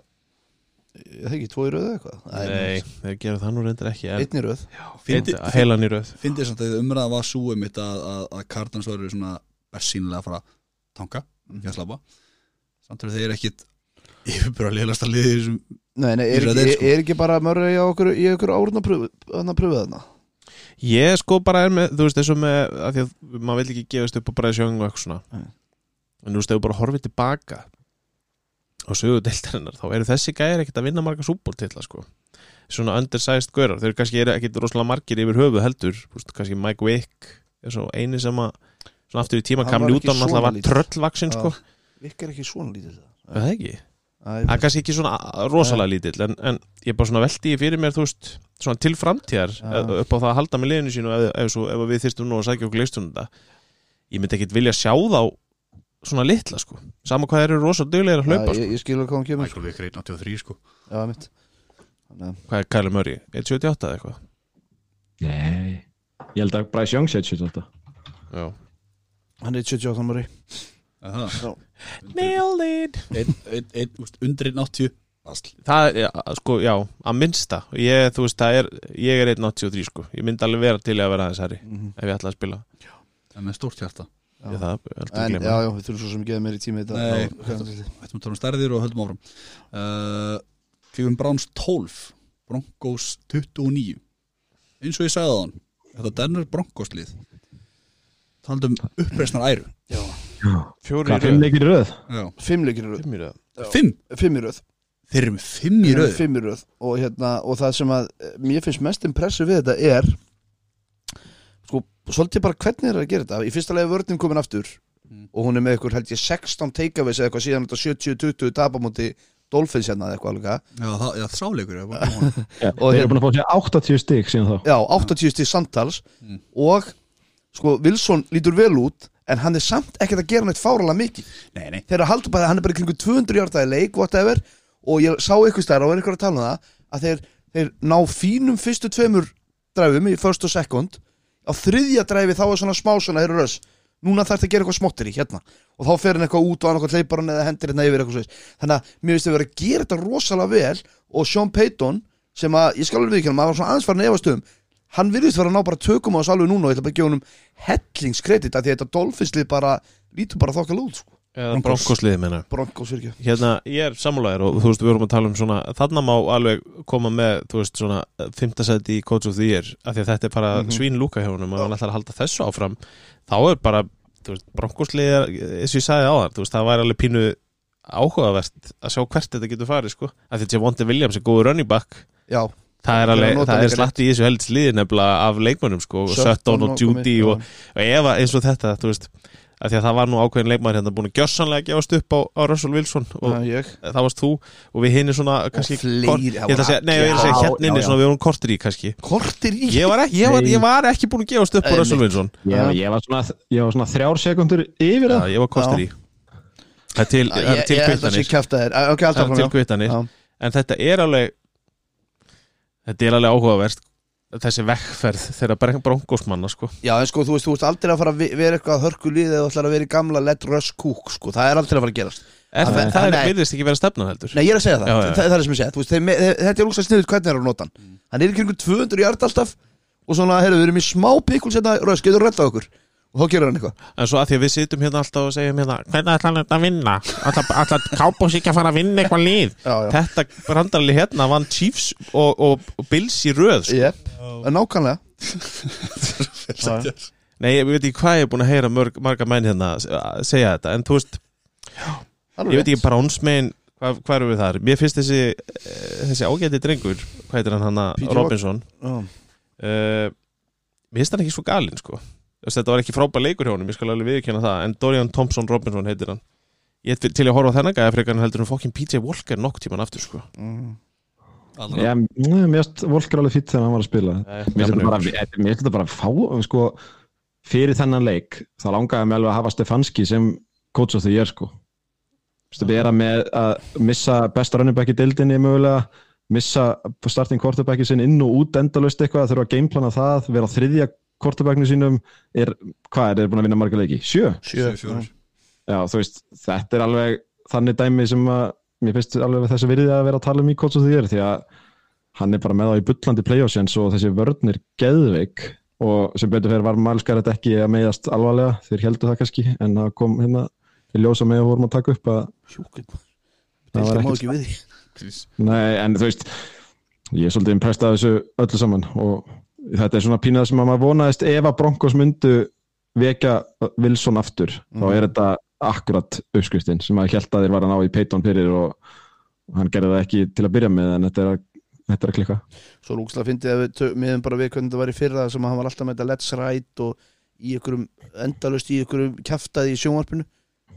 Speaker 4: ég þekki, tvo í röð eða eitthvað
Speaker 3: nei, þeir gera það nú reyndar ekki en,
Speaker 4: einn í röð
Speaker 1: Fyndi-
Speaker 3: Einn- heilan í röð
Speaker 1: Fyndið samt að umræða var súið mitt að, að, að Cardinals varu svona bersýnilega að fara að tanka, ekki að slappa samt eru þeir ekkit yfirbúra liðlasta liðið í þessum
Speaker 4: nei, nei, er,
Speaker 1: Í röð einn,
Speaker 4: ekki, er,
Speaker 1: sko.
Speaker 4: er ekki bara mörg í okkur, í okkur árna pröfið þarna
Speaker 3: ég sko bara er með, þú veist þessu með af því að maður vil ekki gefast upp og bara sjöng og eitthvað svona
Speaker 4: Nei.
Speaker 3: en þú veist, ef þú bara horfið tilbaka á sögudeildarinnar, þá eru þessi gæðir ekkert að vinna marga súbóltitla sko svona undersized gaurar, þeir eru kannski eru ekkert rosalega margir yfir höfuð heldur Þú veist, kannski Mike Wick er svo eini sem að svona aftur í tíma
Speaker 4: Hann
Speaker 3: kam
Speaker 4: var ekki
Speaker 3: Newton alltaf
Speaker 4: svona
Speaker 3: var
Speaker 4: lítill.
Speaker 3: tröllvaksin sko,
Speaker 4: Vikk er ekki svona lítið það
Speaker 3: Er það ekki
Speaker 4: Æ,
Speaker 3: það er kannski ekki svona rosalega lítill en, en ég bara svona veldi fyrir mér þú veist svona til framtíðar eh, upp á það að halda með liðinu sínu ef, ef, svo, ef við þyrstum nú að sækja okkur leistunda ég myndi ekkit vilja sjá þá svona litla sko sama hvað þeir eru rosalega duglegir að hlaupa
Speaker 4: Já, ég, ég skilur hvað hann kemur sko.
Speaker 1: Michael Vick reynd 83 sko
Speaker 4: Já, mitt Þannig að-
Speaker 3: sko. hvað er Kæli Murray, 178 eða eitthvað
Speaker 2: nei Ég held að Bryce Young setjum þetta
Speaker 3: Já.
Speaker 4: Hann er 78 ári
Speaker 1: Aha.
Speaker 3: nailed it
Speaker 1: Einn, einn, einn, úst, undir 180 Asl.
Speaker 3: það er, ja, sko, já, að minnsta ég, þú veist, það er, ég er 183 sko ég myndi alveg vera til í að vera aðeins herri ef ég ætla að spila
Speaker 1: en með stórt hjarta
Speaker 4: Mhm. Já.
Speaker 3: ég, það, er aldrei að
Speaker 4: En
Speaker 3: gleyma.
Speaker 4: já, já, við þurfum svo sem geða meir í tími þetta
Speaker 1: Nei.
Speaker 4: Já, hvað er þetta?
Speaker 1: Þetta maður tala um stærðir og höldum áfram uh, Kevin Browns 12 Broncos 29 eins og ég sagði það hann þetta Denver Broncos lið taldum uppreisnar æru
Speaker 3: fjórir
Speaker 2: Hvað, fimm
Speaker 3: í
Speaker 2: leikir í röð?
Speaker 1: Já.
Speaker 4: Fimm leikir í röð
Speaker 3: röð.
Speaker 1: fimm,
Speaker 4: Fimm í röð
Speaker 1: þeir eru með fimm í röð
Speaker 4: Fimm í röð og, hérna, og það sem að eh, mér finnst mest impressu við þetta er sko, svolítið bara hvernig er að gera þetta í fyrsta leiði vörðin komin aftur
Speaker 1: Mm.
Speaker 4: og hún er með ykkur held ég 16 takeaways eða eitthvað síðan þetta 70-20 tapamóti Dolphins hérna eða eitthvað alveg
Speaker 1: já, það, já, sáleikur er bara gaman.
Speaker 2: Já,
Speaker 4: Og
Speaker 2: Þeir
Speaker 4: hérna-
Speaker 2: eru búin að fá sér 80 stig síðan þá
Speaker 4: Já,
Speaker 1: Mm.
Speaker 4: 80 stíð samtals og sko, Wilson lítur vel út en hann er samt ekkert að gera neitt fáralega mikið
Speaker 1: nei, nei,
Speaker 4: þegar að halda bara, hann er bara í kringu 200 hjartaði leik, whatever, og ég sá ykkur stær og er ykkur að tala um það, að þeir, þeir ná fínum fyrstu tveimur dræfum í first og second á þriðja dræfi þá er svona smá svona þeir eru röss, núna þarf það að gera eitthvað smottir í hérna og þá fer hann eitthvað út og annarkoð leipar hann eða hendir hérna yfir eitthvað svoleiðis þannig að mér finnst þau verið að gera þetta rosalega vel og Sean Payton, sem að ég skal alveg viðkjörnum, maður var svona aðeins farin að efast um hann virðist vera að ná bara tökum á þessu alveg núna og ég ætla bara að gefa honum hellingskredit að því að þetta Dolphinslið bara, lítur bara þokkala út sko.
Speaker 3: eða bronkosliði meina
Speaker 4: Broncos fyrir ekki
Speaker 3: hérna, ég er sammálaðir og þú veist, við vorum að tala um svona þarna má alveg koma með, þú veist, svona fimmtasæti í Coach of the Year af því að þetta er bara
Speaker 4: Mhm.
Speaker 3: svín lúka hjá honum og hann ætlar að halda þessu áfram þá er bara, þú veist, bronkosliðar eins og ég sagði á það, þú veist, það væri alveg pínu áhugavert að sjá hvert þetta getur farið, sko, af því að Javonte Williams er góður running back,
Speaker 4: Já,
Speaker 3: það er
Speaker 4: Hann er að
Speaker 3: alveg,
Speaker 4: nota
Speaker 3: það er
Speaker 4: líka
Speaker 3: slatti í þessu heldsliði nefnilega af leikmönnum, sko, og
Speaker 4: Sutton
Speaker 3: Sutton og
Speaker 4: og
Speaker 3: Judy
Speaker 4: komið,
Speaker 3: og, og ef að eins og þetta, þú veist af því að það var nú ákveðin leikmaður hérna búin að gjörsanlega gefast upp á, á Russell Wilson og,
Speaker 4: það er ég
Speaker 3: Eh, það varst þú og við hinni svona kannski,
Speaker 4: fleiri,
Speaker 3: kort-
Speaker 4: það
Speaker 3: ég ætla
Speaker 4: voru
Speaker 3: að segja, nei, ég ætla að
Speaker 4: allir.
Speaker 3: segja hérna
Speaker 4: Já,
Speaker 3: inni
Speaker 4: já.
Speaker 3: svona við vorum kortir í kannski
Speaker 4: Kortir í
Speaker 3: ég var, ekki- ég var,
Speaker 2: Nei.
Speaker 3: ég var ekki búin að gefast upp á
Speaker 4: Nei,
Speaker 3: Russell
Speaker 4: mitt.
Speaker 3: Wilson
Speaker 2: Ég, ég, var svona, ég var svona þrjár sekundur yfir
Speaker 3: já,
Speaker 2: það
Speaker 3: ég var kortir í það er til,
Speaker 4: Já,
Speaker 3: það
Speaker 4: Ég
Speaker 3: er til
Speaker 4: ég held að sé
Speaker 3: kvittanir
Speaker 4: kæft að þér Ok,
Speaker 3: það
Speaker 4: alltaf
Speaker 3: er til
Speaker 4: fram já.
Speaker 3: kvittanir
Speaker 4: Já.
Speaker 3: en þetta er alveg þetta er alveg áhugavert þessi vekkferð þegar breng bronkosmanna sko
Speaker 4: já, en sko, þú veist, þú veist aldrei að fara að ve- vera eitthvað hörkulíð eða þú ætlar að vera í gamla Let Russ Cook sko. það er aldrei að fara að gerast
Speaker 3: er,
Speaker 4: Nei.
Speaker 3: það, það er
Speaker 4: Nei.
Speaker 3: virðist ekki vera stefnan heldur
Speaker 4: Nei, ég er að segja það,
Speaker 3: Já,
Speaker 4: já,
Speaker 3: já.
Speaker 4: það, það er sem ég segja Þú veist, þeir, me- þeir, Þetta er lúkst að sniður hvernig er að nota hann Hann er í kringu 200 í art alltaf og svona, heyrðu, við erum í smá pikul setna Russ, hérna. getur rettað okkur og þá gerur hann eitthvað
Speaker 3: En svo að því að við sittum hérna alltaf og segjum hérna Hvernig ætla hann þetta að vinna? Alltaf, alltaf kápos ekki að fara að vinna eitthvað lið
Speaker 4: Já, já.
Speaker 3: Þetta brandarli hérna vann Chiefs og, og, og Bills í röð sko.
Speaker 4: yep. nákvæmlega
Speaker 3: Nei, ég veit ekki hvað ég er búin að heyra mörg, marga menn hérna að segja þetta En þú veist,
Speaker 4: Alveg
Speaker 3: ég veit
Speaker 4: rétt.
Speaker 3: ekki bránsmein Hvað, hvað eru við þar? Mér finnst þessi, eh, þessi ágæti drengur Hvað heitir hann hana?
Speaker 4: P.J.
Speaker 3: Robinson
Speaker 4: Já.
Speaker 3: uh, Mér finnst hann ekki svo galinn sko Þú veist, Þetta var ekki frábær leikur hjá honum, ég skal alveg viðkjöna það En Dorian Thompson Robinson heitir hann Ég er til að horfa á þennan gæða frekar en heldur um fokkin PJ Walker nokk tíman aftur sko
Speaker 4: Mm.
Speaker 1: Allra.
Speaker 2: Já, mér finnst Volker alveg fýtt þegar hann var að spila
Speaker 3: Nei,
Speaker 2: Eh, Mér
Speaker 3: gaman
Speaker 2: finnst þetta bara,
Speaker 3: að-
Speaker 2: mér finnst þetta bara að fá sko, fyrir þennan leik þá langaði mig alveg að hafa Stefanski sem coach of the year sko. Þú veist, vera með að missa besta running back í deildinni mögulega missa starting quarterbacki sinn inn og út endalust eitthvað, þurfa að gameplana það vera á þriðja quarterbackinu sínum er, hvað er, er búin að vinna marga leiki? Sjö?
Speaker 1: Sjö, fjórir.
Speaker 2: Já, þú veist, þetta er alveg þannig dæmi sem að mér finnst alveg þessi virði að vera að tala um í Colts og því er því að hann er bara með á í bullandi playoffsins og þessi vörn er geðveik og sem betur fyrir var malskar þetta ekki að meiðast alvarlega, þeir heldur það kannski en það kom hérna í ljósa með að vorum að taka upp að
Speaker 4: Sjúkinn.
Speaker 2: það
Speaker 4: Deildin
Speaker 2: var
Speaker 4: má
Speaker 2: ekkert
Speaker 4: ekki við því.
Speaker 2: Nei, en þú veist ég er svolítið impressed af þessu öllu saman og þetta er svona pínað sem að maður vonaðist ef að Broncos myndu vekja Wilson aftur
Speaker 4: Mhm.
Speaker 2: þá er þetta akkurat uppskriftin sem að held að þeir var að ná í Peyton fyrir og og hann gerði það ekki til að byrja með en þetta er að, þetta er að klikka
Speaker 4: svo lúkslega fyndið að við tö- miðum bara við hvernig það var í fyrra sem að hann var alltaf með þetta let's ride og í ykkurum endalust í ykkurum kæftaði í sjónvarpinu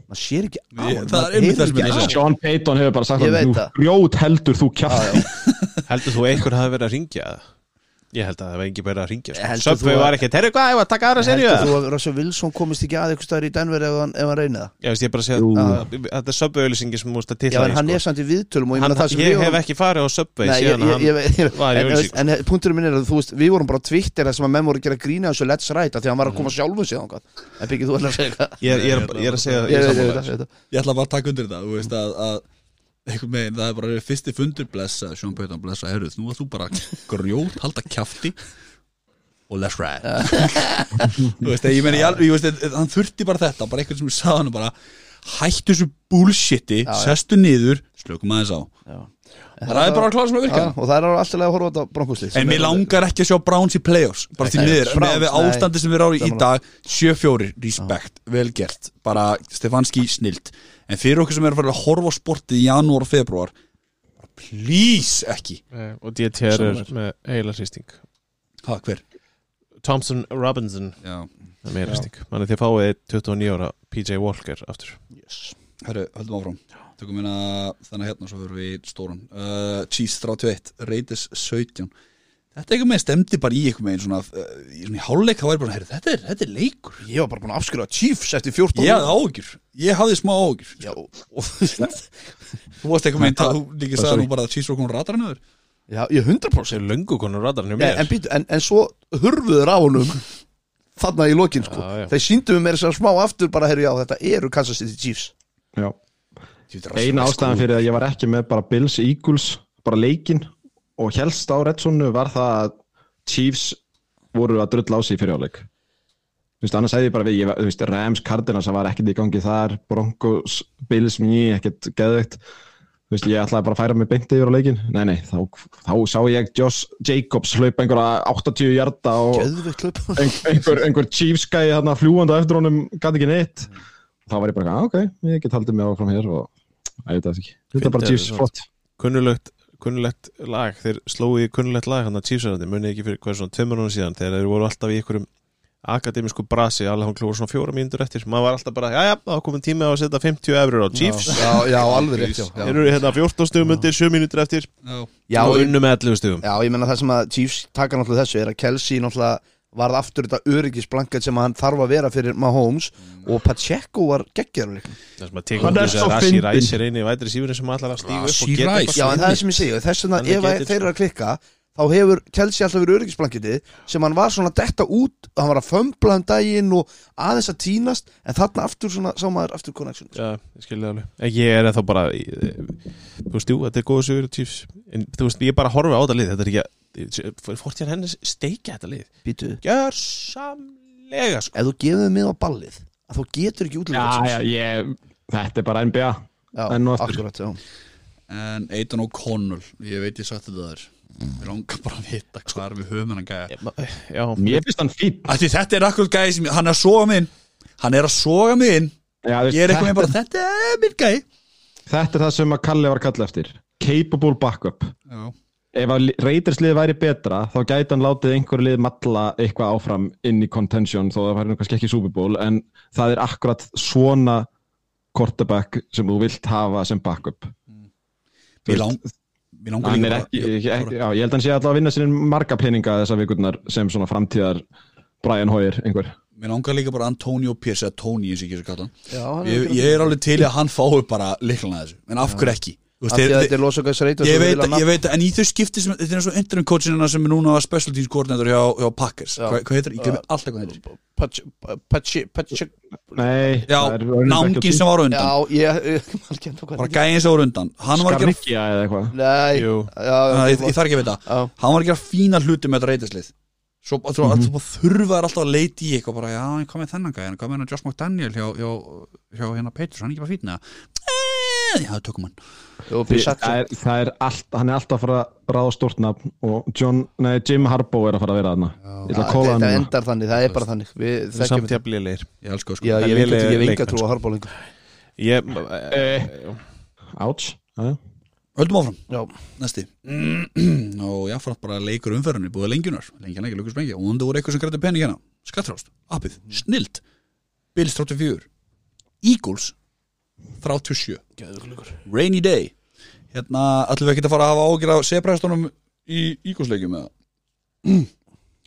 Speaker 4: maður sér ekki á
Speaker 1: Ég-
Speaker 4: honum,
Speaker 1: það er
Speaker 4: maður
Speaker 1: einmitt
Speaker 4: heyrir
Speaker 1: það sem
Speaker 4: ekki
Speaker 1: ég
Speaker 4: á
Speaker 1: er að
Speaker 4: honum.
Speaker 1: segja.
Speaker 2: Sean Peyton hefur bara sagt
Speaker 4: Ég
Speaker 2: hann, þú
Speaker 4: veit það.
Speaker 2: grjót heldur þú kjátt
Speaker 3: Heldur þú einhver hafi verið að ringja það? Ég held að það var engin bara að ringja sko.
Speaker 4: Heldur þú
Speaker 3: Söpfið
Speaker 4: að-
Speaker 3: var ekki, herru hvað, ég var að taka aðra serið
Speaker 4: heldur þú að Russell Wilson komist ekki að eitthvað staðar í Denver ef hann, ef hann reynið það
Speaker 3: Ég veist, ég er bara að segja
Speaker 2: Jú.
Speaker 3: að- að þetta er söpfið-auðlýsingi sem múst að
Speaker 4: já
Speaker 3: tilla
Speaker 4: en hann er samt í viðtölum og ég meina það
Speaker 3: sko.
Speaker 4: sem
Speaker 3: Ég
Speaker 4: við
Speaker 3: hef
Speaker 4: vorum-
Speaker 3: ekki farið á söpfið
Speaker 4: Nei, ég-
Speaker 3: síðan að
Speaker 4: ég-
Speaker 3: hann
Speaker 4: ég- ég-
Speaker 3: var í
Speaker 4: en,
Speaker 3: auglýsingu.
Speaker 4: en punkturinn minn er að þú veist við vorum bara á Twitter þar sem að menn voru að gera grína þessu let's ride af því að hann var að
Speaker 3: Mhm.
Speaker 4: koma sjálfum sér þangað en byggir þú ætlar að segja eitthvað
Speaker 3: Ég er- ég er ég er að segja
Speaker 4: Ég-
Speaker 3: ég
Speaker 4: ég-
Speaker 3: er
Speaker 4: ég- ég-
Speaker 3: sammála.
Speaker 4: ég- ég- ég-
Speaker 1: Ég ætla bara að taka undir þetta Þú veist að, að einhvern veginn, það er bara fyrsti fundur blessa, Sean Payton blessa, herruð, nú að þú bara grjót, halda kjafti og let's ride þú veist, ég meni, ég, alveg- ég veist að- hann þurfti bara þetta, bara eitthvað sem ég sagði hann bara, hættu þessu bullshiti sestu niður, slökum aðeins á það er bara að klára sem að virka
Speaker 4: Já, og það er alltaf að horfa á þetta bronkuslið
Speaker 1: en mér langar ekki að sjá Browns í playoffs bara því
Speaker 4: Nei,
Speaker 1: miður,
Speaker 4: Browns,
Speaker 1: með við
Speaker 4: nei.
Speaker 1: ástandi sem við erum í
Speaker 4: Sammála.
Speaker 1: dag 7-4, respect, vel gert bara Stefanski snilt en fyrir okkur sem er að fara að horfa á sportið í janúar og februar please ekki,
Speaker 3: Eh, Og DTR er með heila hristing
Speaker 1: ha hver
Speaker 3: Thompson Robinson
Speaker 1: já,
Speaker 3: er með heila hristing Þannig að þið fáið 29 ára PJ Walker aftur
Speaker 1: hörru, höldum áfram tökum minna þannig hérna svo fyrir við í stóran uh, Cheese 31, Raiders 17 þetta einhvern veginn stemdi bara í einhvern veginn svona, uh, í svona í hálfleik þá væri bara, herru, þetta er, þetta er leikur
Speaker 4: ég var bara búin að afskrifa Chiefs eftir 14
Speaker 1: ég hafði áhugjur, ég hafði smá áhugjur
Speaker 4: Já, og-
Speaker 1: Þú varst eitthvað meint að þú líka sagði nú bara að Cheese var komin radar nöður
Speaker 4: já, ég 100%
Speaker 3: Sér löngu konur radarinn hjá
Speaker 4: Já,
Speaker 3: mér
Speaker 4: en, býtu, en, en svo hurfuður á honum þarna í lokin sko.
Speaker 3: Já, já.
Speaker 4: þeir síndum mér þess að segja smá aftur bara heyrðu já þetta eru Kansas City Chiefs
Speaker 2: Eina ástæðan fyrir að ég var ekki með bara Bills Eagles, bara leikinn og helst á Redsonu var það að Chiefs voru að drull á sig í fyrirháleik Þú veist, annars hefði ég bara við, ég, var- þú veist, Rams Cardinals það var ekkert í gangi þar, Broncos Bills mér, ekkert geðveikt Þú veist, ég ætlaði bara að færa mig beint yfir á leikinn Nei, nei, þá, þá sá ég Josh Jacobs hlaupa einhverja 80 hjarta og
Speaker 4: Geðveikt hlaup.
Speaker 2: ein, einhver, einhver Chiefs gæi þarna fljúandi á eftir honum gæti ekki neitt þá var ég bara, "Ah, ok, ég get haldið mig áfram hér og Æ, ég veit það ekki, þetta er bara
Speaker 3: Fyndið
Speaker 2: Chiefs
Speaker 3: þetta
Speaker 2: flott
Speaker 3: Kunnulegt, kunnulegt lag Þeir slóið í kunnulegt lag hann að Chiefsarandi Munið ekki fyrir hvað svona tveimur hún síðan Þegar þeir voru alltaf í einhverjum akademisku brasi Alla hann klúður svona fjóra mínútur eftir Maður var alltaf bara, já já, þá komum tími á að setja 50 eurur á Chiefs
Speaker 4: já, já alveg rétt já,
Speaker 3: Þeir
Speaker 4: já.
Speaker 3: eru hérna 14 stugum undir 7 mínútur eftir
Speaker 4: Já,
Speaker 3: og
Speaker 4: ég-
Speaker 3: unnu með 11 stugum
Speaker 4: já ég menna það sem að Chiefs taka náttúrulega þessu er að Kelsey náttúrulega varð aftur þetta öryggisblanket sem hann þarf að vera fyrir Mahomes og Pacheco var geggjarum líka
Speaker 3: Það sem að tekur
Speaker 2: Hann er
Speaker 3: þess
Speaker 2: svo
Speaker 3: að Rassi
Speaker 2: fyndinn.
Speaker 3: Ræs er einu í vætri sífurinn sem allar að stígu upp og
Speaker 1: Rashi
Speaker 3: geta
Speaker 1: Rice.
Speaker 3: eitthvað
Speaker 4: Já, en það er
Speaker 3: sniðugt.
Speaker 4: sem ég segi, þess vegna
Speaker 3: Hann er
Speaker 4: ef að
Speaker 3: getið,
Speaker 4: þeir eru að klikka þá hefur Kelsey alltaf verið öryggisblanketið sem hann var svona detta út hann var að fömbla um daginn og aðeins að tínast en þarna aftur svona sá maður aftur connection
Speaker 3: Já, ég skilja alveg En Ég er ennþá bara í- Þú veist, jú, þetta er góða sögur og tífs En þú veist, ég er bara að horfa á þetta lið Þetta er ekki að Fortján hennis steikja þetta lið
Speaker 4: Býtu,
Speaker 3: Gjör samlega algjörlega sko.
Speaker 4: ef þú gefur mig á ballið að þú getur ekki útlöfum
Speaker 2: Já, já, ég, þetta er bara NBA
Speaker 4: já,
Speaker 2: enn og aftur.
Speaker 4: akkurat, já.
Speaker 1: En Eitan og Connell, ég veit ég sagt þetta þér Mér langar bara að vita hvað er við höfum hennan gæja
Speaker 3: Eh, Já,
Speaker 2: Mér finnst hann fín
Speaker 1: Ætli, Þetta er akkur gæja sem, hann er að soga mig inn Hann er að soga mig inn
Speaker 2: já, þú veist,
Speaker 1: Ég er eitthvað
Speaker 2: þetta,
Speaker 1: með bara, þetta er minn gæja
Speaker 2: þetta er það sem að Kalli var kallið eftir Capable backup
Speaker 1: Já.
Speaker 2: Ef að reytirsliði væri betra þá gæti hann látið einhverju lið matla eitthvað áfram inn í contention þó það væri nú kannski ekki Super Bowl en það er akkurat svona quarterback sem þú vilt hafa sem backup Þú
Speaker 1: Mér
Speaker 2: veist,
Speaker 1: lang- mér langar
Speaker 2: hann
Speaker 1: líka
Speaker 2: er
Speaker 1: bara-
Speaker 2: ekki, ekki,
Speaker 1: ég-
Speaker 2: ekki já, ég held að hann sé alltaf að vinna sinni marga peninga þessar vikurnar sem svona framtíðar Brian Hoyer einhver
Speaker 1: Mér langar líka bara Antonio Pierce eða Tony eins og ég ekki kalla hann
Speaker 4: Já, hann
Speaker 1: ég, ég er alveg til í að hann fái bara liklana þessu En af hverju ekki? Þú
Speaker 4: Af því að
Speaker 1: þeir-
Speaker 4: þetta er losokastreitur
Speaker 1: ég veit, ég veit, en í þau skipti sem, þetta er eins og interim coachinina sem er núna special teams coordinator hjá, hjá Packers Hva, hvað heitir, ég glemir alltaf hvað hann heitir
Speaker 4: veit
Speaker 2: Nei, það er
Speaker 1: já,
Speaker 2: running back á
Speaker 1: nángin
Speaker 2: team.
Speaker 1: sem var á
Speaker 4: Já,
Speaker 1: undan
Speaker 4: ég ég man ekki ennþá hvað
Speaker 1: bara
Speaker 4: hann
Speaker 1: gæin sem var á undan hann var ekki,
Speaker 2: Skarnikja eða eitthvað
Speaker 4: heitir. Nei,
Speaker 3: Jú.
Speaker 4: já,
Speaker 1: að,
Speaker 4: já,
Speaker 1: ég, ég þarf ekki að vita
Speaker 4: Já.
Speaker 1: hann var að gera fína hluti með þetta reytislið svo bara-
Speaker 2: Mhm.
Speaker 1: svo- svo bara þurfa þær alltaf að leita í eitthvað bara, já, en hvað með þennan gæðin, hvað með hennar Josh McDaniel hjá, hjá, hjá hérna Peters, hann er ekki bara fínna já, tökum hann
Speaker 4: Jú,
Speaker 2: Því-
Speaker 4: Bisaccia.
Speaker 2: Það er, það er allt, hann er alltaf að fara að ráða stort nafn og John, nei, Jim Harbaugh er að fara að vera þarna Ég ætla að
Speaker 4: Já,
Speaker 2: kóla hann
Speaker 4: Þetta
Speaker 2: núna.
Speaker 4: endar þannig, það er bara þannig Við
Speaker 3: það er
Speaker 4: þekkjum
Speaker 3: samt
Speaker 4: þetta
Speaker 3: jafn lélegir
Speaker 1: ég elsku það, sko
Speaker 4: Já, ég veit
Speaker 3: lélegir
Speaker 4: ekki, ég hef enga
Speaker 3: leikmenn,
Speaker 4: trú á Harból lengur
Speaker 3: Ég,
Speaker 4: eh,
Speaker 2: Eh. Ouch já, já.
Speaker 1: höldum áfram
Speaker 4: Já,
Speaker 1: næsti og já, frátt bara leikur umferðinni búið lengjunar, lengjan ekki, lukkar sprengja og undur voru eitthvað sem grætti pening hérna, skattrást appið, snilt, Bills 34 Eagles 37, Rainy Day hérna, ætlum við ekki að fara að hafa ágjur af sebræðstónum í Eagles leikjum eða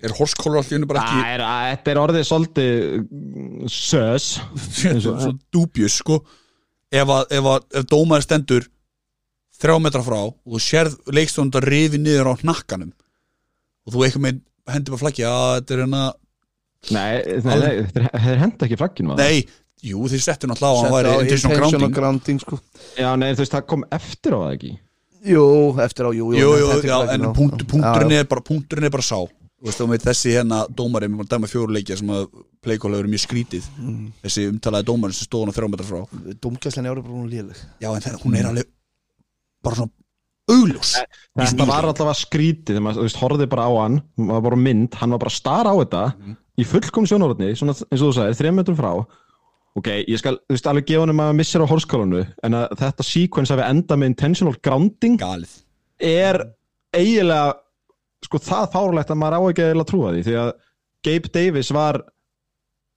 Speaker 1: er horskólur allir bara
Speaker 2: Það
Speaker 1: ekki
Speaker 2: er, að, þetta er orðið svolítið mm, sös
Speaker 1: svona svo dúbjus sko ef, að, ef, að, ef dómaður stendur þrjá metra frá og þú sérð leikstónda rifi niður á hnakkanum og þú eitthvað með hendi bara flaggi að þetta er hérna
Speaker 2: Nei, nei, nei þeir, þeir henda ekki flagginu að
Speaker 1: nei, jú þeir settu náttúrulega á að hann
Speaker 4: Settu
Speaker 1: væri
Speaker 4: á
Speaker 1: intentional
Speaker 4: intentional
Speaker 1: grounding
Speaker 4: grounding sko
Speaker 2: Já, nei, þú veist, það kom eftir á það ekki
Speaker 4: Jú, eftir á, jú,
Speaker 1: jú, jú,
Speaker 4: þetta er
Speaker 1: já,
Speaker 4: ekki
Speaker 1: en
Speaker 4: nóg.
Speaker 1: punkt, punkturinn
Speaker 4: Já,
Speaker 1: er bara punkturinn er bara sá Þú veist, þú veit, þessi hérna dómari með dæma fjóruleikja sem að pleikóla eru mjög skrítið
Speaker 4: Mm.
Speaker 1: þessi umtalaði dómari sem stóð hann þrjá metra frá
Speaker 4: já. Dómgæslan í ára bara hún léleg
Speaker 1: já en það,
Speaker 4: Mm.
Speaker 1: hún er alveg bara svona augljós
Speaker 2: Þetta var alltaf að skríti þegar maður, þú veist, horfið bara á hann hann var bara á mynd, hann var bara að stara á þetta í fullkom sjónarotni, svona eins og þú sagðir þrejum metrum frá ok, ég skal, þú veist, alveg gefa hann um að missir á horskólanu en að þetta sequence hafi endað með intentional grounding
Speaker 1: galið
Speaker 2: er eiginlega sko það fárlegt að maður á ekki eiginlega að trúa því því að Gabe Davis var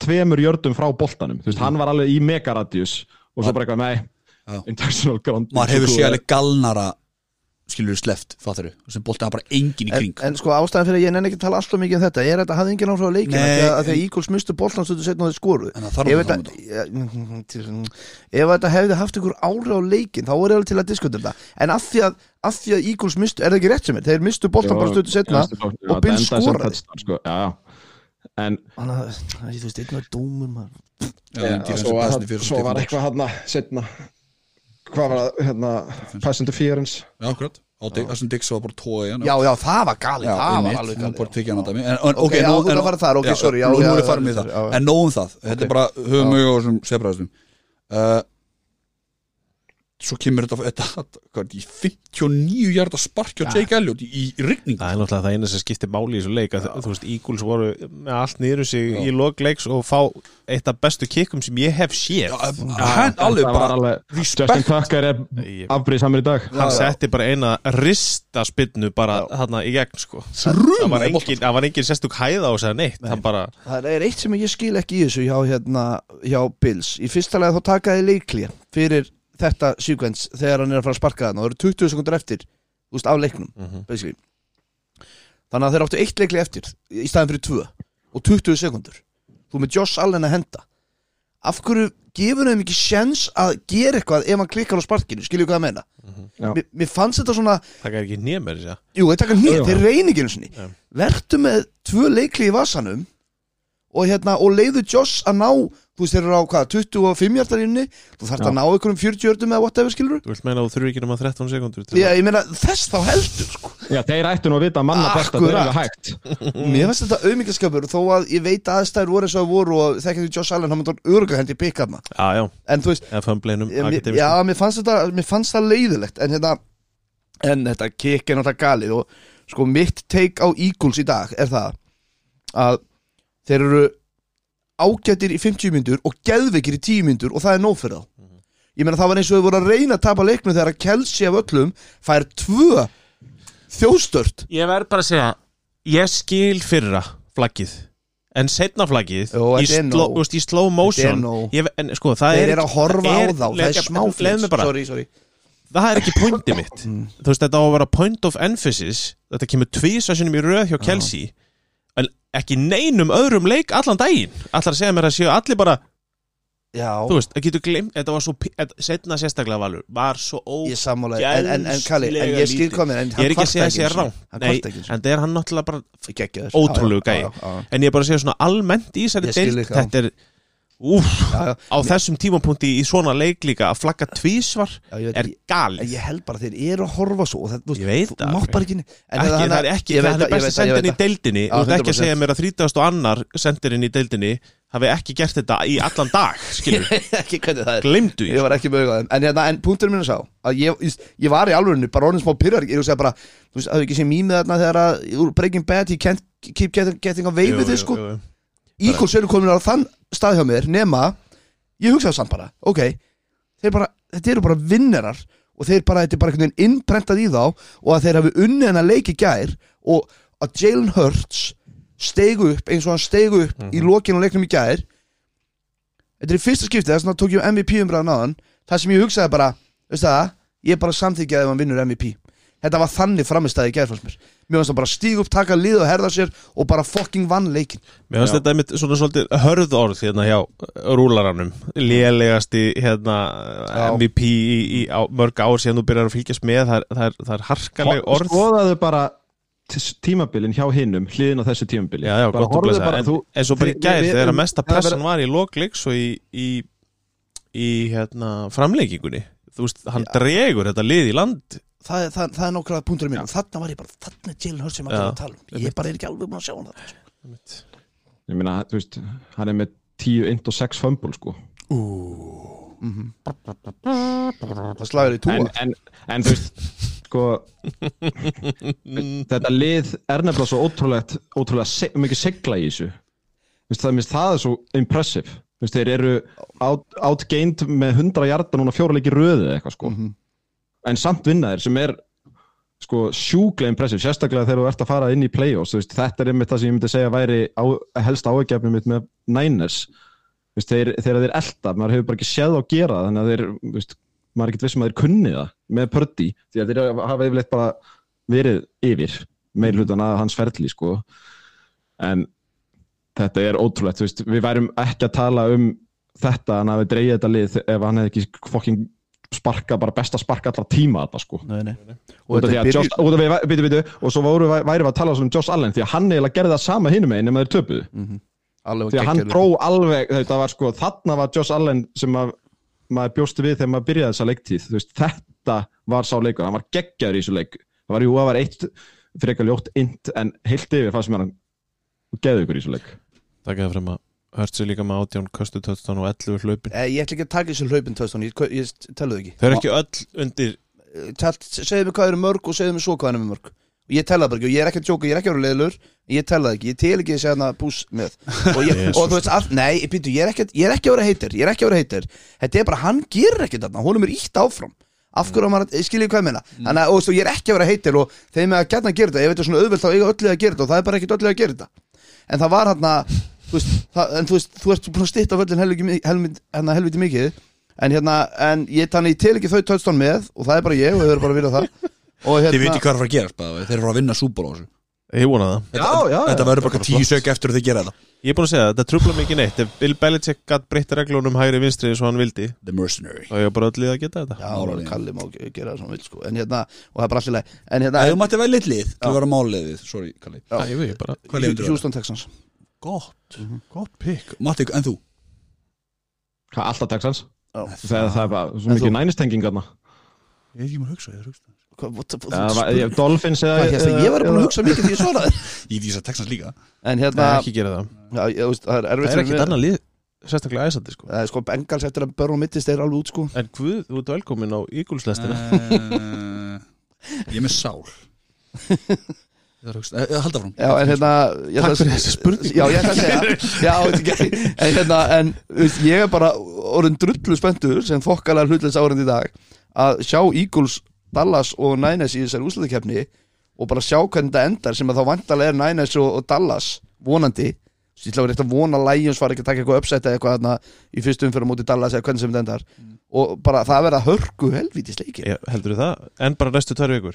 Speaker 2: tveimur jördum frá boltanum þú veist, hann var alveg í megaradius og svo bara
Speaker 1: Já.
Speaker 2: eitthvað, nei, intentional grounding
Speaker 1: maður hefur
Speaker 2: Sko,
Speaker 1: séð alveg galnara skilur sleft, fattar þú sem boltið hann bara engin í
Speaker 4: en,
Speaker 1: kring
Speaker 4: en sko ástæðan fyrir að ég nenni ekki að tala alltaf mikið um þetta er að þetta hafði engin áhrif á leikin
Speaker 1: Nei,
Speaker 4: Þegar
Speaker 1: en-
Speaker 4: þegar Íguls mistu boltan stundu setna og þeir skoru
Speaker 1: En það þarf að
Speaker 4: Ef
Speaker 1: fara
Speaker 4: þetta- ég- mm, til- ef þetta hefði haft ykkur áhrif á leikin þá er það til að diskutum það en af því að, af því að Íguls mistu, er það ekki rétt sem er þeir mistu boltan bara stundu setna og
Speaker 2: og
Speaker 4: Bill skoraði.
Speaker 2: sko. já, já. en
Speaker 4: Þannig að, æ, þú veist, einn var dómur maður
Speaker 2: svo var eitthvað hann setna hvað var það, hérna, pass interference
Speaker 1: akkurat, á Dick- þessum Dix var bara tóa í hann
Speaker 4: Já, já, það var galið,
Speaker 1: Já,
Speaker 4: það var
Speaker 1: einmitt,
Speaker 4: alveg
Speaker 1: hún
Speaker 4: galið
Speaker 1: bara tekið hann að dæmi En- en- ok,
Speaker 4: já,
Speaker 1: nú-
Speaker 4: þú ert
Speaker 1: en-
Speaker 4: að fara þar, ok,
Speaker 1: já,
Speaker 4: sorry, já,
Speaker 1: nú-
Speaker 4: já,
Speaker 1: Nú er
Speaker 4: já,
Speaker 1: ég farin með
Speaker 4: sorry, já,
Speaker 1: það,
Speaker 4: já.
Speaker 1: en nóg um það Þetta er bara höfumög og sem sefraðistum Svo kemur þetta, þetta hvað, í 59 hjarta sparki á Jake Elliot í í rigningu
Speaker 3: það er náttúrulega það eina sem skiptir máli í þessu leik að, þú veist, Eagles voru með allt niður um sig í lokleiks og fá eitt af bestu kikkum sem ég hef séð
Speaker 1: Hann alveg
Speaker 2: það var
Speaker 1: bara
Speaker 2: alveg
Speaker 1: respect.
Speaker 2: Justin Tucker er afbrýðsamur í dag
Speaker 3: hann setti bara eina ristaspinnu bara þarna í gegn sko það var
Speaker 1: Þrjum
Speaker 3: engin, það var engin sérstök hæða á sér neitt hann bara,
Speaker 4: Það er eitt sem ég skil ekki í þessu hjá, hérna, hjá Bills Í fyrsta lega þá takaði leiklið fyrir þetta sequence þegar hann er að fara að sparka þarna og það eru 20 sekundur eftir þú veist, af leiknum
Speaker 1: Mhm.
Speaker 4: basically. Þannig að þeir áttu eitt leiklið eftir í staðin fyrir tvö og 20 sekundur Þú ert með Josh Allen að henda Af hverju gefur þeim ekki sjens að gera eitthvað ef hann klikkar á sparkinu skilju hvað að meina
Speaker 1: Mhm.
Speaker 2: Já.
Speaker 4: mér, mér fannst þetta svona
Speaker 3: það er ekki nýmur já,
Speaker 4: Jú, þeir taka nýtt,
Speaker 2: Já.
Speaker 4: þeir reyninginu sinni Vertu með tvö leikli í vasanum og, hérna, og leiðu Joss að ná þú veist þeir eru á hvað, 25 hjartar inni þú þarf að ná einhverjum 40 hjartum eða whatever skilur
Speaker 3: Þú vilt meina að þú þurfi ekki nema 13 sekundur til
Speaker 4: Já, ég meina þess þá heldur sko.
Speaker 2: Já, þeir ættu nú að vita að manna besta þeir eru
Speaker 4: Akkurat.
Speaker 2: alveg hægt Mm.
Speaker 4: Mér finnst þetta auðmyggaskapur þó að ég veit að aðstæður voru eins og það voru og þekkjandi Josh Allen, hann myndi hann örga hendi pick-up
Speaker 3: að- Já, já,
Speaker 4: en þú veist,
Speaker 3: eða fömbleinum
Speaker 4: Ég- mér- Já, mér fannst þetta, mér fannst það leiðilegt En hérna, en þetta kikk er náttúrulega galið Og sko mitt take á Eagles í dag er það Að þeir eru ágættir í 50 myndur Og geðveikir í 10 myndur Og það er nóg fyrir þá Ég meina það var eins og þau voru að reyna að tapa leiknum Þegar að Kelsey af öllum fær tvö Þjóstört
Speaker 3: Ég verð bara að segja Ég skil fyrra flaggið En setna flaggið
Speaker 4: Jó,
Speaker 3: í,
Speaker 4: þetta er
Speaker 3: sló,
Speaker 4: nóg.
Speaker 3: úst, í slow
Speaker 4: Þetta er
Speaker 3: motion
Speaker 4: nóg.
Speaker 3: ég, En sko, það
Speaker 4: Þeir
Speaker 3: er
Speaker 4: eru að horfa á þá Það er
Speaker 3: leið
Speaker 4: smáflins
Speaker 3: mig bara,
Speaker 4: Sorry, Mm. sorry
Speaker 3: Það er ekki pointi mitt Þú veist, þetta á að vera point of emphasis Þetta kemur tvísasunum í röð hjá Kelsey En ekki neinum öðrum leik allan daginn Allar að segja mér að séu allir bara
Speaker 4: Já,
Speaker 3: Þú veist, það getur glimt Þetta var svo, pi- þetta- setna sérstaklega valur Var svo ó
Speaker 4: ég sammála En, en, en Kalli, en
Speaker 3: Gæðslega
Speaker 4: ég skil
Speaker 3: lítið.
Speaker 4: komið
Speaker 3: Ég
Speaker 4: En
Speaker 3: er
Speaker 4: hann
Speaker 3: ekki að segja
Speaker 4: kvarta
Speaker 3: að segja
Speaker 4: einu
Speaker 3: rá
Speaker 4: sinni. Hann
Speaker 3: Nei,
Speaker 4: kvarta ekki einu sinni.
Speaker 3: en það er hann náttúrulega bara
Speaker 4: Geggjaður.
Speaker 3: ótrúlegu
Speaker 4: Já, já,
Speaker 3: gæi
Speaker 4: já, já.
Speaker 3: en ég er bara að segja svona almennt í þessari
Speaker 4: Ég skil
Speaker 3: deild
Speaker 4: þig, já.
Speaker 3: þetta er úf,
Speaker 4: Já, já.
Speaker 3: á þessum tímapunkti í svona leik líka að flagga tvísvar
Speaker 4: Já, ég veit,
Speaker 3: er
Speaker 4: ég-
Speaker 3: gali
Speaker 4: En ég held bara að þeir eru að horfa svo og það, þú veist,
Speaker 3: Ég veit
Speaker 4: þú
Speaker 3: það,
Speaker 4: mátt
Speaker 3: ok.
Speaker 4: bara ekki en hérna-
Speaker 3: ekki, það er ekki,
Speaker 4: ég veit
Speaker 3: það er
Speaker 4: ég
Speaker 3: besti
Speaker 4: veit ég
Speaker 3: sendin í
Speaker 4: veit
Speaker 3: deildinni
Speaker 4: Já,
Speaker 3: þú ert ekki að
Speaker 4: 100%.
Speaker 3: segja mér að 30 annar sendirinn í deildinni hafi ekki gert þetta í allan dag skilur,
Speaker 4: ekki hvernig það er
Speaker 3: glemdu
Speaker 4: ég var ekki með auðvitað en, hérna, en punkturinn minn er sá að ég, ég, ég var í alvörinu bara orðin smá pyrrar ég er að segja bara þú veist hafðu ekki séð mýmið þarna þegar að úr Breaking Bad ég can't keep getting, getting away
Speaker 3: Jú, jú,
Speaker 4: with this sko
Speaker 3: jú, jú.
Speaker 4: Eagles eru komin á þann stað hjá mér nema ég hugsaði samt bara ok þeir bara þetta eru bara vinnerar og þeir bara þetta er bara einhvern veginn innprentað í þá og að þeir hafi unnið hennar leiki gær og að Jalen Hurts steigu upp eins og hann steigu upp í lokinu á leiknum í gær þetta er í fyrsta skiptið þess að tók ég MVP umræðan áðan það sem ég hugsaði bara veist það ég bara samþykjaði ef hann vinnur MVP þetta var þannig framistæði í gær fannst mér mér fannst það bara stígu upp taka lið og herða sér og bara fucking vann leikin
Speaker 3: Mér finnst þetta einmitt svona svolítið hörð orð hérna hjá rúlaranum lélegasti hérna
Speaker 4: Já.
Speaker 3: MVP í, í á, mörg ár síðan þú byrjar að fylgjast með það er, það er, það er harkaleg
Speaker 2: Sko-
Speaker 3: orð
Speaker 2: Skoðaðu bara tis- tímabilin hjá hinnum hliðin á þessu tímabili
Speaker 3: Já, já,
Speaker 2: bara
Speaker 3: gott að
Speaker 2: horfðu
Speaker 3: blessa
Speaker 2: bara,
Speaker 3: en,
Speaker 2: þú,
Speaker 3: en svo bara í
Speaker 2: Við-
Speaker 3: gæð
Speaker 2: við-
Speaker 3: þegar að mesta
Speaker 2: það er-
Speaker 3: pressan var í lokleiks og í, í, í hérna, framleikingunni þú veist, hann dregur þetta lið í land
Speaker 4: það, er- það, það er nákvæmlega punkturinn minn og þarna var ég bara, þarna er Jalen Hurts sem
Speaker 3: Já.
Speaker 4: allir að tala um ég bara er ekki alveg búin að sjá hann þarna sko.
Speaker 2: Ég meina, þú veist, hann er með 10 int og 6 fömbul sko
Speaker 4: það slagur í
Speaker 2: en,
Speaker 4: túa
Speaker 2: en, en þú veist sko þetta lið er nefnilega svo ótrúlegt ótrúlega se mikið segla í þessu Þú veist, það, minnst, það er svo impressive Þú veist, þeir eru out, outgained með 100 hjarta núna fjórleiki röðu eða eitthvað sko
Speaker 4: Mhm.
Speaker 2: en samt vinna þeir sem er sko sjúklega impressive sérstaklega þegar þú ert að fara inn í playoffs þú veist, þetta er einmitt það sem ég myndi segja væri á, helst áhugjafnum mitt með Niners Þú veist, þeir, þegar þeir elda maður hefur bara ekki séð á gera það, þannig að þeir þú veist, maður er ekkert vissum að þeir kunni það með Pördi, því að þeir hafa yfirleitt bara verið yfir meir hlutan að hans ferli sko en þetta er ótrúlegt þú veist, við værum ekki að tala um þetta hann hafi dreigið þetta lið ef hann hefði ekki fucking sparka bara besta sparka allra tíma þetta sko
Speaker 4: nei, nei. og
Speaker 2: út af því
Speaker 4: þetta
Speaker 2: að
Speaker 4: byrjur
Speaker 2: Josh, út af því að, byrju, byrju, og svo voru, væri við að tala svona um Josh Allen því að hann eiginlega gerði það sama hinum einn nema þeir töpuðu
Speaker 4: alveg
Speaker 2: því að hann
Speaker 4: geggjaður.
Speaker 2: dró alveg þetta var sko, þarna var Josh Allen sem að, maður bjósti við þegar maður byrjaði þessa leiktíð þú veist, þetta var sá leikur hann var geggjaður í þessu leik það var jú, það var eitt frekar ljótt int en heilt yfir fannst mér hann geðu ykkur í þessu leik
Speaker 3: Takk eða frem að hört sér líka með átján köstu töttan og 11 hlaupin
Speaker 4: Eh, ég ætla ekki að taka þessu hlaupin töðstón ég, ég tellu það ekki
Speaker 3: Þau eru ekki öll undir
Speaker 4: Eh, tell, segðu mér hvað eru mörg og segðu mér svo hvað eru mörg og ég tella það bara ekki og ég er ekki að tjóka, ég er ekki að vera leðlur ég tella það ekki, ég tel ekki þessi hérna bús með og, ég, og þú veist, all, nei, býtu, ég, er ekki, ég er ekki að vera heitir ég er ekki að vera heitir, þetta er bara, hann gerir ekki þarna, honum er ítt áfram af hverju á maður, skiljið hvað ég meina þannig að, og þú veist, og ég er ekki að vera heitir og þeim er að gætna að gera þetta, ég veit að svona auðvelt þá eiga öllu að gera þetta og það er bara ekkit öllu að gera þetta en það var hérna, þú veist, það, en þú veist þú ert búin að stýtta völlin helviti, mi- helmi- hérna, helviti mikið en hérna, en ég, þannig, ég tel ekki þau töðstón með og það er bara ég og þau eru bara að vilja það og
Speaker 1: Þið viti
Speaker 4: hérna,
Speaker 1: hvað er að fara að gera bara, Þeir eru að vinna súból á þessu
Speaker 3: Ég vona það
Speaker 1: Þetta, já, já, þetta verður bara tíu sök eftir að þið gera þetta
Speaker 3: Ég er búin að segja það, þetta trubla mikið neitt Ef Bill Belichick gatt breytta reglunum hægri vinstri eins og hann vildi
Speaker 1: The Mercenary
Speaker 3: þá er ég bara öll lið að geta þetta
Speaker 4: já,
Speaker 1: Málið.
Speaker 4: Kalli má gera það sem hann vil sko, en hérna og það er bara allir en
Speaker 1: Ef þú
Speaker 4: hérna,
Speaker 1: mætti vel litlið, þú verður máliðið Sorry, Kalli
Speaker 3: Já, ég veit bara
Speaker 1: Hvað liður þú?
Speaker 4: Houston Texans
Speaker 1: Gott, gott pikk Mhm. Matti, en þú?
Speaker 2: Hvað, alltaf Texans?
Speaker 4: Já.
Speaker 2: Þegar það er bara svo mikið nænistenginga þarna
Speaker 1: Ég er ekki mér að hugsa, ég er að hugsa
Speaker 4: Hvað, what, what,
Speaker 2: Eða var- ég- Dolphins eða
Speaker 4: hvað, hérna, ég var búin að
Speaker 2: eða-
Speaker 4: hugsa mikið því ég svaraði
Speaker 1: Ég vísa Texans líka
Speaker 4: En hérna,
Speaker 3: Nei, ekki gera það
Speaker 4: já, ég, þú veist, það er erfitt
Speaker 3: Það er
Speaker 4: fyrir
Speaker 3: ekkert
Speaker 4: mig.
Speaker 3: annað lið Sérstaklega æsandi sko
Speaker 4: Það er sko Bengals eftir að börn og mittist er alveg út sko
Speaker 3: En hvað, þú ert velkomin á Ígulslestina
Speaker 1: Eh, Ég er með sál Ég er að hugsa, eh, eh, halda frá
Speaker 4: Já, en hérna ég
Speaker 3: Takk
Speaker 4: ætla að-
Speaker 3: fyrir þessi spurning.
Speaker 4: Já, ég ætla að segja Já, þetta er ekki En hérna, en þú veist, ég er bara orðin drullu spenntur sem fokkalega hlutleins árandi í dag að sjá Eagles, Dallas og Niners í þessari úslutakefni og bara sjá hvernig þetta endar sem að þá vantarlega er Niners og, og Dallas vonandi Þú veist, Ég ætla að vera eitt að vona að Lions var ekki að taka eitthvað uppsætt eða eitthvað þarna í fyrstu umfyrir móti Dallas eða hvernig sem þetta endar
Speaker 3: Mm.
Speaker 4: og bara það verða hörku helvítis leikir
Speaker 3: Heldur það? En bara næstu tvær vikur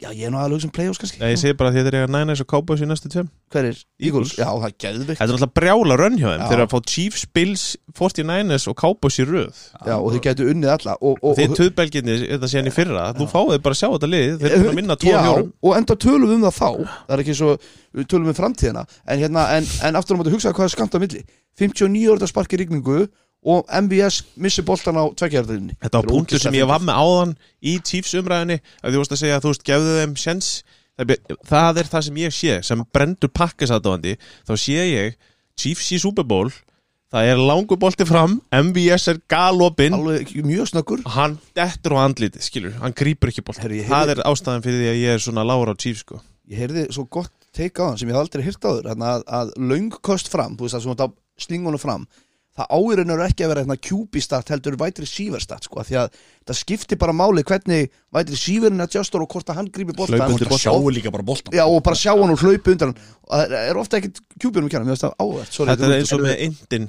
Speaker 4: Já, ég er nú aðalega sem play-offs kannski
Speaker 3: Nei, ég segi bara að þetta er eitthvað næna eins og Cowboys í næstu tveim
Speaker 4: Hver er?
Speaker 3: Eagles.
Speaker 4: Já, það er geðvikt
Speaker 3: Þetta er alltaf brjála rönn hjá þeim
Speaker 4: Já.
Speaker 3: Þeir eru að fá Chiefs, Bills, 49ers og Cowboys í röð
Speaker 4: Já, og þau gætu unnið alla og, og,
Speaker 3: Þið
Speaker 4: og,
Speaker 3: töðbelginni, þetta sé hann í fyrra Þú fáið bara að sjá þetta lið Þeir eru búin að minna tvo
Speaker 4: Já,
Speaker 3: fjórum
Speaker 4: og enda tölum við um það þá Það er ekki svo, við tölum við framtíðina En, hérna, en, en aftur á móti hugsaðu hvað er skamt á milli 59 orða sparki rigningu Og MBS missi boltan á tveggjarðinni
Speaker 3: Þetta var punktur sem ég var með áðan í Chiefs umræðinni að þú veist að segja að þú veist gefðu þeim sjens það, er- það er það sem ég sé sem brendur pakkasatóðandi þá sé ég Chiefs í Super Bowl það er langur bolti fram MVS er galopinn
Speaker 4: Alveg mjög snöggur
Speaker 3: hann dettur á andliti, skilur, hann grýpur ekki bolt
Speaker 4: Herru, ég
Speaker 3: það er ástæðan fyrir því að ég er svona lágur á Chiefs sko
Speaker 4: Ég heyrði svo gott teika á hann sem ég hef aldrei hýrt áður Þannig að, að löngkost fram Þú veist að svona slingunum fram Það áirinn eru ekki að vera hérna QB-stat heldur vætri síverstat sko af Því að það skiptir bara máli hvernig vætri síverinn að justur og hvort að hann grípi boltan
Speaker 3: Hlaup undir
Speaker 4: Og-
Speaker 1: Sjáu líka bara boltan
Speaker 4: Já, og bara sjá hann og hlaupa undan hann og það er ofta ekkit kjúbjörnum kjánum, ég veist það áverð sorry,
Speaker 3: þetta er eins og með indin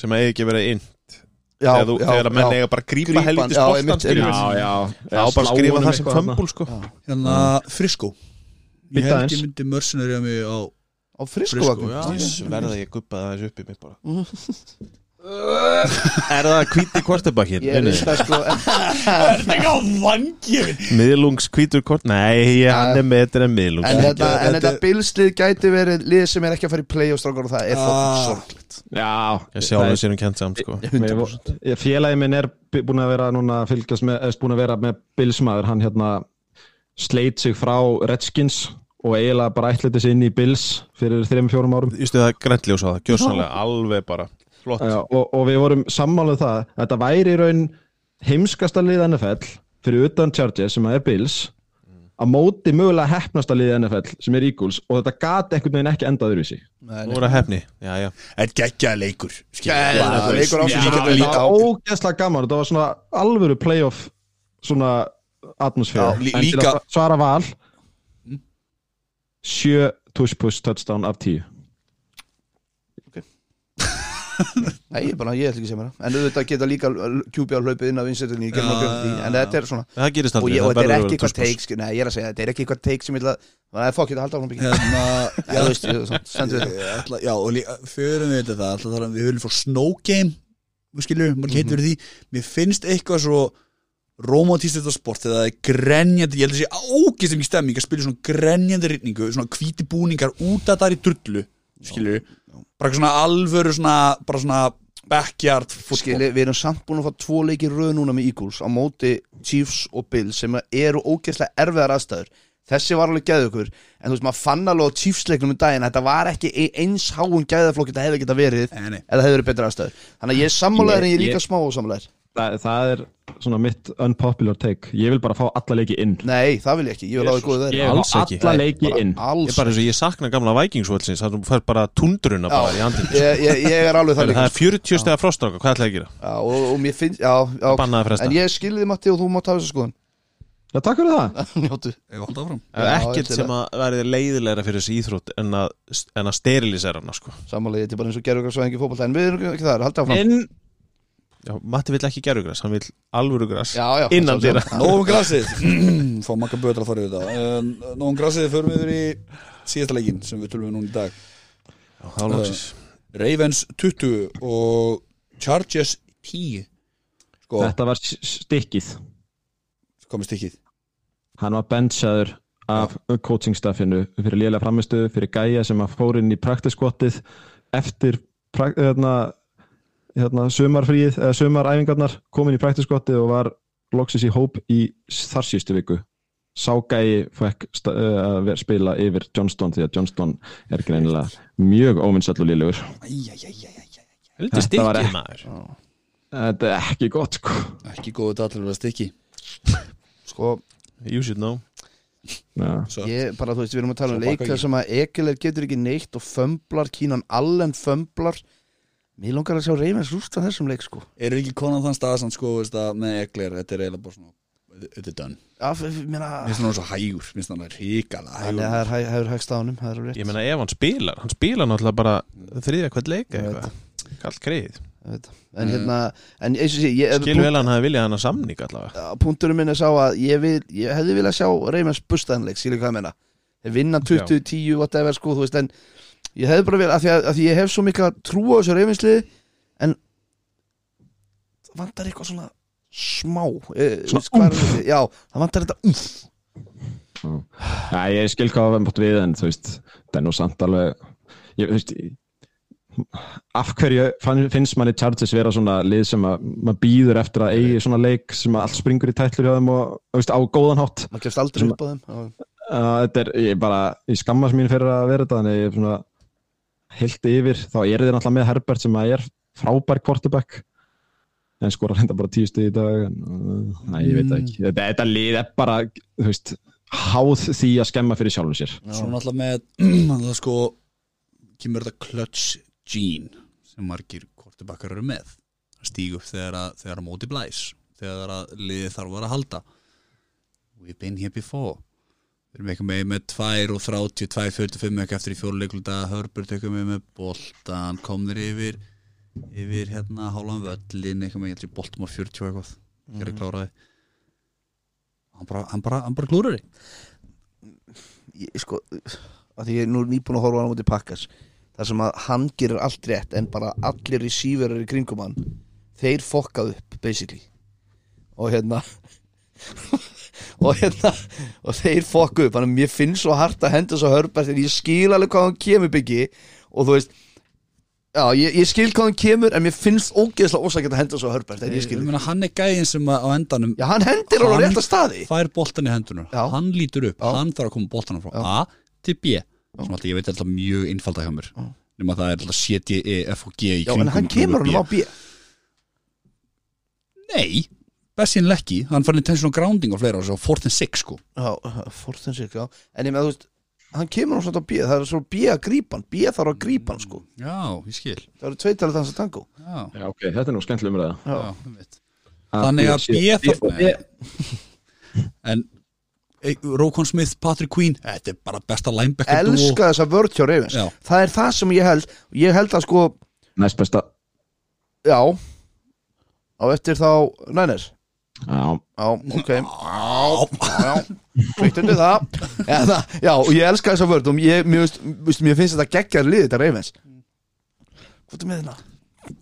Speaker 3: sem að eigi ekki að vera inn
Speaker 4: já,
Speaker 3: þegar, þú, þegar að menn eiga bara að
Speaker 4: Grípa
Speaker 3: grípa
Speaker 4: hann,
Speaker 3: helvitis
Speaker 4: já,
Speaker 3: boltan
Speaker 4: einmitt,
Speaker 3: skilur
Speaker 2: Já, já
Speaker 3: þá bara að skrifa það sem fömbul sko
Speaker 1: Hérna, Frisko Ég
Speaker 2: Bíddu
Speaker 1: held
Speaker 2: aðeins.
Speaker 1: ég myndi mörsunari að mig á
Speaker 4: á friskuvagn
Speaker 1: Frisco, já.
Speaker 3: Jés, verða ég guppaði aðeins upp í mig bara Er það hvíti kvartabakkin?
Speaker 4: ég er þetta sko en-
Speaker 1: Er það ekki á vangjöfin?
Speaker 3: Miðlungs hvítur kvart Nei, hann er metur en miðlungs
Speaker 4: en hérna- þetta,
Speaker 1: þetta
Speaker 4: en þetta
Speaker 1: er-
Speaker 4: bilslið gæti verið lið sem er ekki að fara í play og strákar og það er fólk
Speaker 1: Ah.
Speaker 4: sorglegt
Speaker 2: Já
Speaker 3: Ég sjá hann sér um kent saman sko
Speaker 2: Ég- Félagi minn er búin að vera núna að fylgjast með, eða búin að vera með Billsmaður, hann hérna sleit sig frá Redskins og eiginlega bara ætlaði sig inn í Bills fyrir þreim, fjórum árum
Speaker 3: Ég stuði það græntljós á það, gjössanlega Alveg bara, flott
Speaker 2: Já, og, og við vorum sammáluð það að þetta væri í raun heimskasta lið NFL fyrir utan Chargers sem að er Bills að móti mögulega hefnasta lið NFL sem er Eagles og þetta gat einhvern veginn ekki endað öðruvísi
Speaker 3: Nú er það hefni Já, já
Speaker 1: En geggjaði leikur
Speaker 4: Geggjaður leikur á sig.
Speaker 1: Líka
Speaker 4: Já,
Speaker 1: líka
Speaker 2: það var ógeðslega gaman, þetta var svona alvöru playoff svona atmosfér
Speaker 1: Já, lí-
Speaker 2: En til
Speaker 1: líka-
Speaker 2: að svara val sjö touch push touchdown af tíu
Speaker 4: nei, ég, bara, ég ætla ekki að segja mér það en auðvitað geta líka kjúbjörn hlaupið inn á vinsetinni
Speaker 1: Já,
Speaker 4: en
Speaker 1: já,
Speaker 4: þetta er svona
Speaker 3: Það gerist
Speaker 4: og,
Speaker 3: aldrei
Speaker 4: ég, og
Speaker 3: það
Speaker 4: þetta er
Speaker 3: verður að
Speaker 4: ekki
Speaker 3: vera
Speaker 4: eitthvað teik sko, nei, ég er að segja, þetta er ekki eitthvað teik sem ég ætla það er fokk, ég ætla að halda áfram byggja
Speaker 1: Hérna
Speaker 4: þú veist, ég- svona, stendur
Speaker 1: Ég-
Speaker 4: þetta.
Speaker 1: ég ætla, já, og líka, fyrir við þetta það, alltaf þar að um- við höfum fór snow game við skiljum, maður heitir fyrir því mér finnst eitthvað svo romantískt þetta sport þegar það er grenjandi ég held að sé ágist ekki stemming að spila í svona grenjandi rýtningu, svona hvíti búningar út að það er í drullu, skiljum bara eitthvað svona alvöru svona bara svona backyard fútbol
Speaker 4: skili, við erum samt búin að fá tvo leikir röð núna með Eagles á móti Chiefs og Bills sem eru ógeðslega erfiðar aðstæður þessi var alveg gæðu ykkur en þú veist maður fann alveg á Chiefs-leiknum um daginn að þetta var ekki e- eins háun gæðaflokk þetta hefði geta verið
Speaker 1: Nei, nei.
Speaker 4: eða hefði verið betra aðstæður þannig að ég er sammálaður en ég er líka
Speaker 2: Ég-
Speaker 4: smá ósammálaður
Speaker 2: það, það er svona mitt unpopular take ég vil bara fá alla leiki inn
Speaker 4: nei það vil ég ekki, ég vil áður góðu
Speaker 2: ég
Speaker 4: þeirra
Speaker 2: vil
Speaker 3: Alls
Speaker 2: fá
Speaker 3: ekki.
Speaker 2: alla leiki inn
Speaker 3: Ég er
Speaker 4: alls
Speaker 3: bara eins og ég sakna gamla Vikingsvöldsins Það fær bara tundruna bara í andin
Speaker 4: ég, ég, ég er alveg það
Speaker 3: Það
Speaker 4: líka
Speaker 3: er 40 stega frostráka, hvað ætlaði að gera?
Speaker 4: já, og, og mér finnst, já, já
Speaker 3: Bannaði að fresta
Speaker 4: en ég skilði þið Matti og þú mátt hafa þessu skoðun
Speaker 2: Já, takk fyrir það
Speaker 4: njóttu
Speaker 1: ég haldi áfram
Speaker 3: Það
Speaker 4: Já,
Speaker 3: er
Speaker 4: ég
Speaker 3: ekkert
Speaker 4: til
Speaker 3: sem að verði leiðilegra fyrir þessi íþrótt en að, en að sterilisera hana sko.
Speaker 4: sammálaður, þetta er bara eins og gerðugarsvæðingi fótbolta en við erum ekki þar, haldið áfram
Speaker 2: inn
Speaker 3: Já, Matti vill ekki gerugræs, hann vill alvörugræs
Speaker 4: já, já,
Speaker 3: innan
Speaker 4: sjálfsögðu.
Speaker 3: dýra
Speaker 1: Nóum um grasið Fá makka bötra að fara yfir þetta Nóum grasið förum við yfir í síðasta leikin sem við tölum við núna í dag Ravens 20 og Chargers 10 sko,
Speaker 2: þetta var s- s- stikkið
Speaker 1: komið stikkið
Speaker 2: hann var benchaður af coaching staffinu fyrir lélega framistu, fyrir gæja sem að fór inn í praktiskottið eftir prak, hérna, hérna, sumarfríð, eða sumaræfingarnar kom inn í praktiskottið og var loksins í hóp í þar sístu viku sá gæi fekk sta- eh, að ver- spila yfir Johnston því að Johnston er greinilega mjög óvinnsall og lélegur
Speaker 3: Heldur
Speaker 2: Þetta var
Speaker 3: stikkið
Speaker 2: ekki-
Speaker 3: maður
Speaker 2: þetta er ekki gott sko
Speaker 1: Ekki góðu dallur að stikki
Speaker 4: sko,
Speaker 3: You should know
Speaker 2: Já.
Speaker 4: ég, bara þú veist, við erum að tala um
Speaker 1: Svo
Speaker 4: leik
Speaker 1: baka
Speaker 4: þar
Speaker 1: ég.
Speaker 4: sem að Ekeler getur ekki neitt og fömblar, Kínan Allen fömblar mér langar að sjá Reifens rústa þessum leik sko
Speaker 1: Eru ekki konan þann staðsamt sko veist að með eglir, þetta er eiginlega bara svona Þetta er done
Speaker 4: af, mér að
Speaker 1: Mér finnst hann svo hægur, mér finnst hann ríkala
Speaker 4: Þannig
Speaker 1: hægur
Speaker 4: að það er hæ- hefur hægst á honum, það er alveg rétt
Speaker 3: Ég meina ef hann spilar, hann spilar náttúrulega bara þriðja hvert leika
Speaker 4: Ég veit.
Speaker 3: eitthvað Kallt kreið
Speaker 4: Ég veit það. En hérna, en eins og sé, ég,
Speaker 3: Skil vel að hann hafi viljað hann að samninga allavega
Speaker 4: að punkturinn minn er sá að ég, vil, ég hefði viljað sjá Reymans bustaðanleik, skilur hvað ég meina Þeir vinna 20, 10, whatever sko, þú veist en ég hefði bara verið, af því að, að því ég hef svo mikla trú á þessu Reymansliði en það vantar eitthvað svona smá eh,
Speaker 2: Svona
Speaker 4: veist, hvað er þetta? já, það vantar þetta umf
Speaker 2: Já, ég skil hvað við mátt við en þú veist, það er nú samt alveg ég, þú veist ég- af hverju fann, finnst manni Chargers vera svona lið sem að maður býður eftir að eigi svona leik sem að allt springur í tætlur hjá þeim og þú veist, á góðan hátt
Speaker 4: maður kemst aldrei
Speaker 2: Svona-
Speaker 4: upp á þeim já,
Speaker 2: uh, þetta er, ég bara, ég skammast mín fyrir að vera þetta þannig ég er svona heilt yfir, þá er þið náttúrulega með Herbert sem að er frábær quarterback en skorar reynda bara tíu stuð í dag en, uh, næ, ég veit það ekki þetta, þetta lið er bara, þú veist háð því að skemma fyrir sjálfum sér
Speaker 1: Svona alltaf með, hann það sko Kemur þetta clutch gene Sem margir kortibakkar eru með Það stíg upp þegar að, þegar að móti blæs Þegar að liðið þarf að vera að halda We've been here before Við erum eitthvað með með 2 og 30, 2, 45 eitthvað eftir í fjóluleikluta Hörbjörn eitthvað með með boltan komður yfir yfir hérna hálfan völlin eitthvað með, ég held ég boltum á 40 og eitthvað þegar ég kláraði hann bara, hann bara, hann bara glúrur því
Speaker 4: ég, sko, að því ég er nú nýbúin að horfa á hann út í pakkas þar sem að hann gerir allt rétt en bara allir receiverar í kringum hann þeir fokkað upp basically og hérna og hérna og þeir fokku upp, þannig að mér finnst svo hart að henda svo hörbært en ég skil alveg hvað hann kemur byggi og þú veist já, ég, ég skil hvað hann kemur en mér finnst ógeðslega ósakett að henda svo hörbært en ég skil,
Speaker 1: meina, hann er gæðin sem að, á endanum
Speaker 4: já hann hendir alveg á
Speaker 1: Hann-
Speaker 4: rétta staði
Speaker 1: fær boltan í hendunar,
Speaker 4: Já.
Speaker 1: hann lítur upp
Speaker 4: Já.
Speaker 1: hann þarf að koma boltanum frá A til B sem alltaf, ég veit alltaf mjög einfalda hjá mér nema það er alltaf C, D, E, F og G í
Speaker 4: já,
Speaker 1: kringum
Speaker 4: en hann kemur hann á B
Speaker 1: Nei, bestinlega ekki hann fann intentional grounding og fleira og svo 14-6 sko
Speaker 4: Já, Fortin Sirk, já En ég með að þú veist, hann kemur hann svona á bíða Það er svo bíða að grípa hann, bíða þarf að grípa hann sko
Speaker 1: Já, ég skil
Speaker 4: Það eru tveitalið dansa tango
Speaker 1: Já,
Speaker 2: Já, ok, þetta er nú skemmtileg umræða
Speaker 4: Já.
Speaker 1: já, ég veit Þannig að
Speaker 2: E,
Speaker 1: B þarf En e, Rókon Smith, Patrick Queen Þetta er bara besta linebacker dúo.
Speaker 4: Elska þessa vörð hjá Reifins
Speaker 1: Já.
Speaker 4: Það er það sem ég held Ég held að sko,
Speaker 2: Næst besta
Speaker 4: já Á eftir þá, nænir
Speaker 2: Já,
Speaker 4: Já, ok Já, sveitunni það Já, það- já, og ég elska þessa vörð Og ég, mér, veist, veist, mér finnst þetta geggjar liðið þetta Reifins Hvað er með hérna?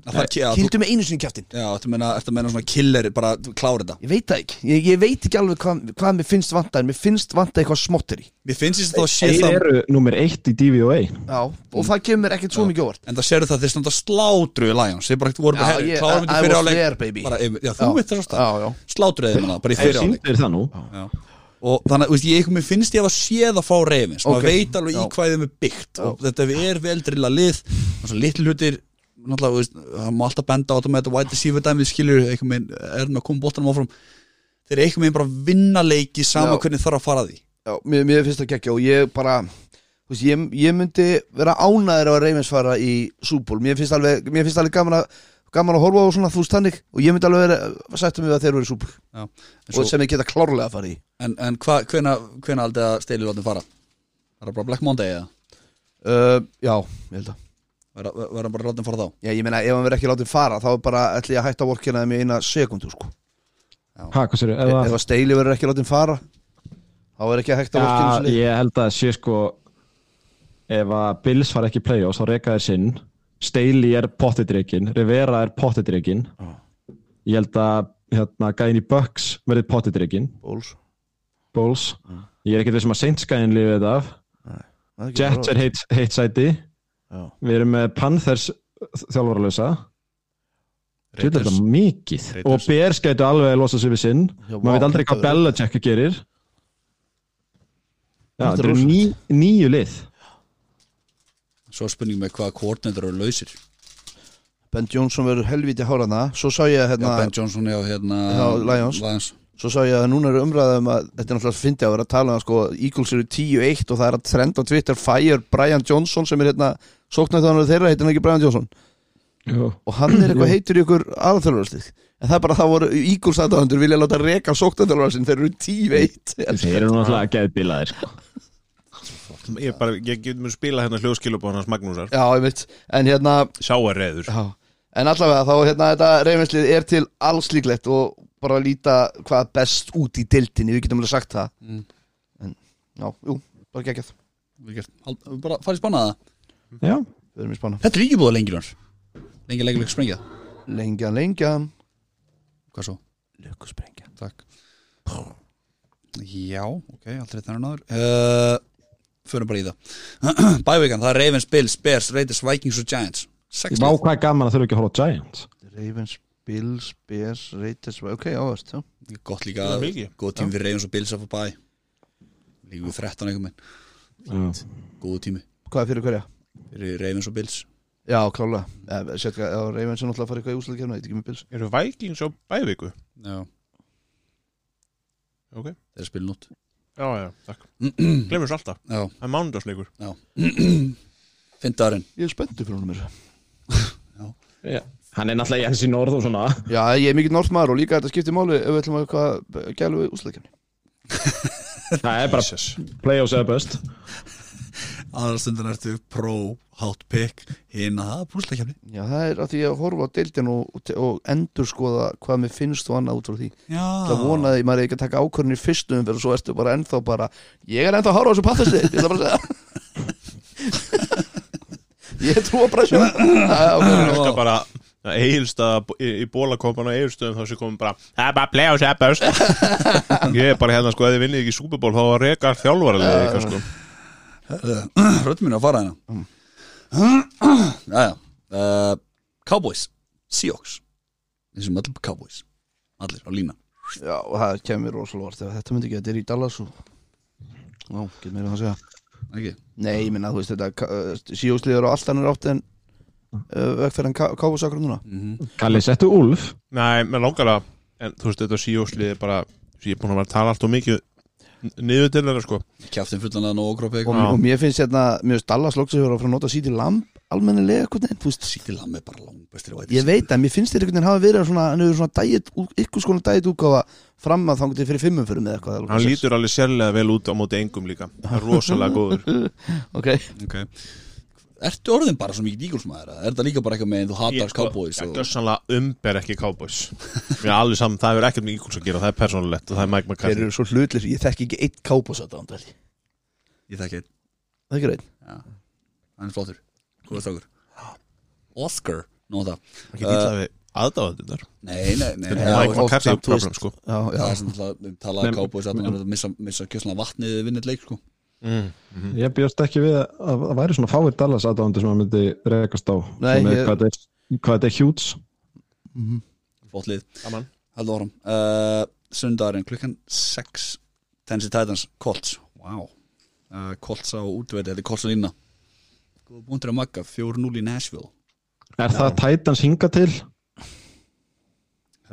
Speaker 1: Að það ke- að þú-
Speaker 4: Kýldu með einu sinni kjæftin
Speaker 1: Já, þetta meina, þetta meina svona killer bara klára þetta
Speaker 4: Ég veit það ekki, ég, ég veit ekki alveg hvað, hvað mér finnst vanta en mér finnst vanta eitthvað smottir í
Speaker 1: Mér finnst þess að það sé
Speaker 2: þeir
Speaker 1: það
Speaker 2: eru nummer eitt í DVOA
Speaker 4: Já,
Speaker 1: Mm.
Speaker 4: og það kemur mér ekkert svo mikið óvart
Speaker 1: En það sérðu það þeir standa slátruðu Lions Þeir bara voru bara,
Speaker 4: Já,
Speaker 1: herri,
Speaker 4: ég-
Speaker 1: klárum
Speaker 4: I- I
Speaker 1: þetta fyrir
Speaker 4: was
Speaker 1: áleik
Speaker 4: there, baby.
Speaker 1: bara, yfir- Já, þú
Speaker 4: Já.
Speaker 1: veit þess að
Speaker 4: já
Speaker 1: slátruðu þeim hana bara í
Speaker 2: Þeir
Speaker 1: fyrir áleik
Speaker 2: síndir það nú
Speaker 1: Já. og þannig, að, veist, ég einhvern veginn finnst ég að séð að fá reyfins maður
Speaker 4: Ok.
Speaker 1: veit alveg í
Speaker 4: Já.
Speaker 1: hvað þeim er byggt og þetta er vel drilla lið og svo litlu hlutir náttúrulega, þú veist, það má alltaf benda á þetta með þetta white receiver dæmið skilur einhvern veginn er með að koma bóttanum áfram þeir einhvern veginn bara vinna leiki saman
Speaker 4: Já.
Speaker 1: hvernig þarf að fara að því
Speaker 4: Já, mér, mér finnst það geggja og ég bara þú veist, ég, ég myndi vera ánæður á að Reymens fara í súból mér finnst alveg, mér finnst alveg gaman, að, gaman að horfa á svona þú veist þannig og ég myndi alveg vera sættum við að þeir eru í súból
Speaker 1: en,
Speaker 4: og
Speaker 1: svo,
Speaker 4: sem ég geta klárlega að fara í
Speaker 1: en, en hva, hvena, hvena aldrei að steyli lótin fara er það bara Black Monday eða
Speaker 4: uh, Já, ég held að
Speaker 1: verða verða bara lótin fara þá
Speaker 4: Já, ég meina ef hann verið ekki látið fara þá er bara ætli ég að hætta að vorkina þeim í eina sekundu sko
Speaker 2: Hæ, hvað sér,
Speaker 4: Ef
Speaker 1: E,
Speaker 2: eða
Speaker 4: að Steili verið ekki látið fara þá er ekki að hætta að vorkina
Speaker 2: Já, ég held að sé sko ef að Bills fara ekki í play-offs þá reka þér sinn Staley er pottidrykkin, Rivera er pottidrykkin ég held að hérna, gæðin í Bucks verði pottidrykkin
Speaker 4: Bóls
Speaker 2: Bowles Ég er ekkert við sem að Saints-gæðin lifið þetta af Jets er heitt, heitt sæti
Speaker 4: Já.
Speaker 2: Við erum með Panthers þjálfarlösa Þetta er þetta mikið
Speaker 3: Raiders.
Speaker 2: Og Bears gætu alveg að losa sig við sinn
Speaker 4: Já, vá,
Speaker 2: Maður veit aldrei
Speaker 4: þetta
Speaker 2: hvað
Speaker 4: verður-
Speaker 2: Belichick gerir Já,
Speaker 4: Þetta er
Speaker 2: þetta eru
Speaker 4: rosalegt.
Speaker 2: ný, nýju lið
Speaker 1: Svo er spurning með hvaða koordinator eru lausir
Speaker 4: Ben Johnson verður helviti hárana Svo sá ég
Speaker 1: Já,
Speaker 4: að hérna
Speaker 1: Ben Johnson er á hérna
Speaker 4: Já, Lions. Svo sá ég að núna eru umræðum að Þetta er náttúrulega fyndi að vera að tala um að sko Eagles eru 10-1 og það er að trenda Twitter Fire Brian Johnson sem er hérna Sóknar þannig þeirra heitir hann ekki Brian Johnson
Speaker 2: Já.
Speaker 4: og hann er eitthvað heitur í ykkur aðalþjálfarslið en það er bara að það voru Eagles aðdæðandur vilja láta reka sóknarþjálfarslið þeir eru 10-1
Speaker 2: Þeir eru náttúrulega sko. geðbilaðir
Speaker 3: Ég, bara, ég get mér spila hérna hljóðskilubóð hans Magnúsar
Speaker 4: Já, ég veit, en hérna
Speaker 3: Sá er reyður
Speaker 4: já. en allavega þá hérna þetta reyfinslið er til alls líklegt og bara líta hvað best út í dildinni, við getum alveg sagt það
Speaker 1: Mm.
Speaker 4: en já, jú, bara geggjað
Speaker 1: Við bara farið spannaða
Speaker 2: Já,
Speaker 4: við erum í spána,
Speaker 1: Þetta er ekki búið lengi ljónar Lengi lengi lengi sprengja
Speaker 4: lengjan, lengjan
Speaker 1: Hvað svo?
Speaker 4: lukkusprengja
Speaker 1: Takk Já, ok, aldrei þannig náður uh, Förum bara í það Bævíkan, það er Ravens, Bills, Bears, Raiders, Vikings og Giants Sex
Speaker 2: vá
Speaker 1: lið.
Speaker 2: hvað er gaman að þurfa ekki að horfa á Giants
Speaker 4: Ravens, Bills, Bears, Raiders ok, áverst, já
Speaker 1: Gott líka,
Speaker 3: Það er mikið.
Speaker 1: góð tími fyrir Ravens og Bills að fá bæ Líka við 13 einhvern veginn
Speaker 2: Já.
Speaker 1: Góðu tími
Speaker 4: hvað er fyrir hverja?
Speaker 1: fyrir Ravens og Bills
Speaker 4: Já, klálega, Eh, sétka, já, Ravens er náttúrulega að fara eitthvað í úsleikefna, eitthvað ekki með Bills
Speaker 3: Eru Vikings á bæviku?
Speaker 1: Já
Speaker 3: Ok.
Speaker 1: Þeir spil nút
Speaker 3: Já, já, takk Glemur svo alltaf,
Speaker 1: Já,
Speaker 3: það er mánudagsleikur
Speaker 1: fyndarinn
Speaker 4: Ég er spenntu fyrir honum mér
Speaker 2: Hann er náttúrulega Jens í norð og svona
Speaker 4: Já, ég er mikill nortmaður og líka þetta skiptir máli ef við ætlum að eitthvað gælu við úsleikefni
Speaker 2: Það er bara
Speaker 3: Jesus.
Speaker 2: playoffs eða best
Speaker 1: Aðarstundan ertu pro, hot pick Hina, það er púslakefni
Speaker 4: Já, það er að því að horfa á deildin og, og, og endur skoða hvað mér finnst og annað út frá því
Speaker 1: Já
Speaker 4: Það vonaði maður ekki að taka ákvörðin í fyrstu umferð og svo ertu bara ennþá bara Ég er ennþá að horfa á þessu pattastu, ég ætla bara að segja Ég trú að bara sjá Það er ákvörðin.
Speaker 3: Þetta bara Egilsta í, í bólakompan og Egilstöðum þá sem komum bara Það er bara playoffs eða best Ég er bara hérna sko, ef þið vinnið ekki Super Bowl þá var rekar þjálfarlega eitthvað sko
Speaker 1: Röddum mínu að fara hérna
Speaker 4: Mm.
Speaker 1: Jæja uh, Cowboys, Seahawks Þessum öll Cowboys Allir á lína
Speaker 4: Já, og það kemur rosalega orð Þetta myndi ekki, þetta er í Dallas og Já, getur meira um það að segja
Speaker 1: Ekki?
Speaker 4: Nei, ég minna, þú veist þetta Sjósliður og allt annar átt en uh, vegferðan káfusakur núna
Speaker 2: Kalli, settu Ulf
Speaker 3: Nei, mér langar að En þú veist, þetta síjóslið er bara Ég er búin að vera að tala allt og mikið n- Niður til þeirra sko
Speaker 1: Kjaftin fullan að nóg okropi
Speaker 4: og, og mér finnst hérna, mér finnst Dallas loksa að fara að nota síti lamb almennilega eitthvað neginn, þú veist
Speaker 1: Sýttir lammi bara langbestir
Speaker 4: ég veit að mér finnst þér eitthvað hafa verið svona, hann hefur svona dæjit, ykkur skona dæjit útgáfa fram að þangu til fyrir fimmum fyrir með eitthvað
Speaker 3: Hann lítur alveg sérlega vel út á móti engum líka Það er Rosalega góður
Speaker 4: ok,
Speaker 1: okay. Ertu orðin bara svo mikið díkulsmaður Er þetta líka bara eitthvað með en þú hatar
Speaker 4: sko,
Speaker 1: Cowboys
Speaker 3: Ég
Speaker 1: og...
Speaker 3: gössanlega umber ekki Cowboys Mér er alveg saman, það hefur ekkert með Eagles að gera Það er persónulegt og það er Mike
Speaker 4: þeir
Speaker 3: McCarthy
Speaker 4: eru svo hlutlir ég þekki ekki eitt kábos að það
Speaker 1: Ég þekki einn.
Speaker 4: það er ekki reynd,
Speaker 1: hann er flottur Góður strákur Oscar Nóta
Speaker 3: Ekki
Speaker 4: uh,
Speaker 3: dýtla við aðdáðundunar
Speaker 1: Nei, nei, nei, nei
Speaker 3: Mike
Speaker 4: og
Speaker 3: McCarthy
Speaker 4: samt, þú veist-
Speaker 3: problem sko
Speaker 4: já, já,
Speaker 1: Það er sem alltaf um talað
Speaker 2: Nei,
Speaker 1: Cowboys að hann er að missa, missa kjösslega vatnið við vinnit leik sko.
Speaker 3: Mm.
Speaker 2: Ég bjóst ekki við að- að það væri svona fáir Dallas aðdáðandi sem að myndi rekast á
Speaker 4: Nei,
Speaker 2: Sem er
Speaker 4: ég-
Speaker 2: hvað þetta er- hvað þetta er hjúts
Speaker 1: Flottlið
Speaker 3: Gaman.
Speaker 1: Haldur áram uh, Sundarinn klukkan 6 Tennessee Titans Colts Wow uh, Colts á útverði Þetta er Colts á lína Góða búndur að magga 4-0 í Nashville
Speaker 2: Er það Titans hinga til?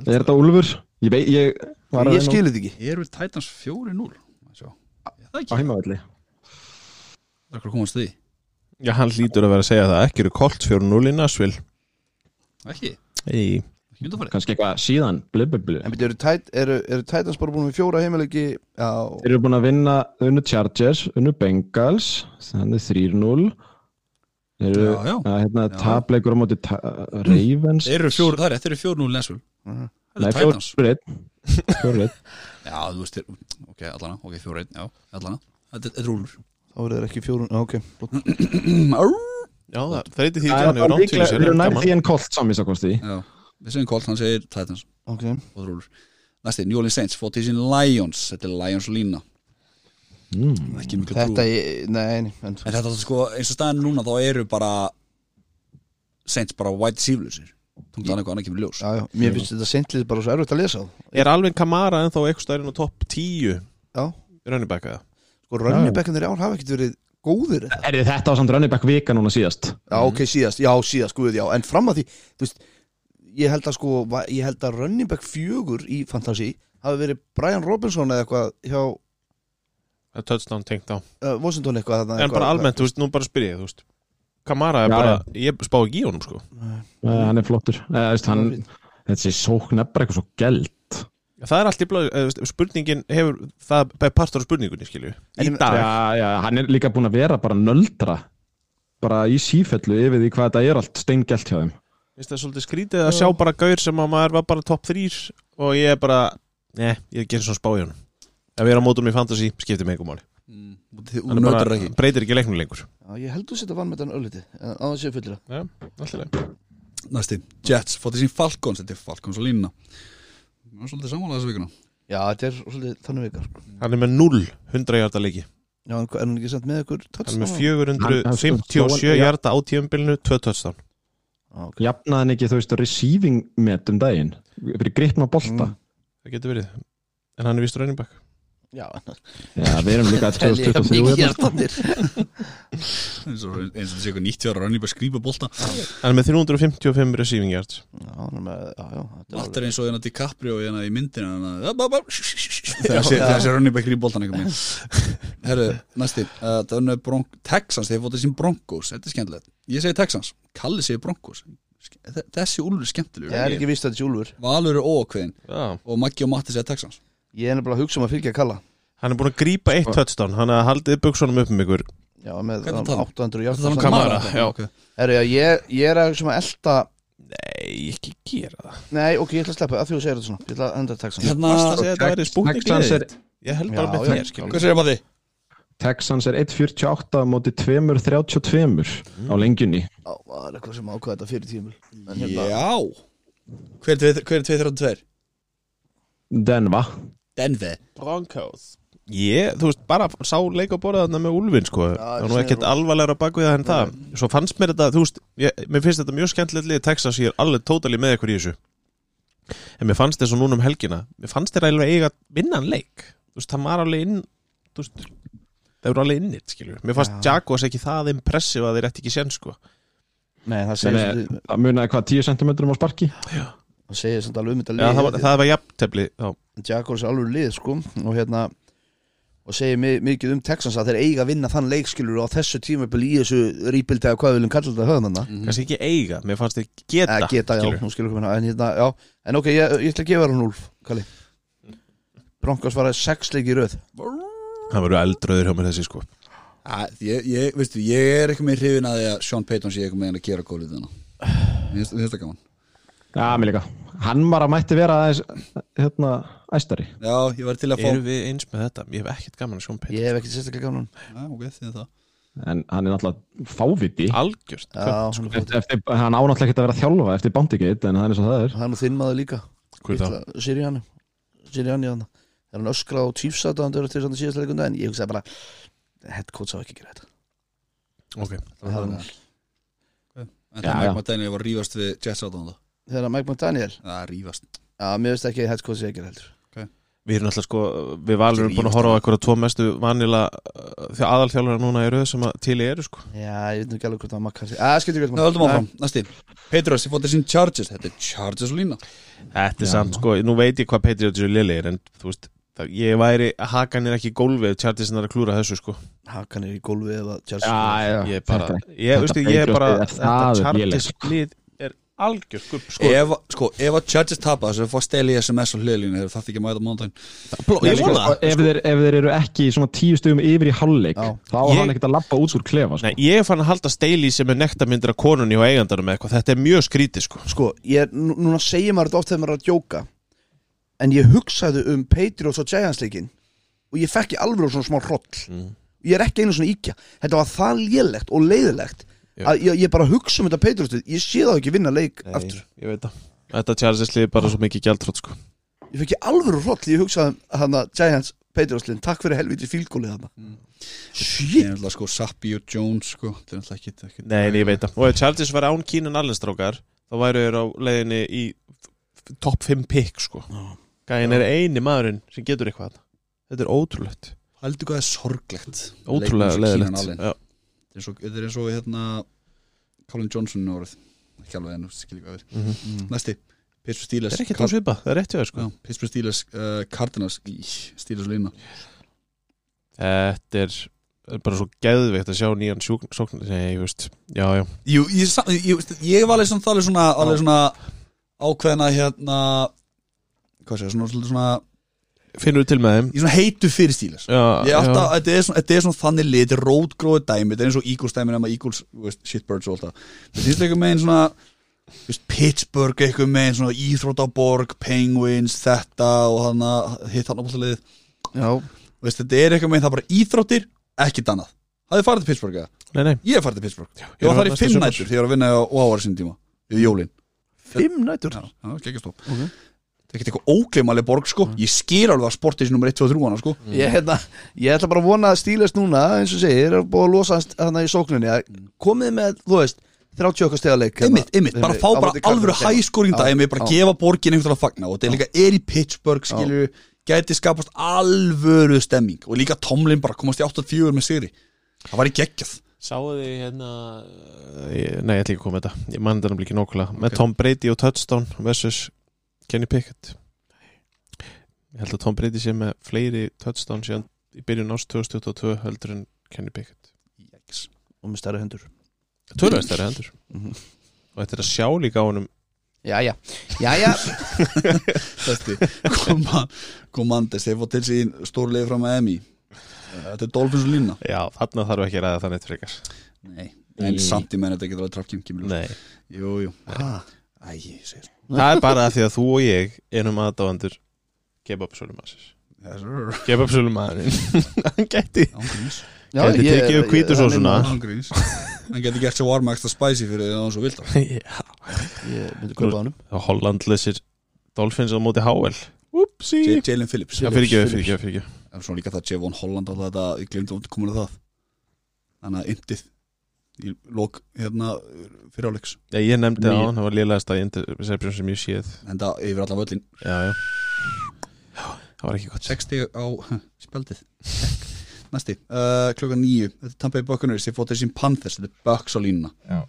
Speaker 2: Er þetta Ulfur? Ég, vei, ég, var að
Speaker 4: ég
Speaker 2: reyna-
Speaker 4: skilur þetta ekki
Speaker 1: Eru Titans 4-0? Sjá Er Það
Speaker 2: á
Speaker 1: ekki
Speaker 2: heimavalli
Speaker 1: Það er hvað komast því
Speaker 3: Já, hann lítur að vera að segja það Ekki eru Colts 4-0 í Nashville
Speaker 1: Ekki
Speaker 3: Ei.
Speaker 1: Ekki undanfærið
Speaker 2: kannski eitthvað síðan blibbubli
Speaker 4: en byrju, eru, tæt, eru, eru Titans bara búin með fjóra heimilegi já,
Speaker 2: Þeir eru búin að vinna unnu Chargers, unnu Bengals þannig 3-0 Þeir eru
Speaker 1: Já, já.
Speaker 2: að hérna
Speaker 1: Já.
Speaker 2: tapleikur á móti ta Ravens
Speaker 1: Þeir eru 4 Það er rétt Þeir eru 4-0 í Nashville
Speaker 4: Mhm.
Speaker 1: Það
Speaker 2: Nei,
Speaker 1: eru Titans
Speaker 2: 4-1 4-1.
Speaker 1: Já, þú veist þeir Ok, allana Ok, 4-1 Já, allana Þetta þetta er rúlur
Speaker 4: þá eru þeir ekki fjórun, já, ok flott.
Speaker 3: Já, það þreyti því ekki
Speaker 2: Það
Speaker 3: hann hefur
Speaker 2: er bara
Speaker 3: rámt fyrir
Speaker 2: líklega-
Speaker 3: sér
Speaker 2: Þeir eru
Speaker 3: en
Speaker 2: nærði
Speaker 3: gaman.
Speaker 2: því en kolt samvísakosti
Speaker 1: Já Við segjum Colts Hann segir Titans
Speaker 4: ok,
Speaker 1: og þrúlur næsti, New Orleans Saints, 14 Lions þetta er Lions lína mm. ekki miklu trú
Speaker 4: Þetta, ég- nei, nei, en
Speaker 1: en þetta er sko, eins og staðan núna þá eru bara Saints bara white sýflusir þannig að annað kemur í ljós
Speaker 4: já, já, mér finnst þetta seintlið bara svo erfitt að lesa á
Speaker 3: Er Alvin Kamara ennþá eitthvað stærinn á topp 10
Speaker 4: Já.
Speaker 3: Running back eða?
Speaker 4: Sko, rönnibekkanir í ár hafa ekkert verið góðir eða?
Speaker 2: Er þetta á samt running back vika núna síðast?
Speaker 4: Já, ok, síðast, já, síðast, guð, já En fram að því, þú veist Ég held að sko, va- ég held að Rönnibekk fjögur í Fantasí hafi verið Brian Robinson eða eitthvað hjá uh,
Speaker 3: Það er touchdown tengt á
Speaker 4: Washington eitthvað þarna,
Speaker 3: En
Speaker 4: eitthvað,
Speaker 3: bara almennt, þú veist, nú bara spyr ég, þú veist Kamara er
Speaker 2: Já,
Speaker 3: bara, ég spá ekki í honum sko
Speaker 2: Uh, hann er flottur uh, veist, hann, Þessi sókn er bara eitthvað svo gælt
Speaker 3: Það er allt í blá, spurningin hefur það er partur af spurningunni, skilju Í
Speaker 4: En-
Speaker 3: dag,
Speaker 2: já, já, Hann er líka búin að vera bara nöldra bara í sífellu yfir því hvað þetta er allt steingælt hjá þeim
Speaker 3: Vist það er svolítið skrítið að sjá bara gaur sem að maður var bara topp þrýr og ég er bara, ne, ég gerir svona spá í honum Ef ég er á mótum í fantasy, skiptir mig einhver máli
Speaker 1: þú
Speaker 3: Hann er
Speaker 1: nötur
Speaker 3: bara,
Speaker 1: ekki
Speaker 3: breytir ekki leiknum lengur
Speaker 4: Já, ég held þú setja vanmetan ölliti eh, á það séu fullra
Speaker 3: Já, alltaf leik
Speaker 1: næsti, Jets, 14 Falcons þetta er Falcons og lína það er svolítið samanlega þessu vikuna
Speaker 4: Já, þetta er svolítið þannig veikar sko.
Speaker 3: Hann er með 0 100 hjarta leiki
Speaker 4: Já, en hvað- er hún ekki samt með ykkur
Speaker 3: Hann er
Speaker 4: touchdown?
Speaker 3: með
Speaker 2: Hann- hann-
Speaker 3: 457
Speaker 2: hann-
Speaker 3: hjarta á tíumbilinu 2 touchdown
Speaker 2: Jafnaðan ekki, þú veist, receiving met um daginn fyrir gripna bolta
Speaker 3: Það getur verið En hann er vist running back
Speaker 4: Já,
Speaker 2: Já, við erum líka
Speaker 4: það er líka mikið
Speaker 2: 2023 hérna.
Speaker 4: hjartanir
Speaker 1: eins og eins og þetta sé eitthvað 90 ára rannir bara skrýpa bolta
Speaker 3: Hann er með 355 receiving yards
Speaker 4: Já, hann er með, já, já þetta er
Speaker 1: allt er eins og hérna DiCaprio hérna í myndinu hérna, upp, upp, upp, þegar sé- þegar sé rannir bara skrýpa boltan einhvern veginn herru, næsti, uh, Dönnu Bronk Texans, þeir fótið sín Broncos þetta er skemmtilegt, ég segi Texans Kalli segi Broncos Ske- þe- þessi úlur er
Speaker 4: Ég er
Speaker 1: skemmtilegur
Speaker 4: ekki vist að þetta sé Úlfur
Speaker 1: Valur er ókveðin
Speaker 3: Já.
Speaker 1: og Maggi og Matti segja Texans
Speaker 4: Ég er nefnilega að hugsa um að fylgja Kalla
Speaker 3: Hann er búin að grípa eitt touchdown Hann er að haldið buksunum upp um ykkur
Speaker 4: Já, með
Speaker 1: Hvernig
Speaker 4: um,
Speaker 1: tala?
Speaker 4: 800
Speaker 1: Ertu að tala um
Speaker 4: hjartanir
Speaker 3: Kamara, já.
Speaker 1: okay.
Speaker 4: Herru, já, ég, ég er að hugsa um að elta
Speaker 3: Nei, ekki gera það
Speaker 4: Nei, ok, ég ætla að sleppa, af því þú segir þetta svona Ég ætla að enda að taka saman
Speaker 1: hérna,
Speaker 3: Varst að segja að þetta væri spútnik
Speaker 2: Texans er,
Speaker 3: Ég held bara
Speaker 4: Já,
Speaker 3: með
Speaker 4: já.
Speaker 3: þér, skilju
Speaker 1: hvað segir Matti?
Speaker 2: Texans er 1.48 móti 2.32 á lengjunni
Speaker 4: Já, það er eitthvað sem ákvæða þetta fyrir tímul En hérna,
Speaker 1: já hver er 232?
Speaker 2: Denva
Speaker 1: Denver
Speaker 3: Broncos Ég, þú veist, bara sá leik á borða þarna með Ulfin, sko Það var nú
Speaker 4: segir
Speaker 3: ekkert
Speaker 4: Úlfur.
Speaker 3: alvarlegra bak við það en það Svo fannst mér þetta, þú veist, ég, mér finnst þetta mjög skemmtilegt lið Texas, ég er alveg tótali með ykkur í þessu En mér fannst þess að núna um helgina Mér fannst þeir alveg eiga vinnan leik Þú veist, það var alveg inn Þú veist, það voru alveg innit, skilur Mér fannst Jaguars ekki það impressive að þeir ætti ekki sén, sko
Speaker 4: nei, það segir
Speaker 2: Það
Speaker 4: svolítið-
Speaker 2: munaði hvað 10 cm á sparki
Speaker 4: það segir samt alveg um þetta
Speaker 3: Já, það var,
Speaker 4: lið
Speaker 3: það var jafntefli þá.
Speaker 4: Jaguars er alveg lið, sko Og hérna, og segir mi- mikið um Texans að þeir eiga að vinna þann leikskilur á þessu tímul í þessu rýpildi eða hvað við viljum kalla þetta höfum þarna
Speaker 3: Kannski ekki eiga, mér fannst þeir geta,
Speaker 4: Eh, Mhm. Geta, já,
Speaker 3: skilurðu.
Speaker 4: nú skilur komin En hérna, já, en ok, ég, ég ætla að gefa hann úlf, Kalli Broncos var að sex leik í röð
Speaker 3: Það voru eldrauður hjá mér þessi, sko
Speaker 1: Æ, ég, ég, veistu, ég er ekki með hrifin að því að Sean Payton sé ekki með hann að gera gólið þarna Mér finnst mér finnst það gaman
Speaker 2: Já, mér líka Hann var að mætti vera aðeins hérna, æstari
Speaker 1: Já, ég var til að fá
Speaker 3: Erum við eins með þetta? Ég hef ekkert gaman að um Sean Payton
Speaker 4: Ég hef ekki sérstaklega gaman hann
Speaker 1: Já, ok, því það
Speaker 2: en hann er náttúrulega fáviti
Speaker 3: Algjört
Speaker 4: Já, hann er flott.
Speaker 2: eftir, hann á náttúrulega ekki að vera að þjálfa eftir bandikið en það er eins og það er
Speaker 4: hann og þinn maður líka
Speaker 3: Hver þá?
Speaker 4: Sirjani Sirjani hann Þegar hann öskra á tífsat hann dörður til þess að síðast leikundu en ég hugsaði bara head coach á ekki að gera þetta
Speaker 3: Ok
Speaker 4: það var mál
Speaker 1: En
Speaker 2: Já,
Speaker 1: það
Speaker 2: já.
Speaker 1: Mike McDaniel var rífast við Jets á það
Speaker 4: Þegar Mike McDaniel
Speaker 1: Já, rífast
Speaker 4: Já, mér veist ekki að head coach ég ekki heldur
Speaker 3: Við erum alltaf sko Við valur erum búin að horfa á eitthvað tvo mestu vanila Þegar aðalþjálfara núna eru sem að til eru sko
Speaker 4: Já, ég veit nú ekki alveg hvort það var makkar Já, skiltu ekki
Speaker 1: Ná, höldum áfram, næsti Petros, ég fótt þessin Chargers Þetta er Chargers og lína
Speaker 3: Þetta er samt sko Nú veit ég hvað Patriots eru liðlegir En þú veist það, Ég væri Hakan er ekki í gólfi Ef Chartisinn er að klúra þessu sko
Speaker 4: Hakan er í gólfi eða Charles
Speaker 2: já,
Speaker 3: Ég er bara
Speaker 2: þetta-
Speaker 3: Ég, veistu, ég er
Speaker 2: Patriots
Speaker 3: bara Þetta
Speaker 2: lið er- það er
Speaker 3: Chartis
Speaker 2: lélegt,
Speaker 3: lið er algjör gupp sko
Speaker 1: Ef, sko, ef að Chargers tapa þessu Fá steli SMS á hliðlínu Þegar það ekki að mæta mánudaginn
Speaker 2: Nei,
Speaker 1: Ég
Speaker 2: sko,
Speaker 1: vona það.
Speaker 2: ef, þeir, ef þeir eru ekki í svona tíu stöðum yfir í hálfleik
Speaker 4: Já.
Speaker 2: þá er
Speaker 3: Ég-
Speaker 2: hann ekkert að lappa út úr klefa sko.
Speaker 3: Nei, ég er fann að halda steili sem er nektarmyndir af konunni og eigandanum eða eitthvað Þetta er mjög skrítið sko
Speaker 4: Sko, ég, nú- núna segir maður þetta oft þegar maður er að djóka En ég hugsaði um Patriots og Giants leikin Og ég fekk í alveg svona smá hroll Ég er ekki einu svona íkja Þetta var það lélegt og leiðilegt
Speaker 3: Já.
Speaker 4: Að ég, ég bara hugsa um þetta Patriots lið. Ég sé það ekki vinna leik aftur
Speaker 3: Ég veit það Þetta Chartis lið er bara svo mikið gjaldrótt sko
Speaker 4: Ég ég fekk ég alvöru hróll ég hugsaði um hann að Giants Patriots-linn, takk fyrir helviti fílgólið hann
Speaker 1: Shit Það er náttúrulega sko Sappi og Jones sko Það er náttúrulega ekki, ekki
Speaker 3: Nei, nei, ég veit það Og ef Chargers var án Keenan Allen strókar þá væru þeir á leiðinni í f- f- topp 5 pick sko Gæin er eini maðurinn sem getur eitthvað Þetta er ótrúlegt
Speaker 1: Haldur hvað er sorglegt
Speaker 3: Ótrúlega
Speaker 1: Leikmenn sem Keenan Allen.
Speaker 3: leiðilegt Já.
Speaker 1: Þetta er eins og- þetta er eins og hérna Colin Johnson orð Ekki alveg en skilja hvað við
Speaker 3: Mhm.
Speaker 1: Næsti Pittsburgh Steelers
Speaker 3: Þetta er ekki tónsvipa, það er rétt hjá þér sko
Speaker 1: Mm. Já, Pittsburgh Steelers uh, Cardinals Í, Steelers lína
Speaker 3: Þetta er er bara svo geðveikt að sjá nýjan sjúkn sókn, nei, ég veist, já, já
Speaker 1: Jú, ég, sa- ég, ég var alveg svona, alveg svona, alveg svona ákveðna hérna hvað sé, svona, svona, svona
Speaker 3: finnur þú til með þeim
Speaker 1: ég er svona heitu fyrir Steelers
Speaker 3: já,
Speaker 1: Ég
Speaker 3: já.
Speaker 1: átta, þetta, er svona, þetta er svona þannig lit rótgróðu dæmi, þetta er eins og Eagles dæmi nema Eagles, þú veist, shitbirds og alltaf þetta finnst einhver megin svona þú veist, Pittsburgh einhver megin, svona Íþrótaborg Penguins, þetta og hann hitt hann ábúttalið
Speaker 4: já,
Speaker 1: veist, þetta er einhver megin, það er bara Íþróttir ekkit annað, það er farið til Pittsburgh eða?
Speaker 3: Nei, nei,
Speaker 1: ég er farið til Pittsburgh,
Speaker 3: ég
Speaker 1: ég var þar í
Speaker 3: næsta
Speaker 1: fimm
Speaker 3: sumar.
Speaker 1: nætur þegar ég var að vinna á Óhávar sinni tíma, við jólin
Speaker 4: fimm nætur
Speaker 1: já, já, geggjast okay. þetta er ekkert eitthvað ógleymaleg borg sko, ég skil alveg að sportið nummer 1, 2 og 3 hana sko
Speaker 4: ég, hérna, ég ætla bara að vona að stílast núna eins og segir, er búið að losa hann í sókninni að komið með, þú veist 30 okkar hérna steguleik
Speaker 1: Einmitt, einmitt, bara fá bara alvöru hæskóring dæmi, bara
Speaker 4: Já.
Speaker 1: gefa borgin einhvern veginn að fagna og þetta er líka er í Pittsburgh skilur, gæti skapast alvöru stemming og líka Tomlin bara komast í 84 með sigri, það var í geggjað
Speaker 3: Sáðu þið hérna ég- Nei, ég ætla ekki að koma með þetta Ég mann þetta náttúrulega ekki nógulega Með Tom Brady og Touchdown versus Kenny Pickett Ég held að Tom Brady sé með fleiri Touchdown síðan í byrjun ást 2022 heldur en Kenny Pickett
Speaker 4: og með stærri hendur
Speaker 3: Tölvæst er hendur Og þetta er að sjá líka á honum
Speaker 4: já, já, já, já,
Speaker 1: Þetta komandes, þeir fótt til sín stórlega frá Miami Eh, þetta er Dolphins og Lína
Speaker 3: Já, þarna þarf ekki að ræða það neitt frekar
Speaker 1: Nei, en
Speaker 3: Í.
Speaker 1: samt í menn þetta getur alveg trafkjum kemur í ljós.
Speaker 3: Nei,
Speaker 1: Jú, jú, æ, ég sko. segir
Speaker 3: það er bara af því að þú og ég erum aðdáandur kebabsölumassins
Speaker 1: Án
Speaker 3: Kebabsölumannin Hann gæti
Speaker 1: gríns
Speaker 4: já
Speaker 3: Gæti
Speaker 4: ég-
Speaker 3: tekið upp
Speaker 4: ég-
Speaker 3: hvítu
Speaker 4: það er
Speaker 3: sósuna.
Speaker 4: minn-
Speaker 1: Án gríns Hann getur gert sér varma ekstra spicy fyrir því að hann svo vilt
Speaker 3: Já
Speaker 4: ég myndi kaupa honum
Speaker 3: Holland lesir Dolphins á móti Hável Upsi
Speaker 1: Jalen Phillips
Speaker 3: Já, fyrir ekki, fyrir ekki, fyrir ekki
Speaker 1: Það er svona líka það Jevon Holland alltaf þetta, ég glemdi að koma að það Þannig að yndið í lók hérna fyrir áleiks
Speaker 3: Já, ég nefndi það á
Speaker 2: Mjög.
Speaker 3: hann, það var lélegast að interception sem ég séð
Speaker 1: Enda yfir allan völlin
Speaker 3: Já, já Það var ekki gott
Speaker 1: 60 á huh, spjaldið Næsti, uh, klokkan 9 Þetta er Tampa Bay Buccaneers, ég fótið sín Panthers Þetta er Bucks á línuna
Speaker 3: Já.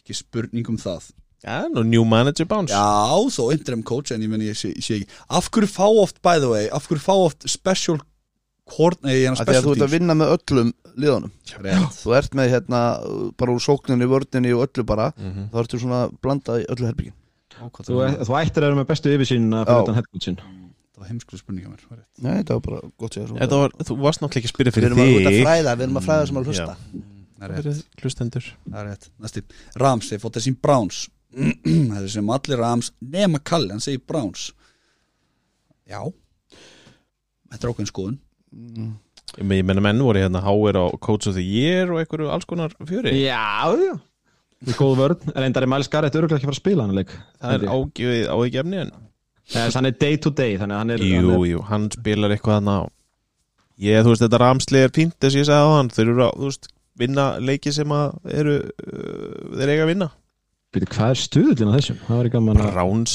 Speaker 1: Ekki spurning um það
Speaker 3: Já, nú new manager bounce
Speaker 1: Já, þó interim coach en ég menn ég sé, ég sé ekki Af hverju fá oft, by the way, af hverju fá oft special court, nei, hérna
Speaker 4: Af því að
Speaker 1: special
Speaker 4: þú ert að
Speaker 1: teams
Speaker 4: vinna með öllum liðunum
Speaker 1: Rétt.
Speaker 4: þú ert með hérna bara úr sókninni, vördninni og öllu bara
Speaker 3: Mhm.
Speaker 4: þá ertu svona blandað í öllu herbyggin
Speaker 2: Þú, þú ættir að vera með bestu yfirsýn að
Speaker 4: Já.
Speaker 2: fyrir þetta headcoachin
Speaker 1: Það var heimskulega spurning að mér var rétt.
Speaker 4: Nei, þetta var bara gott sér
Speaker 3: Þetta var, þú varst náttúrulega ekki að spyrja
Speaker 4: Við
Speaker 3: fyrir
Speaker 4: erum að út að
Speaker 3: þig
Speaker 4: fræða, við erum að fræða sem að hlusta
Speaker 1: Það er rétt.
Speaker 3: Fyrir hlustendur
Speaker 1: Það er rétt, næsti Rams, þeir fótt þessi Browns Það er sem allir Rams nema Kalli, hann segir Browns Já Þetta er ákveðin skoðun
Speaker 3: Ég men- ég menna menn voru hérna Háver á Coach of the Year og einhverju alls konar fjöri
Speaker 2: Já, já Með góð vörð, en reyndar er Miles Garrett öruglega ekki að fara að spila hann leik
Speaker 3: Það er ágjöfið á ekki efni en
Speaker 2: Þess, Hann er day to day, þannig að hann er, hann
Speaker 3: Jú,
Speaker 2: er
Speaker 3: jú, hann spilar eitthvað hann á Ég, þú veist, þetta ramsli er fínt þess að ég sagði á hann, þeir eru að, þú veist vinna leiki sem að eru uh, þeir eiga að vinna
Speaker 2: Býtu, Hvað er stuðullin á þessum? Það var í gaman að
Speaker 3: Browns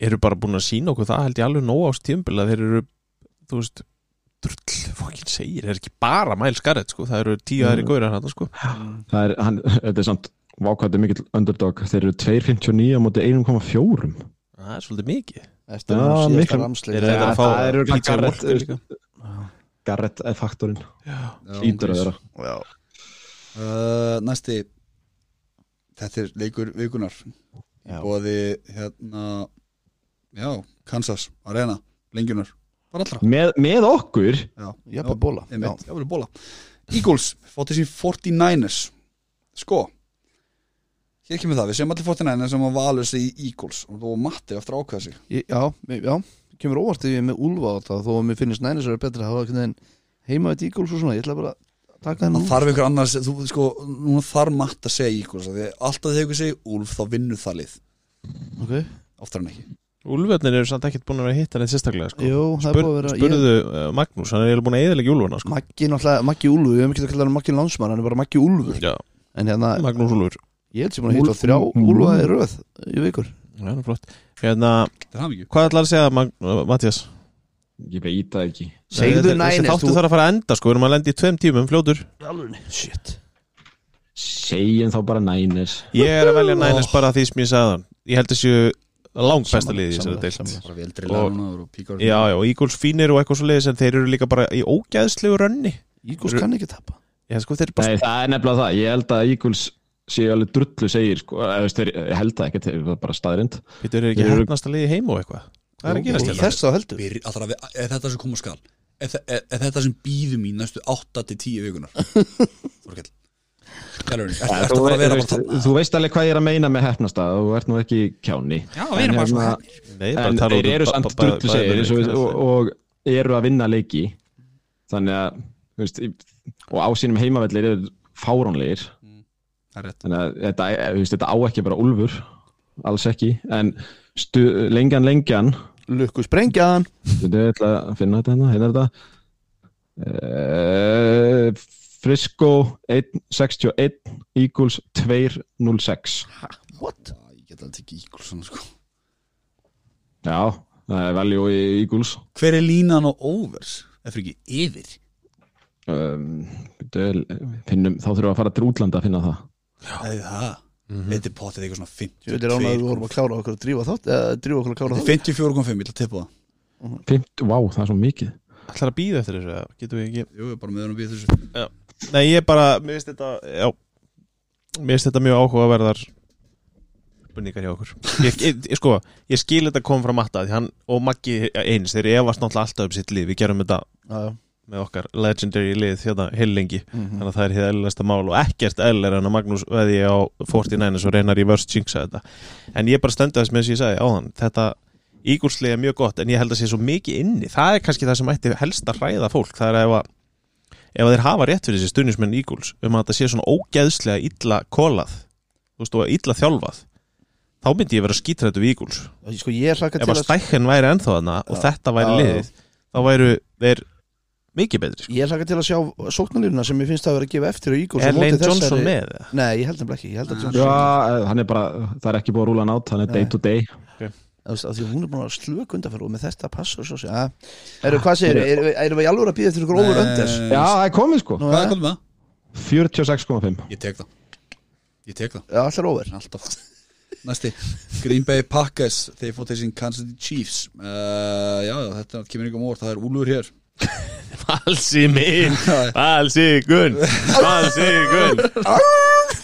Speaker 3: eru bara búin að sína okkur það held ég alveg nóg á stímbil að þeir eru þú veist, drull fokkin segir, þeir eru ekki bara mæl skarrett sko, það eru tíu aðri góðir hann sko.
Speaker 2: Það er, hann, þetta er samt vákvæmt er mikill underdog Þeir eru 2.59 á móti 1.4
Speaker 3: það er svolítið mikið
Speaker 4: Eftir
Speaker 2: Já,
Speaker 4: að síðasta
Speaker 2: miklu-
Speaker 4: ramsli
Speaker 3: Þeir eru
Speaker 2: Já,
Speaker 3: þetta að fá
Speaker 2: það eru
Speaker 3: pizza og
Speaker 2: Garrett,
Speaker 3: morgun líka.
Speaker 2: Garrett er faktorinn
Speaker 1: Já,
Speaker 2: Ítur að vera
Speaker 4: Já.
Speaker 1: uh, Næsti Þetta er leikur vikunar
Speaker 4: Já.
Speaker 1: Bóði hérna Já, Kansas, Arena, Lengjunar Bara allra
Speaker 2: með, með okkur
Speaker 1: Já,
Speaker 4: Ég er bara að bóla Já.
Speaker 1: einmitt, já, verður bóla Eagles, fótt þessi 49ers Sko Hér kemur það, við segjum allir 49ers sem að valur sig í Eagles og þú og Matti eftir að ákveða sig
Speaker 4: Ég- Já, mér- já, kemur óvart ef ég er með úlfa á þetta þó að mér finnst nænis að vera betra að hafa einhvern veginn heima eitt ígól svo svona, ég ætla bara að taka það nú
Speaker 1: Það þarf einhver annars, þú sko, núna þarf Matt að segja Eagles af því að alltaf þegar ykkur segir Úlf þá vinnur það lið,
Speaker 4: Ok,
Speaker 1: oftar en ekki
Speaker 3: Úlfarnir eru samt ekkert búin að vera að hitta neitt sérstaklega sko.
Speaker 4: Jú, það er
Speaker 3: Spur,
Speaker 4: búið að vera ég,
Speaker 3: Spurðu uh, Magnús, hann er eiginlega búin að eiginlega Úlfarna sko.
Speaker 4: Maggi náttúrulega, Maggi Úlfur, við hefum ekki að kalla hann Maggi Lánsmann Hann er bara Maggi Úlfur
Speaker 3: Já,
Speaker 4: En hérna,
Speaker 3: Magnús Úlfur
Speaker 4: ég held sem búin að hitta
Speaker 2: Úlf-
Speaker 4: þrjá
Speaker 2: Úlf-
Speaker 4: Úlfa í röð í vikur
Speaker 3: Já, nú flott Hérna,
Speaker 6: Það er hann ekki
Speaker 3: hvað ætlar að segja Mag Mattias?
Speaker 2: Ég veit það ekki
Speaker 4: Segðu
Speaker 3: Þessi
Speaker 4: nænir,
Speaker 3: þáttu
Speaker 4: þú
Speaker 3: þarf að fara að enda sko, við erum að lenda í tveim tímum, fljótur
Speaker 4: Shit
Speaker 2: Segjum þá bara nænis
Speaker 3: Ég er að velja Næners bara því sem ég sagði hann Ég held þessu langt besta liði í þessari
Speaker 1: Sammála,
Speaker 3: deilt
Speaker 1: Bara vel drillaður núna og píkar
Speaker 3: Já, já, og Eagles fínir og eitthvað svo leiðis en þeir eru líka bara í ógæðslegu rönni
Speaker 4: Ígús kann ekki tapa
Speaker 3: Já, sko, þeir eru bara
Speaker 2: Nei, það er nefnilega það, ég held að Eagles séu alveg drullu segir sko, eða, þú veist, þeir, ég held það ekki, þeir eru bara staðrind
Speaker 3: Þeir eru ekki
Speaker 2: Þeir eru-
Speaker 3: hefnasta liði heim og eitthvað Hvað er að gerast hérna?
Speaker 4: Þess þá heldur
Speaker 1: Byr, allra, við- er þetta sem koma skal er, þe- er, er þetta sem býðum í næstu 8-10 vikunar Þorkell Kjærlurinn, er þetta
Speaker 2: þú,
Speaker 1: bara að vera bara
Speaker 2: veist,
Speaker 1: að
Speaker 2: þú veist alveg hvað ég er að meina með hefnasta þú ert nú ekki kjáni
Speaker 1: Já, við erum
Speaker 2: En
Speaker 1: bara svo
Speaker 2: hérna-
Speaker 1: hefnir
Speaker 3: Nei, bara
Speaker 2: en
Speaker 3: tala
Speaker 2: þeir
Speaker 3: út um
Speaker 2: eru
Speaker 3: ba-
Speaker 2: samt
Speaker 3: ba- ba-
Speaker 2: drullu segir eins og,
Speaker 3: bæði-
Speaker 2: og, og eru að vinna leiki þannig að þú veist, í- og á sínum heimavellir eru fáránlegir
Speaker 1: Það er rétt
Speaker 2: þannig að þetta, eh, þú veist, þetta á ekki bara úlfur alls ekki, en stu, lengjan lengjan
Speaker 4: Lukku sprengjaðan
Speaker 2: Þetta er ætla að finna þetta hérna, hérna er þetta uh, Frisco 1, 61 Eagles 206
Speaker 4: What?
Speaker 1: Já, Ég get alltaf ekki íkul svona sko
Speaker 2: Já, það er value í Eagles
Speaker 1: Hver er línan á overs? Ef ekki yfir
Speaker 2: um, byrju, finnum, þá þurfum við að fara til útlanda að finna það
Speaker 1: Það er það Þetta er potið eitthvað svona
Speaker 4: Ég veit er ánægður að við
Speaker 1: 52
Speaker 4: vorum að klára okkur að drífa þátt eða drífa okkur að klára
Speaker 1: Þetta er
Speaker 4: þátt
Speaker 1: 54,5, ég ætla að tippa það
Speaker 2: 50, vá, það er svo mikið
Speaker 3: Ætlar að býða eftir þessu, eða? getum við ekki
Speaker 1: Jú, við erum bara með hann að býða þessu
Speaker 3: Nei, ég bara, mér finnst þetta Já, mér finnst þetta mjög áhugaverðar spurningar hjá okkur ég, ég, ég, Sko, ég skil þetta kom frá Matta því hann og Maggi eins, þeir efast náttúrulega alltaf um sitt lið, við gerum þetta
Speaker 4: Já, já.
Speaker 3: með okkar legendary lið hérna heilengi
Speaker 4: Mhm.
Speaker 3: þannig að það er hér eðlilegsta mál og ekkert eðlir en að Magnús veði á 49 og reynar í vörst jinxa þetta en ég bara stendur þess með þess að ég sagði áðan þetta ígúrslega er mjög gott en ég held að sé svo mikið inni það er kannski það sem ætti helst að hræða fólk það er ef að ef að þeir hafa rétt fyrir þessi stundismenn ígúls um að þetta sé svona ógeðslega illa kolað þú veist og illa þjálfað þá myndi ég vera skítrættu við ígúls
Speaker 4: Sko ég hlaka
Speaker 3: ef
Speaker 4: til
Speaker 3: að
Speaker 4: að
Speaker 3: stækken væri ennþá þarna og
Speaker 4: Já.
Speaker 3: þetta væri
Speaker 4: Já, já.
Speaker 3: liðið þá væru þeir mikið betri sko.
Speaker 4: Ég hlaka til að sjá sóknarlínuna sem ég finnst að vera að gefa eftir og Ígús
Speaker 3: Er Lane Johnson með? eða?
Speaker 4: Nei, ég held nefnilega ekki, ég held að
Speaker 2: Já,
Speaker 4: Johnson
Speaker 2: eh, hann er bara, það er ekki búið að rúla hann át hann er day
Speaker 4: Nei.
Speaker 2: to day
Speaker 4: Þú veist, af Því að hún er búin að slöka undanferð og með þetta passa og svo sé Eru, hvað segir, erum við- erum við í alveg að býða eftir ykkur over under?
Speaker 1: Eh,
Speaker 2: Já, það er komið sko,
Speaker 4: Nú,
Speaker 1: Hvað er
Speaker 4: eh?
Speaker 1: komið með það?
Speaker 2: 46,5
Speaker 1: Ég tek það Ég tek það
Speaker 4: Já, allar over
Speaker 1: Alltaf Næsti Green Bay Packers Þeir fótt þessin Kansas City Chiefs uh, Já, já, þetta kemur ykkur mór Það er Úlfur hér
Speaker 3: Falsi minn Falsi gunn Falsi gunn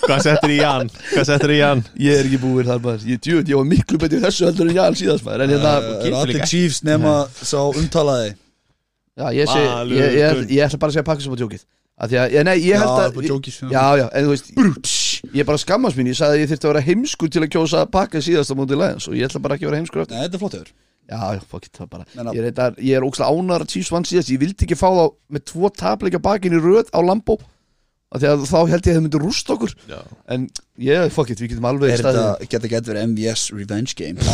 Speaker 3: Hvað settir í hann? Hvað settir í hann?
Speaker 4: Ég er ekki búin þar maður, ég djúið, ég var miklu betur í þessu heldur en ég alls síðast maður En hérna,
Speaker 1: Það Uh, er allir Chiefs nema sá umtalaði
Speaker 4: já, ég segi,
Speaker 3: Valur,
Speaker 4: ég, ég, ég,
Speaker 3: Gunn.
Speaker 4: ég ætla bara að segja pakkisum á djókið Af því að, ég, nei, ég held
Speaker 1: Já,
Speaker 4: að
Speaker 1: bara jókis
Speaker 4: Já, já, en þú veist, ég bara skammast mín, ég sagði að ég þyrfti að vera heimskur til að kjósa pakka síðast á móti læðins og ég ætla bara ekki að vera heimskur aftur.
Speaker 1: Nei, þetta er flott hefur
Speaker 4: Já, já, fuck it, það bara,
Speaker 1: Menna-
Speaker 4: ég er, reyndar- ég er ókslega ánar að Chiefs vann síðast, ég vildi ekki fá þá með tvo tapleika bakin í röð á Lambo af því að þá held ég að það myndi rúst okkur
Speaker 3: Já.
Speaker 4: en ég, fuck it, við getum alveg
Speaker 1: Er
Speaker 4: staðið-
Speaker 1: þetta geta gett verið MVS Revenge Game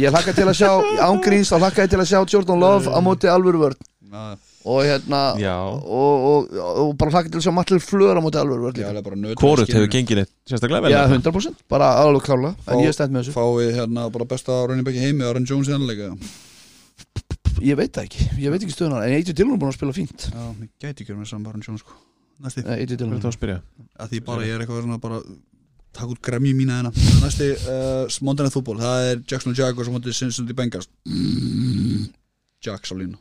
Speaker 4: Ég hlakka til að sjá, ángríns, þá hlakka ég til að sjá Jordan Love á móti alvöru vörn
Speaker 1: Já,
Speaker 4: og hérna
Speaker 3: Já
Speaker 4: og, og, og bara hlakka til að sjá Mattil Flöður á móti alvöru vörn
Speaker 1: já,
Speaker 4: líka.
Speaker 1: alveg bara nötur
Speaker 3: Hvorut hefur gengið neitt sérstaklega vel
Speaker 4: Já,
Speaker 3: eða?
Speaker 4: 100% bara alveg klála, en ég er stend með þessu
Speaker 1: Fáið hérna bara besta running back í heimi Aaron Jones í annarleika
Speaker 4: Ég veit það ekki, ég veit ekki stöðunar en Eitur Dillon er búin að spila fínt
Speaker 1: Já, mér gæti ekki verið með saman Aaron Jones sko Næsti
Speaker 4: Eh,
Speaker 3: Hvað
Speaker 4: Eitur Dillon
Speaker 3: er það að spyrja?
Speaker 1: að því bara ég er eitthvað svona bara takk út gremju mína hérna Það er næsti uh, smóndanið fútból það er Jackson Jaguars og mótið Cincinnati Bengals mm. Jacks á línu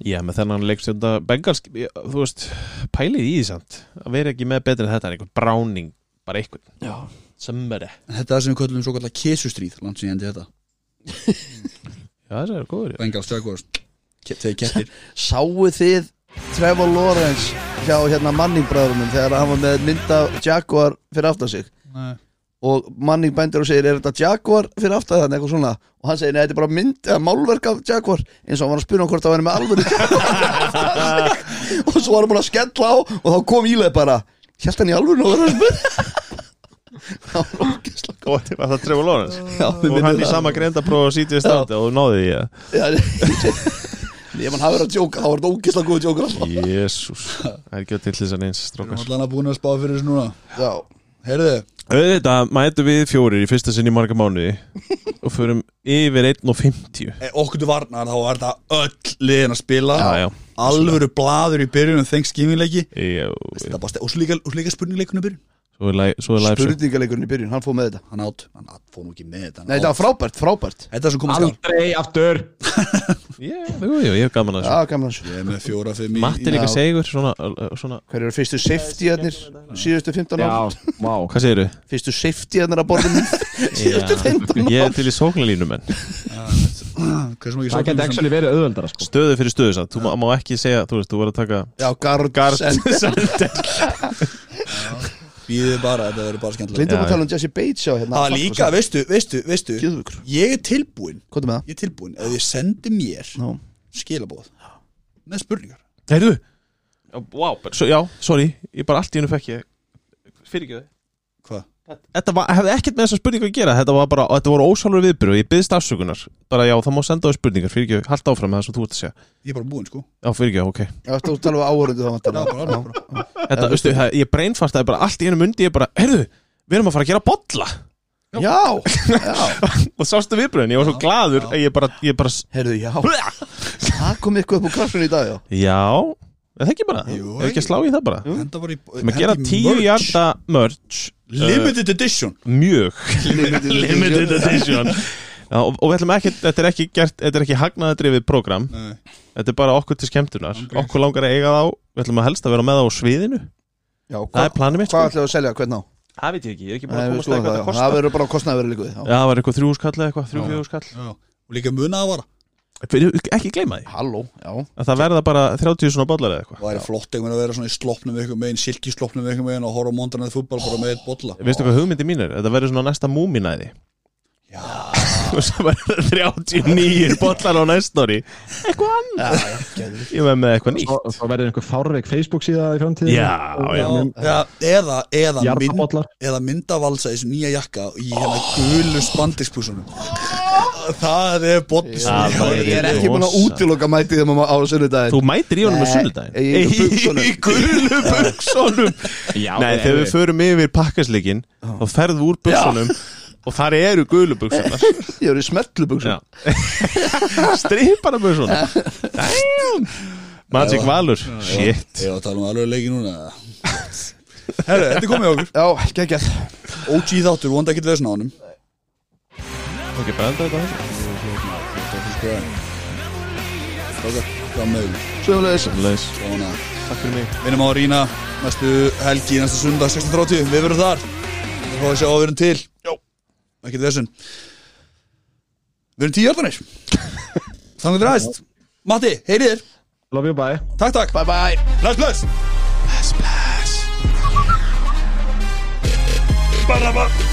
Speaker 3: Já, með þennan leikstjönda Bengalsk Þú veist, pælið í því samt Að vera ekki með betri en þetta en einhvern Browning, bara einhvern
Speaker 4: Já,
Speaker 3: Sömmeri Já,
Speaker 1: en þetta er sem við köllum svo kallar kesustríð land sem ég endi þetta
Speaker 3: það er góður já.
Speaker 1: Bengals Jaguars Ke- þeir kettir
Speaker 4: Sáu þið Trevor Lawrence hjá hérna Manning bræðurum þegar hann var með mynda Jaguar fyrir aftan sig
Speaker 1: Nei.
Speaker 4: og Manning bændir og segir er þetta Jaguar fyrir aftan þannig eitthvað svona og hann segir neða þetta er bara mynd eða málverk af Jaguar eins og hann var að spyrja hann hvort það væri með alvöru Jaguar fyrir aftan sig. og svo var hann búin að skella á og þá kom ílega bara Hjælt hann í alvöru og verður að spyrja
Speaker 3: og þetta var það Trevor Lawrence
Speaker 5: Já, við
Speaker 3: og
Speaker 5: minnum
Speaker 3: hann í
Speaker 5: það.
Speaker 3: sama greind að prófa sítið státi og þú náði því að
Speaker 5: Já, Ef hann hafi verið að djóka, þá var þetta ógeðslega góð djókur alltaf
Speaker 3: Jésús, það er ekki að til þess að
Speaker 1: Við
Speaker 3: neins
Speaker 1: erum
Speaker 3: strókar
Speaker 1: allan að búin að spá fyrir þessu núna
Speaker 5: Já,
Speaker 1: Heyrðu,
Speaker 3: Auðvitað mætum við fjórir í fyrsta sinni í marga mánuði og förum yfir 1.50
Speaker 1: eh, okkur til varnar þá er þetta öll liðin að spila
Speaker 3: Já, já.
Speaker 1: Alvöru blaður í byrjunum Thanksgiving-leiki
Speaker 3: Jó,
Speaker 1: Þetta bara ste- Og svo líka, og svo líka spurningleikunum byrjun
Speaker 3: svo er læ- svo er live show.
Speaker 4: Spurningalegurinn í byrjun, hann fóð með þetta
Speaker 1: Hann átt, hann átt, fór nú ekki með þetta hann
Speaker 4: Nei,
Speaker 1: átt.
Speaker 4: þetta var frábært, frábært
Speaker 1: Þetta er sem komið skál
Speaker 2: Aldrei aftur
Speaker 3: Já, Jú, jú, ég hef gaman að þessu
Speaker 4: Já, gaman þessu
Speaker 1: Ég er með fjóra, fimm í
Speaker 3: Matti
Speaker 1: í-
Speaker 3: líka segur svona, uh, svona
Speaker 4: Hver eru fyrstu safety-arnir síðustu 15 ára?
Speaker 2: Já, vá
Speaker 3: Hvað segir þau?
Speaker 4: Fyrstu safety-arnir að borðinu síðustu 15
Speaker 3: Ég er til í sóknarlínum en
Speaker 1: Hversu mikið
Speaker 2: Það
Speaker 1: sóknum
Speaker 2: geti
Speaker 1: sem-
Speaker 2: actually verið auðveldara sko
Speaker 3: Stöðu fyrir stöðu satt, þú má- má ekki segja Þú veist, þú verður að taka
Speaker 4: Já, Garð
Speaker 3: Garð
Speaker 4: Send-
Speaker 3: Sander
Speaker 1: Býðið bara, þetta verður bara skemmtilega
Speaker 4: Lindum
Speaker 3: Já,
Speaker 4: að tala um Jesse Bates já hérna
Speaker 1: Það var líka, veistu, veistu, veistu
Speaker 4: Gjöðvökur
Speaker 1: Ég er tilbúinn,
Speaker 4: Hvað er með það?
Speaker 1: ég er tilbúinn Ef þið sendi mér
Speaker 4: Já.
Speaker 1: skilabóð Með spurningar
Speaker 3: Heyrðu Wow, bara- svo, já, sorry, ég bara allt í hennu fekk ég Fyrirgjöðu
Speaker 1: Hvað?
Speaker 3: Þetta var, hefði ekkert með þessa spurningu að gera Þetta var bara, þetta voru ósálfur viðbyrðu Ég byggðist afsökunar Bara já, það má senda á þér spurningar Fyrirgjöðu, halda áfram með það sem þú ert að segja
Speaker 1: Ég er bara búinn sko
Speaker 3: Já, fyrirgjöðu, ok
Speaker 4: Já, þú tala um áhörundu þá vantar
Speaker 1: Já, bara, alveg bara.
Speaker 3: Þetta, veistu, það- ég breinfartaði bara allt í hennu mundi Ég bara, heyrðu, við erum að fara að gera bolla
Speaker 4: Já,
Speaker 3: Og sástu viðbröðin, ég var svo glaður að Ég bara, ég bara,
Speaker 4: herðu, já Það kom eitthvað upp úr krafturinn í dag, já
Speaker 3: já Er Það ekki bara,
Speaker 1: Jú,
Speaker 3: hefur ekki að slá í það bara
Speaker 1: Henda bara í
Speaker 3: Sem að gera
Speaker 1: henda í
Speaker 3: tíu
Speaker 1: merch.
Speaker 3: hjarta merch uh,
Speaker 1: Limited edition
Speaker 3: Mjög
Speaker 4: Limited edition.
Speaker 3: Limited edition Já, og, og við ætlum ekki, þetta er ekki gert Þetta er ekki hagnaðadrifið program
Speaker 1: Nei.
Speaker 3: Þetta er bara okkur til skemmtunar Okkur langar að eiga þá, við ætlum að helst að vera með þá á sviðinu
Speaker 4: Já,
Speaker 3: Það
Speaker 4: hvað
Speaker 3: er planið mitt
Speaker 4: hva
Speaker 3: sko.
Speaker 4: ætlum við að selja, hvernig á?
Speaker 3: Það veit ég ekki, ég er ekki búin
Speaker 4: Nei,
Speaker 3: að
Speaker 4: við
Speaker 3: komast að hvað það kostar
Speaker 4: skoðum það, já Það verður bara kostnaður líka við, já.
Speaker 3: Já, það var eitthvað þrjúskall eða eitthvað, þrjú, fjögurskall
Speaker 1: Já. Og líka muna að vara
Speaker 3: Ekki gleyma því,
Speaker 4: Halló, já
Speaker 3: að það verða bara 30 svona bollar eða
Speaker 1: Það
Speaker 3: eitthvað
Speaker 1: væri flott einhvern að vera svona í sloppnum ykkur megin Silkisloppnum ykkur megin og horfa á mondan eða fútbol bara með eitt bolla
Speaker 3: Veistu hvað hugmyndi mín er? Þetta verður svona næsta múminæði og svo verður 39 bollar á næsta ári Eitthvað annað Ég verð með eitthvað nýtt
Speaker 2: Svo, svo verður einhver fárveik Facebook síða í framtíðin
Speaker 3: Já, já.
Speaker 1: Já, eða, eða, mynd,
Speaker 2: Jarnabollar
Speaker 1: eða myndavalsa í þessu nýja jakka í hérna gulu spandiskpúsunum Það er bolli sem
Speaker 3: Já, það
Speaker 4: Ég er
Speaker 3: er
Speaker 4: ekki búin að
Speaker 3: rosa.
Speaker 4: útiloka mætið þeim á sunnudaginn
Speaker 3: Þú mætir í honum á
Speaker 4: Nei,
Speaker 3: sunnudaginn
Speaker 4: í buxunum.
Speaker 3: Í gulu buxunum
Speaker 2: Já,
Speaker 3: Nei, þegar við förum yfir pakkasleikin þá ferðu úr buxunum og þar eru gulu buxunar
Speaker 4: Ég er í smertlubugsun
Speaker 3: Já. Stripara buxunar Damn. Magic Valur Shit
Speaker 1: Ég var að tala um alveg leiki núna Herru, þetta er komið hjá okkur
Speaker 4: Já, geggjað
Speaker 1: OG þáttur, vonda ekkert vesna á honum
Speaker 3: Ok, bara enda þetta á þessu.
Speaker 1: Ok, hvað mögum
Speaker 4: Sjöfulegis
Speaker 3: Leis.
Speaker 1: Svona,
Speaker 3: Takk fyrir mig
Speaker 1: minnum á að rýna næstu helgi, næstu sunda 16.30 Við verum þar Við fáum að sjá að við erum til Jó Ekkert vesn Við erum tíu hjartanir Þannig til næst Matti, heyrið þér
Speaker 2: Love you, bye
Speaker 1: Takk, takk
Speaker 4: Bye bye
Speaker 1: Bless, bless Bless, bless Bara, bara